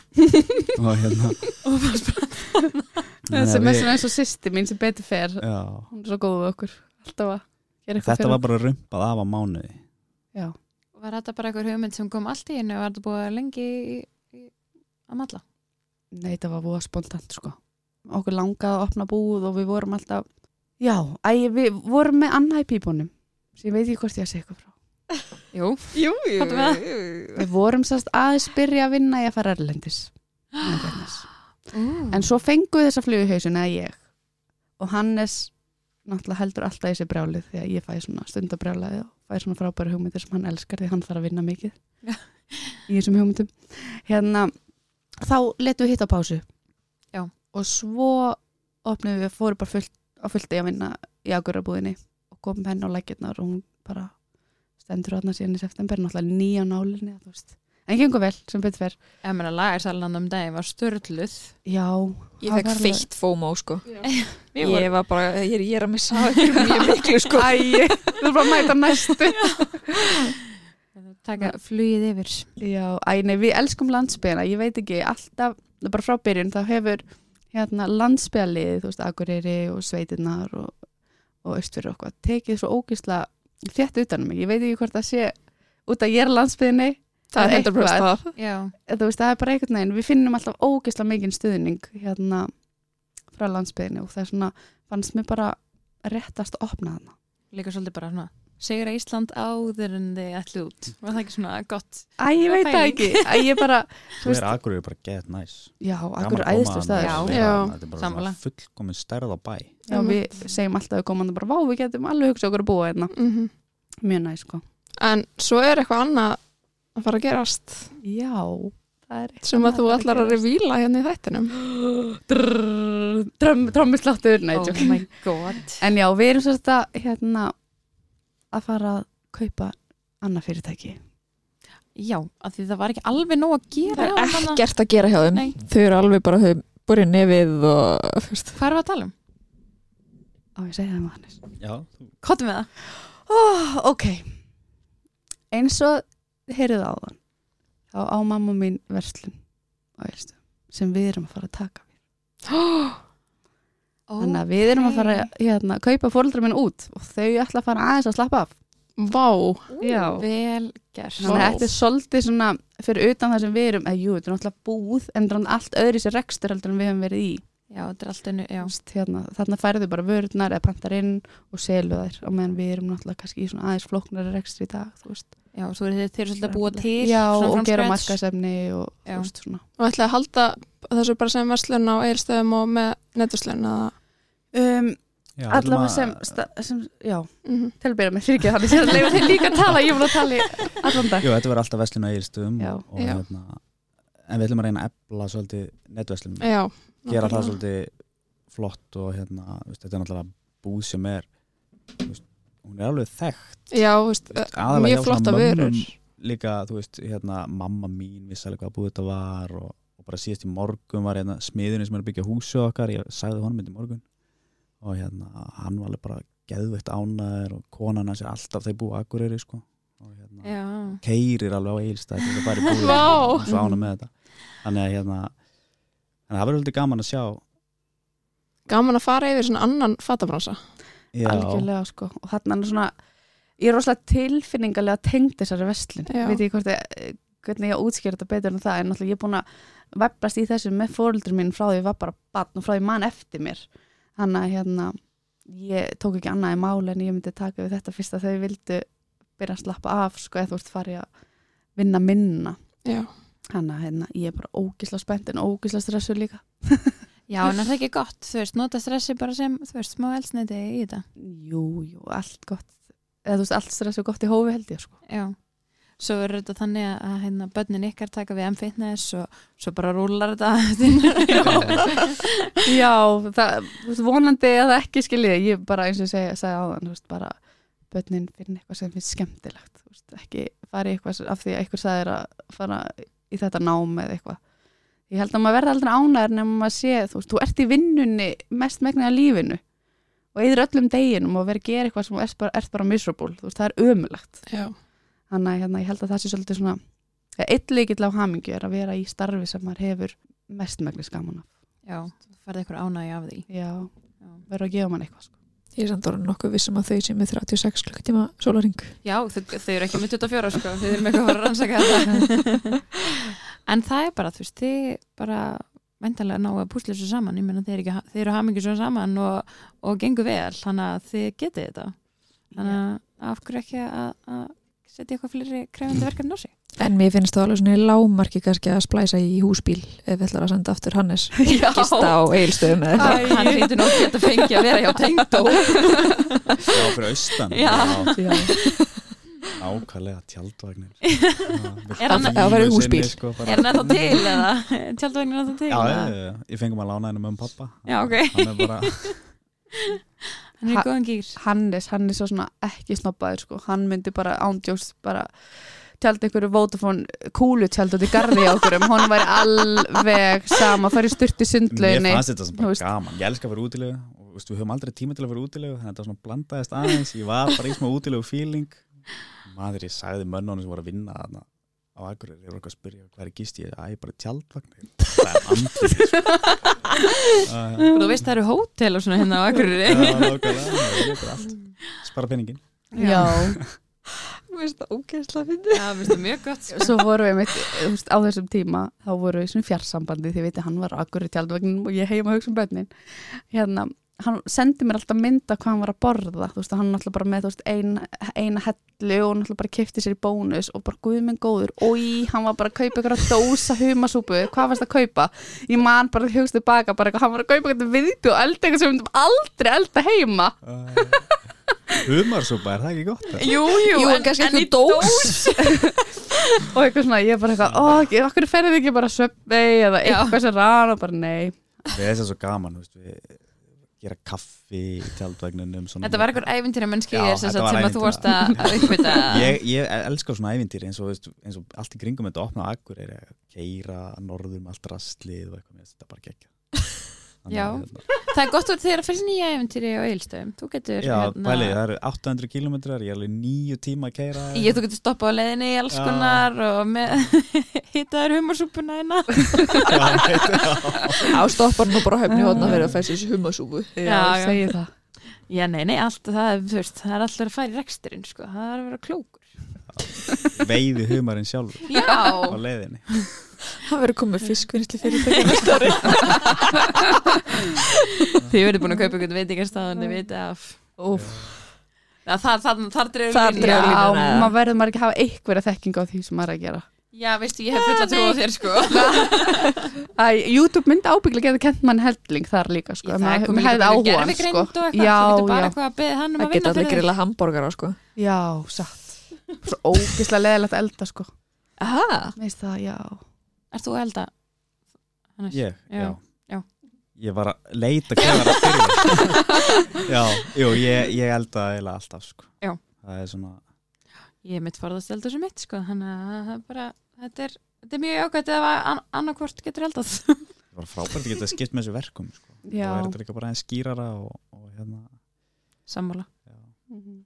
Speaker 5: og hérna Þannig að
Speaker 4: sem er
Speaker 5: við-
Speaker 4: svona eins og sýsti mín sem betur fer
Speaker 5: já,
Speaker 4: hún er svo góð við okkur, alltaf að gera eitthvað fyrir
Speaker 5: þetta var bara rumpað af á mánuði
Speaker 4: Já,
Speaker 3: Var þetta bara eitthvað hugmynd sem kom allt í henni og var þetta búið lengi í, í, að matla?
Speaker 4: nei, þetta var voða spontant sko. Okkur langaði að opna búð og við vorum alltaf, já, æ, við vorum með annað í pípunum sem ég veit ekki hvort ég að segja eitthvað frá.
Speaker 3: Jú.
Speaker 6: Jú, jú,
Speaker 3: Hvað með
Speaker 4: Við vorum sérst aðeins byrja að vinna í að fara erlendis. Nei, Hannes.
Speaker 6: Mm.
Speaker 4: En svo fenguð þessa fluguhausun eða ég og Hannes náttúrulega heldur alltaf í þessi brjálið því að ég fæ svona stundabrjálaði og fæ svona frábæru hugmyndir sem hann elskar því hann þarf að vinna mikið
Speaker 3: Já.
Speaker 4: í þessum hugmyndum. Hérna, þá letum við hitt á pásu
Speaker 3: Já.
Speaker 4: og svo opnum við, fórum bara fullt, á fullt í að vinna í agurabúðinni og komum henn á lækirnar og hún bara stendur þarna síðan í september, náttúrulega nýja nálinni, þú veist. En gengur vel, sem betur fer.
Speaker 3: Ég meina, lagarsalan um daginn var störluð.
Speaker 4: Já,
Speaker 6: Ég
Speaker 4: það
Speaker 6: fekk
Speaker 4: var alveg-
Speaker 6: feitt fómo sko
Speaker 3: Ég
Speaker 6: Ég var bara, ég er, ég er að missa af ykkur mjög miklu sko
Speaker 4: Æ, þú er bara að mæta næstu
Speaker 3: Taka flugið yfir.
Speaker 4: Já, æ, nei, við elskum landsbyðina Ég veit ekki, alltaf, bara frá byrjun þá hefur hérna, landsbyðalið þú veist, Akureyri og Sveitinnar og, og Östfyrir okkur tekið svo ógisla þétt utanum mig Ég veit ekki hvort það sé út að ég er á landsbyðinni Það er 100%
Speaker 6: það
Speaker 3: Já,
Speaker 4: eða þú veist, það er bara einhvern veginn við finnum alltaf ógeðslega mikinn stuðning hérna frá landsbyðinni og það er svona, fannst mér bara réttast að opna þarna
Speaker 3: líka svolítið bara svona. Sigur að Ísland áður en þið ætlu út. Var það ekki svona gott?
Speaker 4: Æ, ég veit það ekki, æ, ég bara þú
Speaker 5: svo er
Speaker 4: veist,
Speaker 5: Akureyri bara get nice
Speaker 4: já, akkur
Speaker 5: Gaman að koma
Speaker 4: æðislu
Speaker 5: þarna
Speaker 4: staðir
Speaker 3: Já.
Speaker 5: og vera
Speaker 2: Já.
Speaker 5: þarna. þetta er bara
Speaker 3: Sammála.
Speaker 5: svona fullkomin stærð á bæ
Speaker 4: Já, við segjum alltaf við komandi bara, vá, við getum alveg hugsað okkur að búa hérna.
Speaker 2: Mhm.
Speaker 4: Mjög næ, sko.
Speaker 2: En svo er eitthvað annað að fara að gerast
Speaker 4: Já, það er
Speaker 2: sem að þú ætlar að revíla
Speaker 4: revíla.
Speaker 2: hérna í þættinum
Speaker 4: Trommusláttur, næ,
Speaker 3: oh
Speaker 4: tjók.
Speaker 3: my god.
Speaker 4: En já, við erum svolítið að, hérna, að fara að kaupa annað fyrirtæki.
Speaker 3: Já, af því það var ekki alveg nóg að gera.
Speaker 6: Það
Speaker 3: á
Speaker 6: er
Speaker 3: þarna-
Speaker 6: ekkert að gera hjá þeim
Speaker 3: Nei.
Speaker 6: Þau eru alveg bara, þau búrið nefið og þú veist.
Speaker 3: Hvað er það að tala um?
Speaker 4: Á, ég segi það með hannes.
Speaker 5: já, þú
Speaker 3: Kottum við það.
Speaker 4: Oh, ok. Eins og heyrið áðan, þá á mamma mín verslun á Elstu, sem við erum að fara að taka. Þannig að við erum að fara að hérna, kaupa fóreldra minn út og þau ætla að fara aðeins að slappa af.
Speaker 2: Vá,
Speaker 4: Já.
Speaker 3: Vel gert.
Speaker 4: Þannig að þetta er svolítið svona fyrir utan það sem við erum, eða jú, þetta er náttúrulega búð en það er allt öðri sér rekstur heldur en við höfum verið í.
Speaker 3: Já, þetta er allt einu, já.
Speaker 4: Þú veist, Hérna, þarna færðu bara vörðnar eða pantar inn og selu þær og meðan við erum náttúrulega kannski í svona aðeins flóknari rekstur í dag, þú veist.
Speaker 3: Já, svo eru þeir, þeir eru svolítið að búa til
Speaker 4: Já,
Speaker 3: svona
Speaker 4: og
Speaker 3: from
Speaker 4: gera
Speaker 3: scratch.
Speaker 4: markaðsefni og
Speaker 3: Já.
Speaker 4: þú veist svona.
Speaker 2: og ætlaði að halda þessu bara sem verslun á eilstöðum og með netverslun eða
Speaker 4: Um,
Speaker 5: já, ætlum
Speaker 4: allavega
Speaker 5: að-
Speaker 4: sem, sta- sem, já,
Speaker 2: mm -hmm.
Speaker 4: til að byrja með fyrir ekki þannig, ég leiði líka að tala, ég var að tala í allan dag.
Speaker 5: Jú, þetta verður alltaf verslun á Egilstöðum
Speaker 4: Já.
Speaker 5: og, og
Speaker 2: Já.
Speaker 5: hérna en við ætlum að reyna að ebla svolítið netverslun
Speaker 2: Já,
Speaker 5: gera það
Speaker 2: nákvæmlega.
Speaker 5: svolítið flott og hérna, þú veist, þetta er náttúrulega búð sem er þú veist, hún er alveg þekkt
Speaker 2: já, þú veist,
Speaker 5: Þú veist,
Speaker 2: eh,
Speaker 5: aðallega
Speaker 2: mjög
Speaker 5: hjá
Speaker 2: flotta
Speaker 5: svona
Speaker 2: vörur
Speaker 5: mömmum. líka, þú veist, hérna mamma mín vissi alveg hvað búið þetta var og, og bara síðast í morgun var hérna smiðurinn sem er að byggja húsu okkar, ég sagði honum þetta í morgun og hérna, hann var alveg bara geðveitt ánæður og konan hans er alltaf þeir búið akureyri, sko og hérna,
Speaker 3: Já,
Speaker 5: keirir alveg á eilstæð þetta bara í búið,
Speaker 2: Vá.
Speaker 5: hún er svo ánægð með þetta þannig að hérna en það verður svolítið gaman að sjá
Speaker 2: gaman að fara yfir svona annan fatabransa
Speaker 5: já,
Speaker 4: algjörlega sko og þarna er svona ég er rosalega tilfinningalega tengd þessari vestlun
Speaker 2: Já.
Speaker 4: veit ég hvort ég, hvernig ég á að útskýra þetta betur en það en náttúrulega ég er búin að veflast í þessu með fóreldur mín frá því ég var bara barn og frá því mann eftir mér þannig að hérna ég tók ekki annað í mál en ég myndi taka við þetta fyrst að þau vildu byrja að slappa af sko eða þú ert farið að vinna minna
Speaker 2: já,
Speaker 4: þannig að hérna, ég er bara ógisla spennt en ógisla stressu líka
Speaker 3: já en er það ekki gott, þú veist, nota stressi bara sem, þú veist, smá elsniti í þetta.
Speaker 4: jú, jú, allt gott eða þú veist, allt stressu gott í hófi held ég sko
Speaker 3: Já. Svo er þetta þannig að- að hérna, börnin ykkar taka við M-fitness og svo bara rúlar þetta.
Speaker 4: Já, það, þú veist, vonandi eða ekki skiljið, ég bara eins og ég segi, sagði áðan, þú veist, bara börnin finna eitthvað sem finnst skemmtilegt, þú veist, ekki fara í eitthvað sem- af því að eitthvað sagðir að fara í þetta nám eða eitthvað. Ég held að maður verði aldrei ánæður nema maður sé, þú veist, þú ert í vinnunni mest megnin að lífinu og eður öllum deginum og verið að gera eitthvað sem þú ert bara, ert bara miserable, þú veist, það er ömulegt.
Speaker 2: já,
Speaker 4: Þannig að hérna, ég held að það sé svolítið svona, eitt leikill á hamingju er að vera í starfi sem maður hefur mest megnis gaman af.
Speaker 3: Já, þú farði ykkur ánægi af því.
Speaker 4: Já,
Speaker 3: Já.
Speaker 4: verður að gefa mann eitthvað, sko.
Speaker 6: Ég er samt orðin nokkuð vissum að þau sem með 36 klukkutíma sólaring.
Speaker 3: Já, þau, þau eru ekki með 24 sko, þau eru með eitthvað að fara að rannsaka þetta. en það er bara, þú veist, þið bara vendalega ná að púsla þessu saman, ég meina þið, eru ekki, þið eru hamingi svo saman og, og gengur vel, þannig að þið getið þetta. Þannig að af hverju ekki að, að setja eitthvað fleiri krefandi verkefni á sig?
Speaker 6: En mér finnst það alveg svona í lámarki kannski að splæsa í húsbíl ef við ætlar að senda aftur Hannes gista á eilstöðum eða eitthvað.
Speaker 3: Hann hlýtur nú að geta fengið að vera hjá tengdó.
Speaker 5: já, fyrir austan
Speaker 3: Já.
Speaker 4: Já.
Speaker 5: ákvæðlega tjaldvagnir
Speaker 3: Er hann-
Speaker 5: Já,
Speaker 6: Já, það væri
Speaker 5: fínu
Speaker 6: húsbíl.
Speaker 5: sinni, sko, bara-
Speaker 3: Er hann eða til eða? Tjaldvægnin er það til?
Speaker 5: já, já,
Speaker 3: eða?
Speaker 5: já, já, ég fengum að lána henni með um pappa
Speaker 3: Já, ok.
Speaker 5: hann er bara,
Speaker 3: Hann er í góðan gýr.
Speaker 4: Hannes, hann er svo svona ekki snobbaður sko. hann myndi bara ándjóst bara tjaldi einhverju Vodafone kúlu tjaldi út í garði á okkurum hún væri alveg sama, færi styrti
Speaker 5: mér
Speaker 4: sundlöginni
Speaker 5: fannst þetta sem
Speaker 4: Þú
Speaker 5: bara
Speaker 4: veist.
Speaker 5: gaman ég elska að vera útilegu og þú veist, við höfum aldrei tíma til að vera útilegu þannig að þetta svona blandaðist aðeins ég var bara í smá útilegu feeling maður ég sagði mönnunum sem voru að vinna þarna á Akureyri, ég voru eitthvað að spyrja hvað er gist ég, að ég bara tjaldvagnir það er andrið sko. uh,
Speaker 3: Þú veist það eru hótel og svona hérna á Akureyri.
Speaker 5: Já, nákvæmlega, það er allt Spara peningin
Speaker 4: já,
Speaker 6: Mér finnst það ógeðslega fyndið.
Speaker 3: Já, mér finnst það mjög gott sko.
Speaker 4: svo voru við mitt, veist, á þessum tíma þá voru við svona fjarsambandi því veitir hann var akkur í tjaldvagnum og ég heima að hugsa um bönnin hérna, hann sendi mér alltaf mynda hvað hann var að borða þú veist, hann var náttúrulega bara með þú veist, ein, eina hellu og náttúrulega bara kefti sér í bónus og bara guð minn góður, oi, hann var bara að kaupa ykkur að dósa humasúpu, hvað varst að kaupa ég man bara að hugsa tilbaka bara eitthvað, hann var að kaupa eitthvað viðbjó, elda eitthvað sem við myndum aldrei elda heima
Speaker 5: Humarsúpa, er það ekki gott?
Speaker 4: Jú, jú,
Speaker 6: Jú, en kannski eitthvað dós.
Speaker 4: og eitthvað svona, ég er bara eitthvað, ó, ekki- af hverju ferðið ekki bara söpvei eða eitthvað sem rann og bara nei
Speaker 5: Við erum svo gaman, þú veist við gera kaffi í tjaldvagnunum svona.
Speaker 3: Þetta var einhver ævintýra mennski
Speaker 5: Já,
Speaker 3: sem, sagt,
Speaker 5: þetta var
Speaker 3: sem að þú
Speaker 5: ævintýra.
Speaker 3: varst að að uppbytta
Speaker 5: Ég, ég elska svona ævintýri eins og, veist, eins og allt í kringum þetta opna á akkur er að keira norður með allt rastlið og eitthvað, mér finnst þetta bara gekkja
Speaker 3: Já.
Speaker 5: hérna-
Speaker 3: Það er gott að þið er að fyrir nýja ævintýri á eilstöðum Þú getur hérna-
Speaker 5: Já, bæli, það eru 800 kilometrar, ég er alveg nýju tíma að keira
Speaker 3: Ég, þú getur stoppað á leiðinni í alls
Speaker 5: Já.
Speaker 3: konar og með hitaður humarsúpuna hérna
Speaker 6: Já, stoppar nú bara á höfni hóðna fyrir að fæsa þessi humasúfu.
Speaker 3: Já, já.
Speaker 4: segi það
Speaker 3: Já, nei, nei, allt það, er, þú veist, það er alltaf að fara í reksturinn sko. það er að vera klókur
Speaker 5: Veiði humarinn sjálf á
Speaker 3: Já,
Speaker 5: leiðinni
Speaker 6: Það verður komið fiskvinnsli fyrir þegar næsta ári.
Speaker 3: þið verður búin að kaupa einhvern veitingarstaðan ég veit af
Speaker 4: Úf,
Speaker 3: Já, Þar, þar, þar dregur
Speaker 6: Þar
Speaker 3: línuna.
Speaker 4: já,
Speaker 6: dregur línuna.
Speaker 4: maður verður maður ekki að hafa einhverja þekking á því sem maður er að gera
Speaker 3: Já, veistu, ég hef fulla trú á þér sko.
Speaker 4: Æ, YouTube myndi ábygglega geta kent mann helling þar líka sko, ef maður maður hefði áhuga hann sko.
Speaker 3: já, þú getur
Speaker 4: já,
Speaker 3: bara
Speaker 4: já,
Speaker 3: eitthvað að beða hann um
Speaker 6: Það
Speaker 3: að vinna
Speaker 6: geta
Speaker 3: fyrir
Speaker 6: allir
Speaker 3: þig.
Speaker 6: grilla hambúrgara, sko.
Speaker 4: já, satt svo ógislega leðilegt að elda sko.
Speaker 6: Aha,
Speaker 4: veist það, já
Speaker 3: Er þú að elda? Hannes?
Speaker 5: Ég,
Speaker 3: Já.
Speaker 5: já.
Speaker 3: Já.
Speaker 5: ég var að leita hvað ég var að byrja já, jú, ég, ég held að eiginlega alltaf sko.
Speaker 3: Já.
Speaker 5: það er svona
Speaker 3: Ég er mitt forðast eldur sem mitt, sko, þannig að það er bara, þetta er, þetta er mjög ákvæmt ef að an annarkvort getur eldað.
Speaker 5: það var frábært að geta skipt með þessu verkum sko. og
Speaker 4: Já.
Speaker 5: er þetta líka bara eins skýrara og, og hérna
Speaker 3: Sammála.
Speaker 5: já.
Speaker 4: Mhm.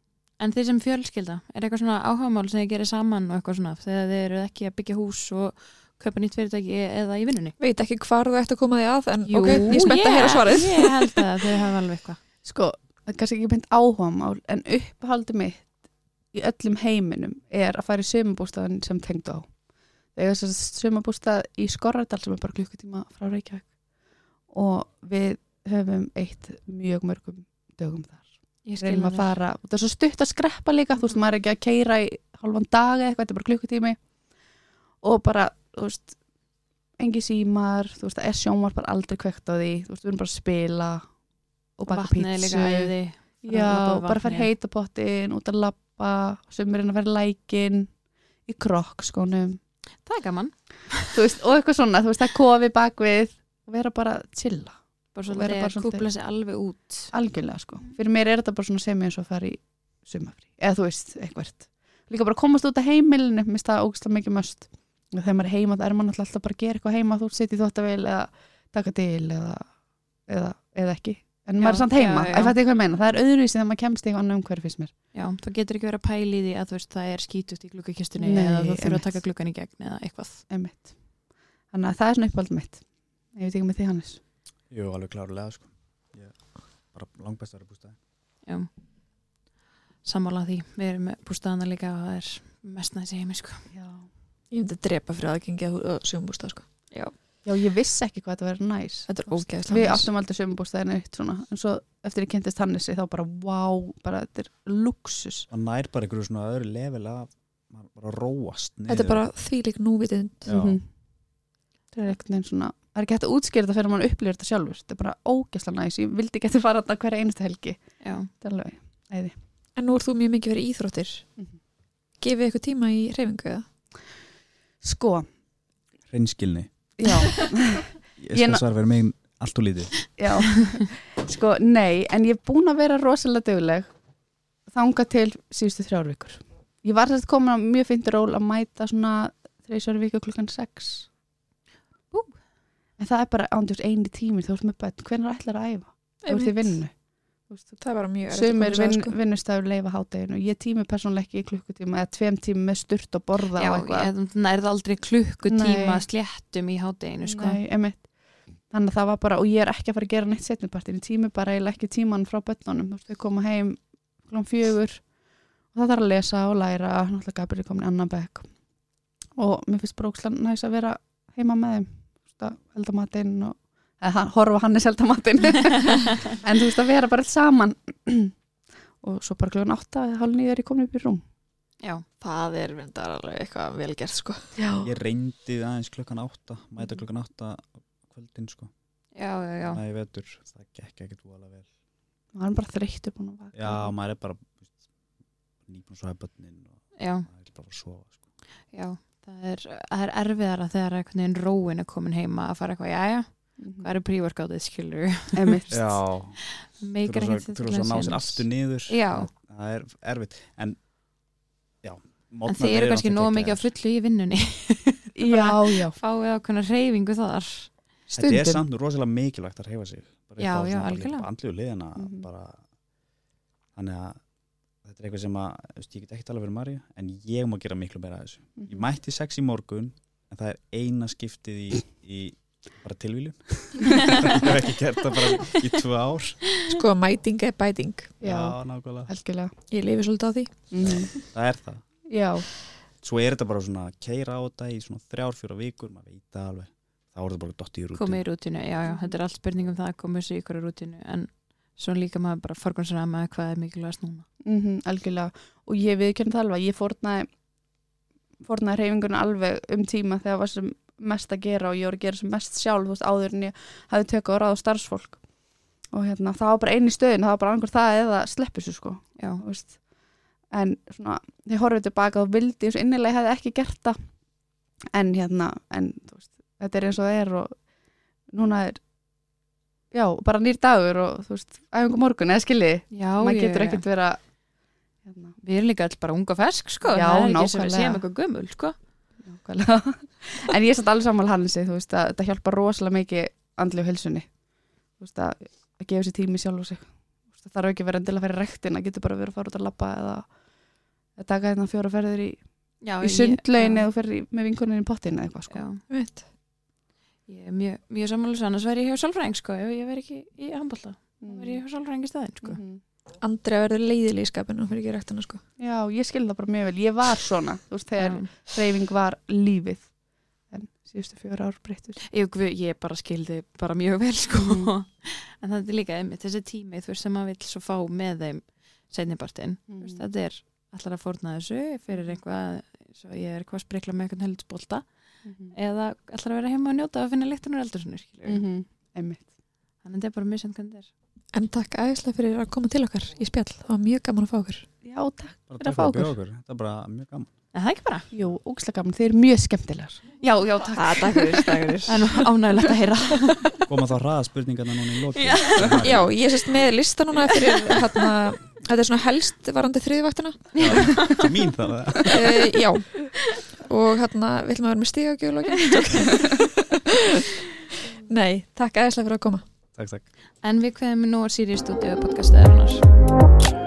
Speaker 3: En þeir sem fjölskylda, er eitthvað svona áhagamál sem þið gerir saman og eitthvað svona, þegar þið eru ekki að byggja hús og kaupa nýtt fyrirtæki eða í vinnunni?
Speaker 6: Veit ekki hvar þú ert að koma því að en ok, ég er spennt að
Speaker 3: yeah,
Speaker 6: heyra svarið
Speaker 3: Ég held að þau hafa alveg eitthvað.
Speaker 4: Sko, það er kannski ekki beint áhugamál en upphaldi mitt í öllum heiminum er að fara í sömabústaðan sem tengd á. Það er þess að sömabústað í Skorradal sem er bara klukkutíma frá Reykjavík og við höfum eitt mjög mörgum dögum þar.
Speaker 3: Ég skil
Speaker 4: Reynum
Speaker 3: það.
Speaker 4: að fara, og það er svo stutt að skreppa líka, þú veist, maður er ekki að keira í hálfan dag eða eitthvað, þetta er bara klukkutími og bara, þú veist, engi símar, þú veist, það er sjómar bara aldrei kvekt á því, þú veist, við erum bara að spila og baka pítsu.
Speaker 3: Vatnið er líka æði. Bara labba
Speaker 4: Já,
Speaker 3: á
Speaker 4: bara fara
Speaker 3: vatni.
Speaker 4: heita pottin, út að lappa, sömurinn að vera lækin, í krokk sko, skónum,
Speaker 3: Það er gaman.
Speaker 4: þú veist, og eitthvað svona, þú veist, það er kofi bakvið og vera bara að chilla,
Speaker 3: Bara
Speaker 4: Og
Speaker 3: svolítið
Speaker 4: vera bara
Speaker 3: að
Speaker 4: svolítið-
Speaker 3: kúpla sig alveg út.
Speaker 4: algjörlega sko. Fyrir mér er þetta bara svona sem ég eins og að fara í sumafrí, eða þú veist, eitthvert. Líka bara komast út af heimilinu, mér finnst það ógislega mikið möst. Og þegar maður er heima, það er maður náttúrulega alltaf bara að gera eitthvað heima, þú setjið þóttavél eða taka til eða, eða, eða ekki. En
Speaker 3: Já,
Speaker 4: maður er samt heima,
Speaker 3: já, já.
Speaker 4: ef þetta er eitthvað að meina. Það er öðruvísi þegar maður kemst í eitthvað annað umhverfi fyrst mér.
Speaker 3: Já, þú getur ekki verið að pæli því að þú veist það er skítust í glukkakistunni
Speaker 4: Nei,
Speaker 3: eða þú þurfa
Speaker 4: einmitt.
Speaker 3: að taka glukkan í gegn eða eitthvað.
Speaker 4: einmitt. Þannig að það er svona uppáld mitt. Ég veit ekki með því Hannes.
Speaker 5: jú, alveg klárlega sko. ég, bara langbæst að vera bústæði
Speaker 3: Já. Sammála því, við erum með bústaðana líka og það er mest næst í heimi sko.
Speaker 4: Já.
Speaker 6: Ég myndi drepa fyrir aðgengi að sjömbústa sko.
Speaker 4: ég vissi ekki hvað þetta verið næs.
Speaker 6: Þetta er ógeðslega
Speaker 4: Við
Speaker 6: næs.
Speaker 4: áttum aldrei sömumbústæðinu eitt svona, en svo eftir ég kynntist Hannesi þá bara, wow, bara þetta er luxus.
Speaker 5: og nær bara einhverju svona öðru level að maður bara róast niður.
Speaker 6: Þetta er bara þvílík núvitund
Speaker 5: Já.
Speaker 4: Mhm. Það er ekkert neginn svona, það er ekki hægt að útskýra þetta fyrir mann upplýður þetta sjálfur. Þetta er bara ógeðslega næs. Ég vildi ekki að fara þetta hverja einustu helgi.
Speaker 3: Já,
Speaker 4: Þetta er alveg.
Speaker 6: En nú er þú mjög mikið verið íþróttir
Speaker 4: Mhm.
Speaker 6: Gefið eitthvað tíma í reyfingu eða?
Speaker 4: Sko,
Speaker 5: hreinskilni
Speaker 4: já.
Speaker 5: ég
Speaker 4: Ég
Speaker 5: skal
Speaker 4: ná-
Speaker 5: svara fyrir mig allt og lítið
Speaker 4: Já, sko, nei, en ég er búin að vera rosalega döguleg þanga til síðustu þrjár vikur. Ég var þetta komin á mjög fint ról að mæta svona þreysjóri viku klukkan sex. Bú. En það er bara ándjúst eini tími, þú ert með börn, hvernig ætlar að æfa? Þú ert í vinnu.
Speaker 6: Það er bara mjög erfitt að koma
Speaker 4: Sumir
Speaker 6: sér að,
Speaker 4: vin,
Speaker 6: sko.
Speaker 4: vinnustafur leifa hádeginu. Ég tími persónulega ekki í klukkutíma eða tveim tími með sturt og borða
Speaker 3: já
Speaker 4: og eitthvað.
Speaker 3: ég, nærð aldrei klukkutíma
Speaker 4: Nei.
Speaker 3: sléttum í hádeginu sko.
Speaker 4: Nei, einmitt. Þannig að það var bara, og ég er ekki að fara að gera neitt setnipartin, ég tími bara, ég ekki tíman frá börnunum, þú veist, þau koma heim klón fjögur og það þarf að lesa og læra, náttúrulega Gabriel er komin í annan bekk og mér finnst brókslan næs að vera heima með þeim, þú veist, að elda matinn og, eða hann- horfa á Hannes elda matinn, en þú veist, að vera bara alls saman og svo bara klón átta, hálf nýður ég komin upp í rúm.
Speaker 3: Já,
Speaker 6: Það er vindar alveg eitthvað velgert sko.
Speaker 5: ég reyndi aðeins klukkan átta mæta klukkan átta á kvöldin sko
Speaker 3: já, já, já.
Speaker 5: næ vetur, það gekk ekkert voðalega vel
Speaker 4: Það er bara þreyttur búin að vaka.
Speaker 5: já, maður er bara nýpun svo hefbötnin og
Speaker 3: já.
Speaker 5: maður er bara að sofa sko.
Speaker 3: Já, það er, það er erfiðara þegar einhvern veginn róin er komin heima að fara eitthvað, jæja, hvað eru prívorkáðið skilur?
Speaker 4: Emitt.
Speaker 5: já,
Speaker 3: Meikar
Speaker 5: þurfa
Speaker 3: ekkert
Speaker 5: svo- þurfa svo að ná sér aftur niður
Speaker 3: Já.
Speaker 5: það er erfitt en já,
Speaker 3: En þið eru kannski nóg
Speaker 5: sko.
Speaker 3: mikið á fullu í vinnunni,
Speaker 4: Já, já.
Speaker 3: fáið ákveðna reyfingu þar.
Speaker 5: Þetta er
Speaker 4: Stundum.
Speaker 5: samt nú rosalega mikilvægt að reyfa sig bara
Speaker 3: Já,
Speaker 5: upp á
Speaker 3: já,
Speaker 5: svona
Speaker 3: algjörlega.
Speaker 5: bara andlegu liðina
Speaker 4: Mhm.
Speaker 5: bara, þannig að þetta er eitthvað sem að þú veist, ég get ekki tala fyrir Marja en ég má gera miklu meira að þessu ég mætti sex í morgun en það er eina skiptið í, í bara tilvílun ég hef ekki gert það bara í tvö ár
Speaker 6: sko, mæting er bæting
Speaker 4: Já,
Speaker 5: nákvæmlega
Speaker 4: algjörlega. Mhm.
Speaker 6: Ég lifi svolítið á því
Speaker 5: það er það
Speaker 4: Já,
Speaker 5: svo er þetta bara svona keira á þetta í svona þrjár, fjóra vikur maður veit það alveg þá er þetta bara dott í rútinu
Speaker 3: komið í rútinu, já, já, þetta er allt spurning um það að koma þessu í ykkur rútinu, en svo líka maður bara forgjónsrama hvað er mikilvægast núna.
Speaker 4: mm algjörlega. Og ég viðkjörn það alveg, ég fórnaði, fórnaði reyfinguna alveg um tíma þegar var sem mest að gera og ég voru að gera sem mest sjálf, þú veist, áður en ég hafði tökka á ráð og starfsfólk. Og hérna, það var bara einn í stöðin, það var bara angur það eða sleppur svo, sko.
Speaker 3: Já,
Speaker 4: þú veist. En svona, þegar horfið tilbaka og vildi, ég svo innilega ég hefði ekki gert það. En hérna, en þú veist, þetta er eins og það er og núna er, já, bara nýr dagur og þú veist, æfingu morgun, eða skilji
Speaker 3: Já,
Speaker 4: maður getur ekkert vera hérna,
Speaker 3: Við erum líka alls bara unga fersk, sko.
Speaker 4: Já,
Speaker 3: það er ekki sem
Speaker 4: nákvæmlega.
Speaker 3: við séum eitthvað gömul, sko.
Speaker 4: nákvæmlega en ég er satt alveg sammála Hannesi, þú veist að þetta hjálpar rosalega mikið andlu hilsunni þú veist að, að gefa sér tími sjálf og sig Þú veist, það þarf ekki að vera endilega að fara í rektin það getur bara verið að fara út að labba eða að taka hérna fjóra ferðir í,
Speaker 3: Já,
Speaker 4: í sundlaun eða þú ferð í- með vinkunin í pottin eða eitthvað sko.
Speaker 3: Já,
Speaker 1: Veit.
Speaker 3: ég er mjög, mjög sammála svo, annars væri ég hjá sálfræðing, sko, ef ég væri ekki í handbólta. Þá væri ég hjá sálfræðing í staðinn, sko.
Speaker 4: Mhm.
Speaker 1: Andri verður leiðil í skapinu fyrir ekki rættina sko.
Speaker 4: já, ég skil það bara mjög vel ég var svona, þú veist, þegar hreyfing var lífið en síðustu fjóra ár breyttur
Speaker 3: Ég, guð, ég bara skildi bara mjög vel sko en það er líka einmitt þessi tími þú veist sem maður vill svo fá með þeim setnibartinn, mm. veist, þetta er allar að fórna þessu fyrir einhvað svo ég er eitthvað að sprikla með eitthvað heldutsbólta
Speaker 4: Mhm.
Speaker 3: eða allar að vera heima og njóta og finna lyktin úr eldursunni mm.
Speaker 4: Mhm. einmitt
Speaker 3: þannig að þetta er bara misjönd hvernig þetta
Speaker 1: En takk æðislega fyrir að koma til okkar í spjall. Það var mjög gaman að fá okkur.
Speaker 4: já, takk,
Speaker 5: Bara
Speaker 4: Þetta
Speaker 5: takk fyrir
Speaker 4: fá
Speaker 5: að bjóða okkur, þetta er bara mjög gaman
Speaker 3: er en það er ekki bara
Speaker 4: jú, ógislega gaman, þeir eru mjög skemmtilegar
Speaker 3: já, já, takk, ha, takk fyrir, takk fyrir. en ánægilegt að heyra
Speaker 5: Koma þá hraða spurningarna núna í loki
Speaker 3: Já.
Speaker 1: Já, ég sérst með lista núna fyrir hérna, þetta er svona helst varandi þriðvættina.
Speaker 5: Til mín þá það
Speaker 1: Uh, já. Og hérna, við ætlum að vera með stígagjöflókin. Nei, takk æðislega fyrir að koma.
Speaker 5: Takk, takk
Speaker 3: en við kveðum nú á Sirius Studio podcast eða annars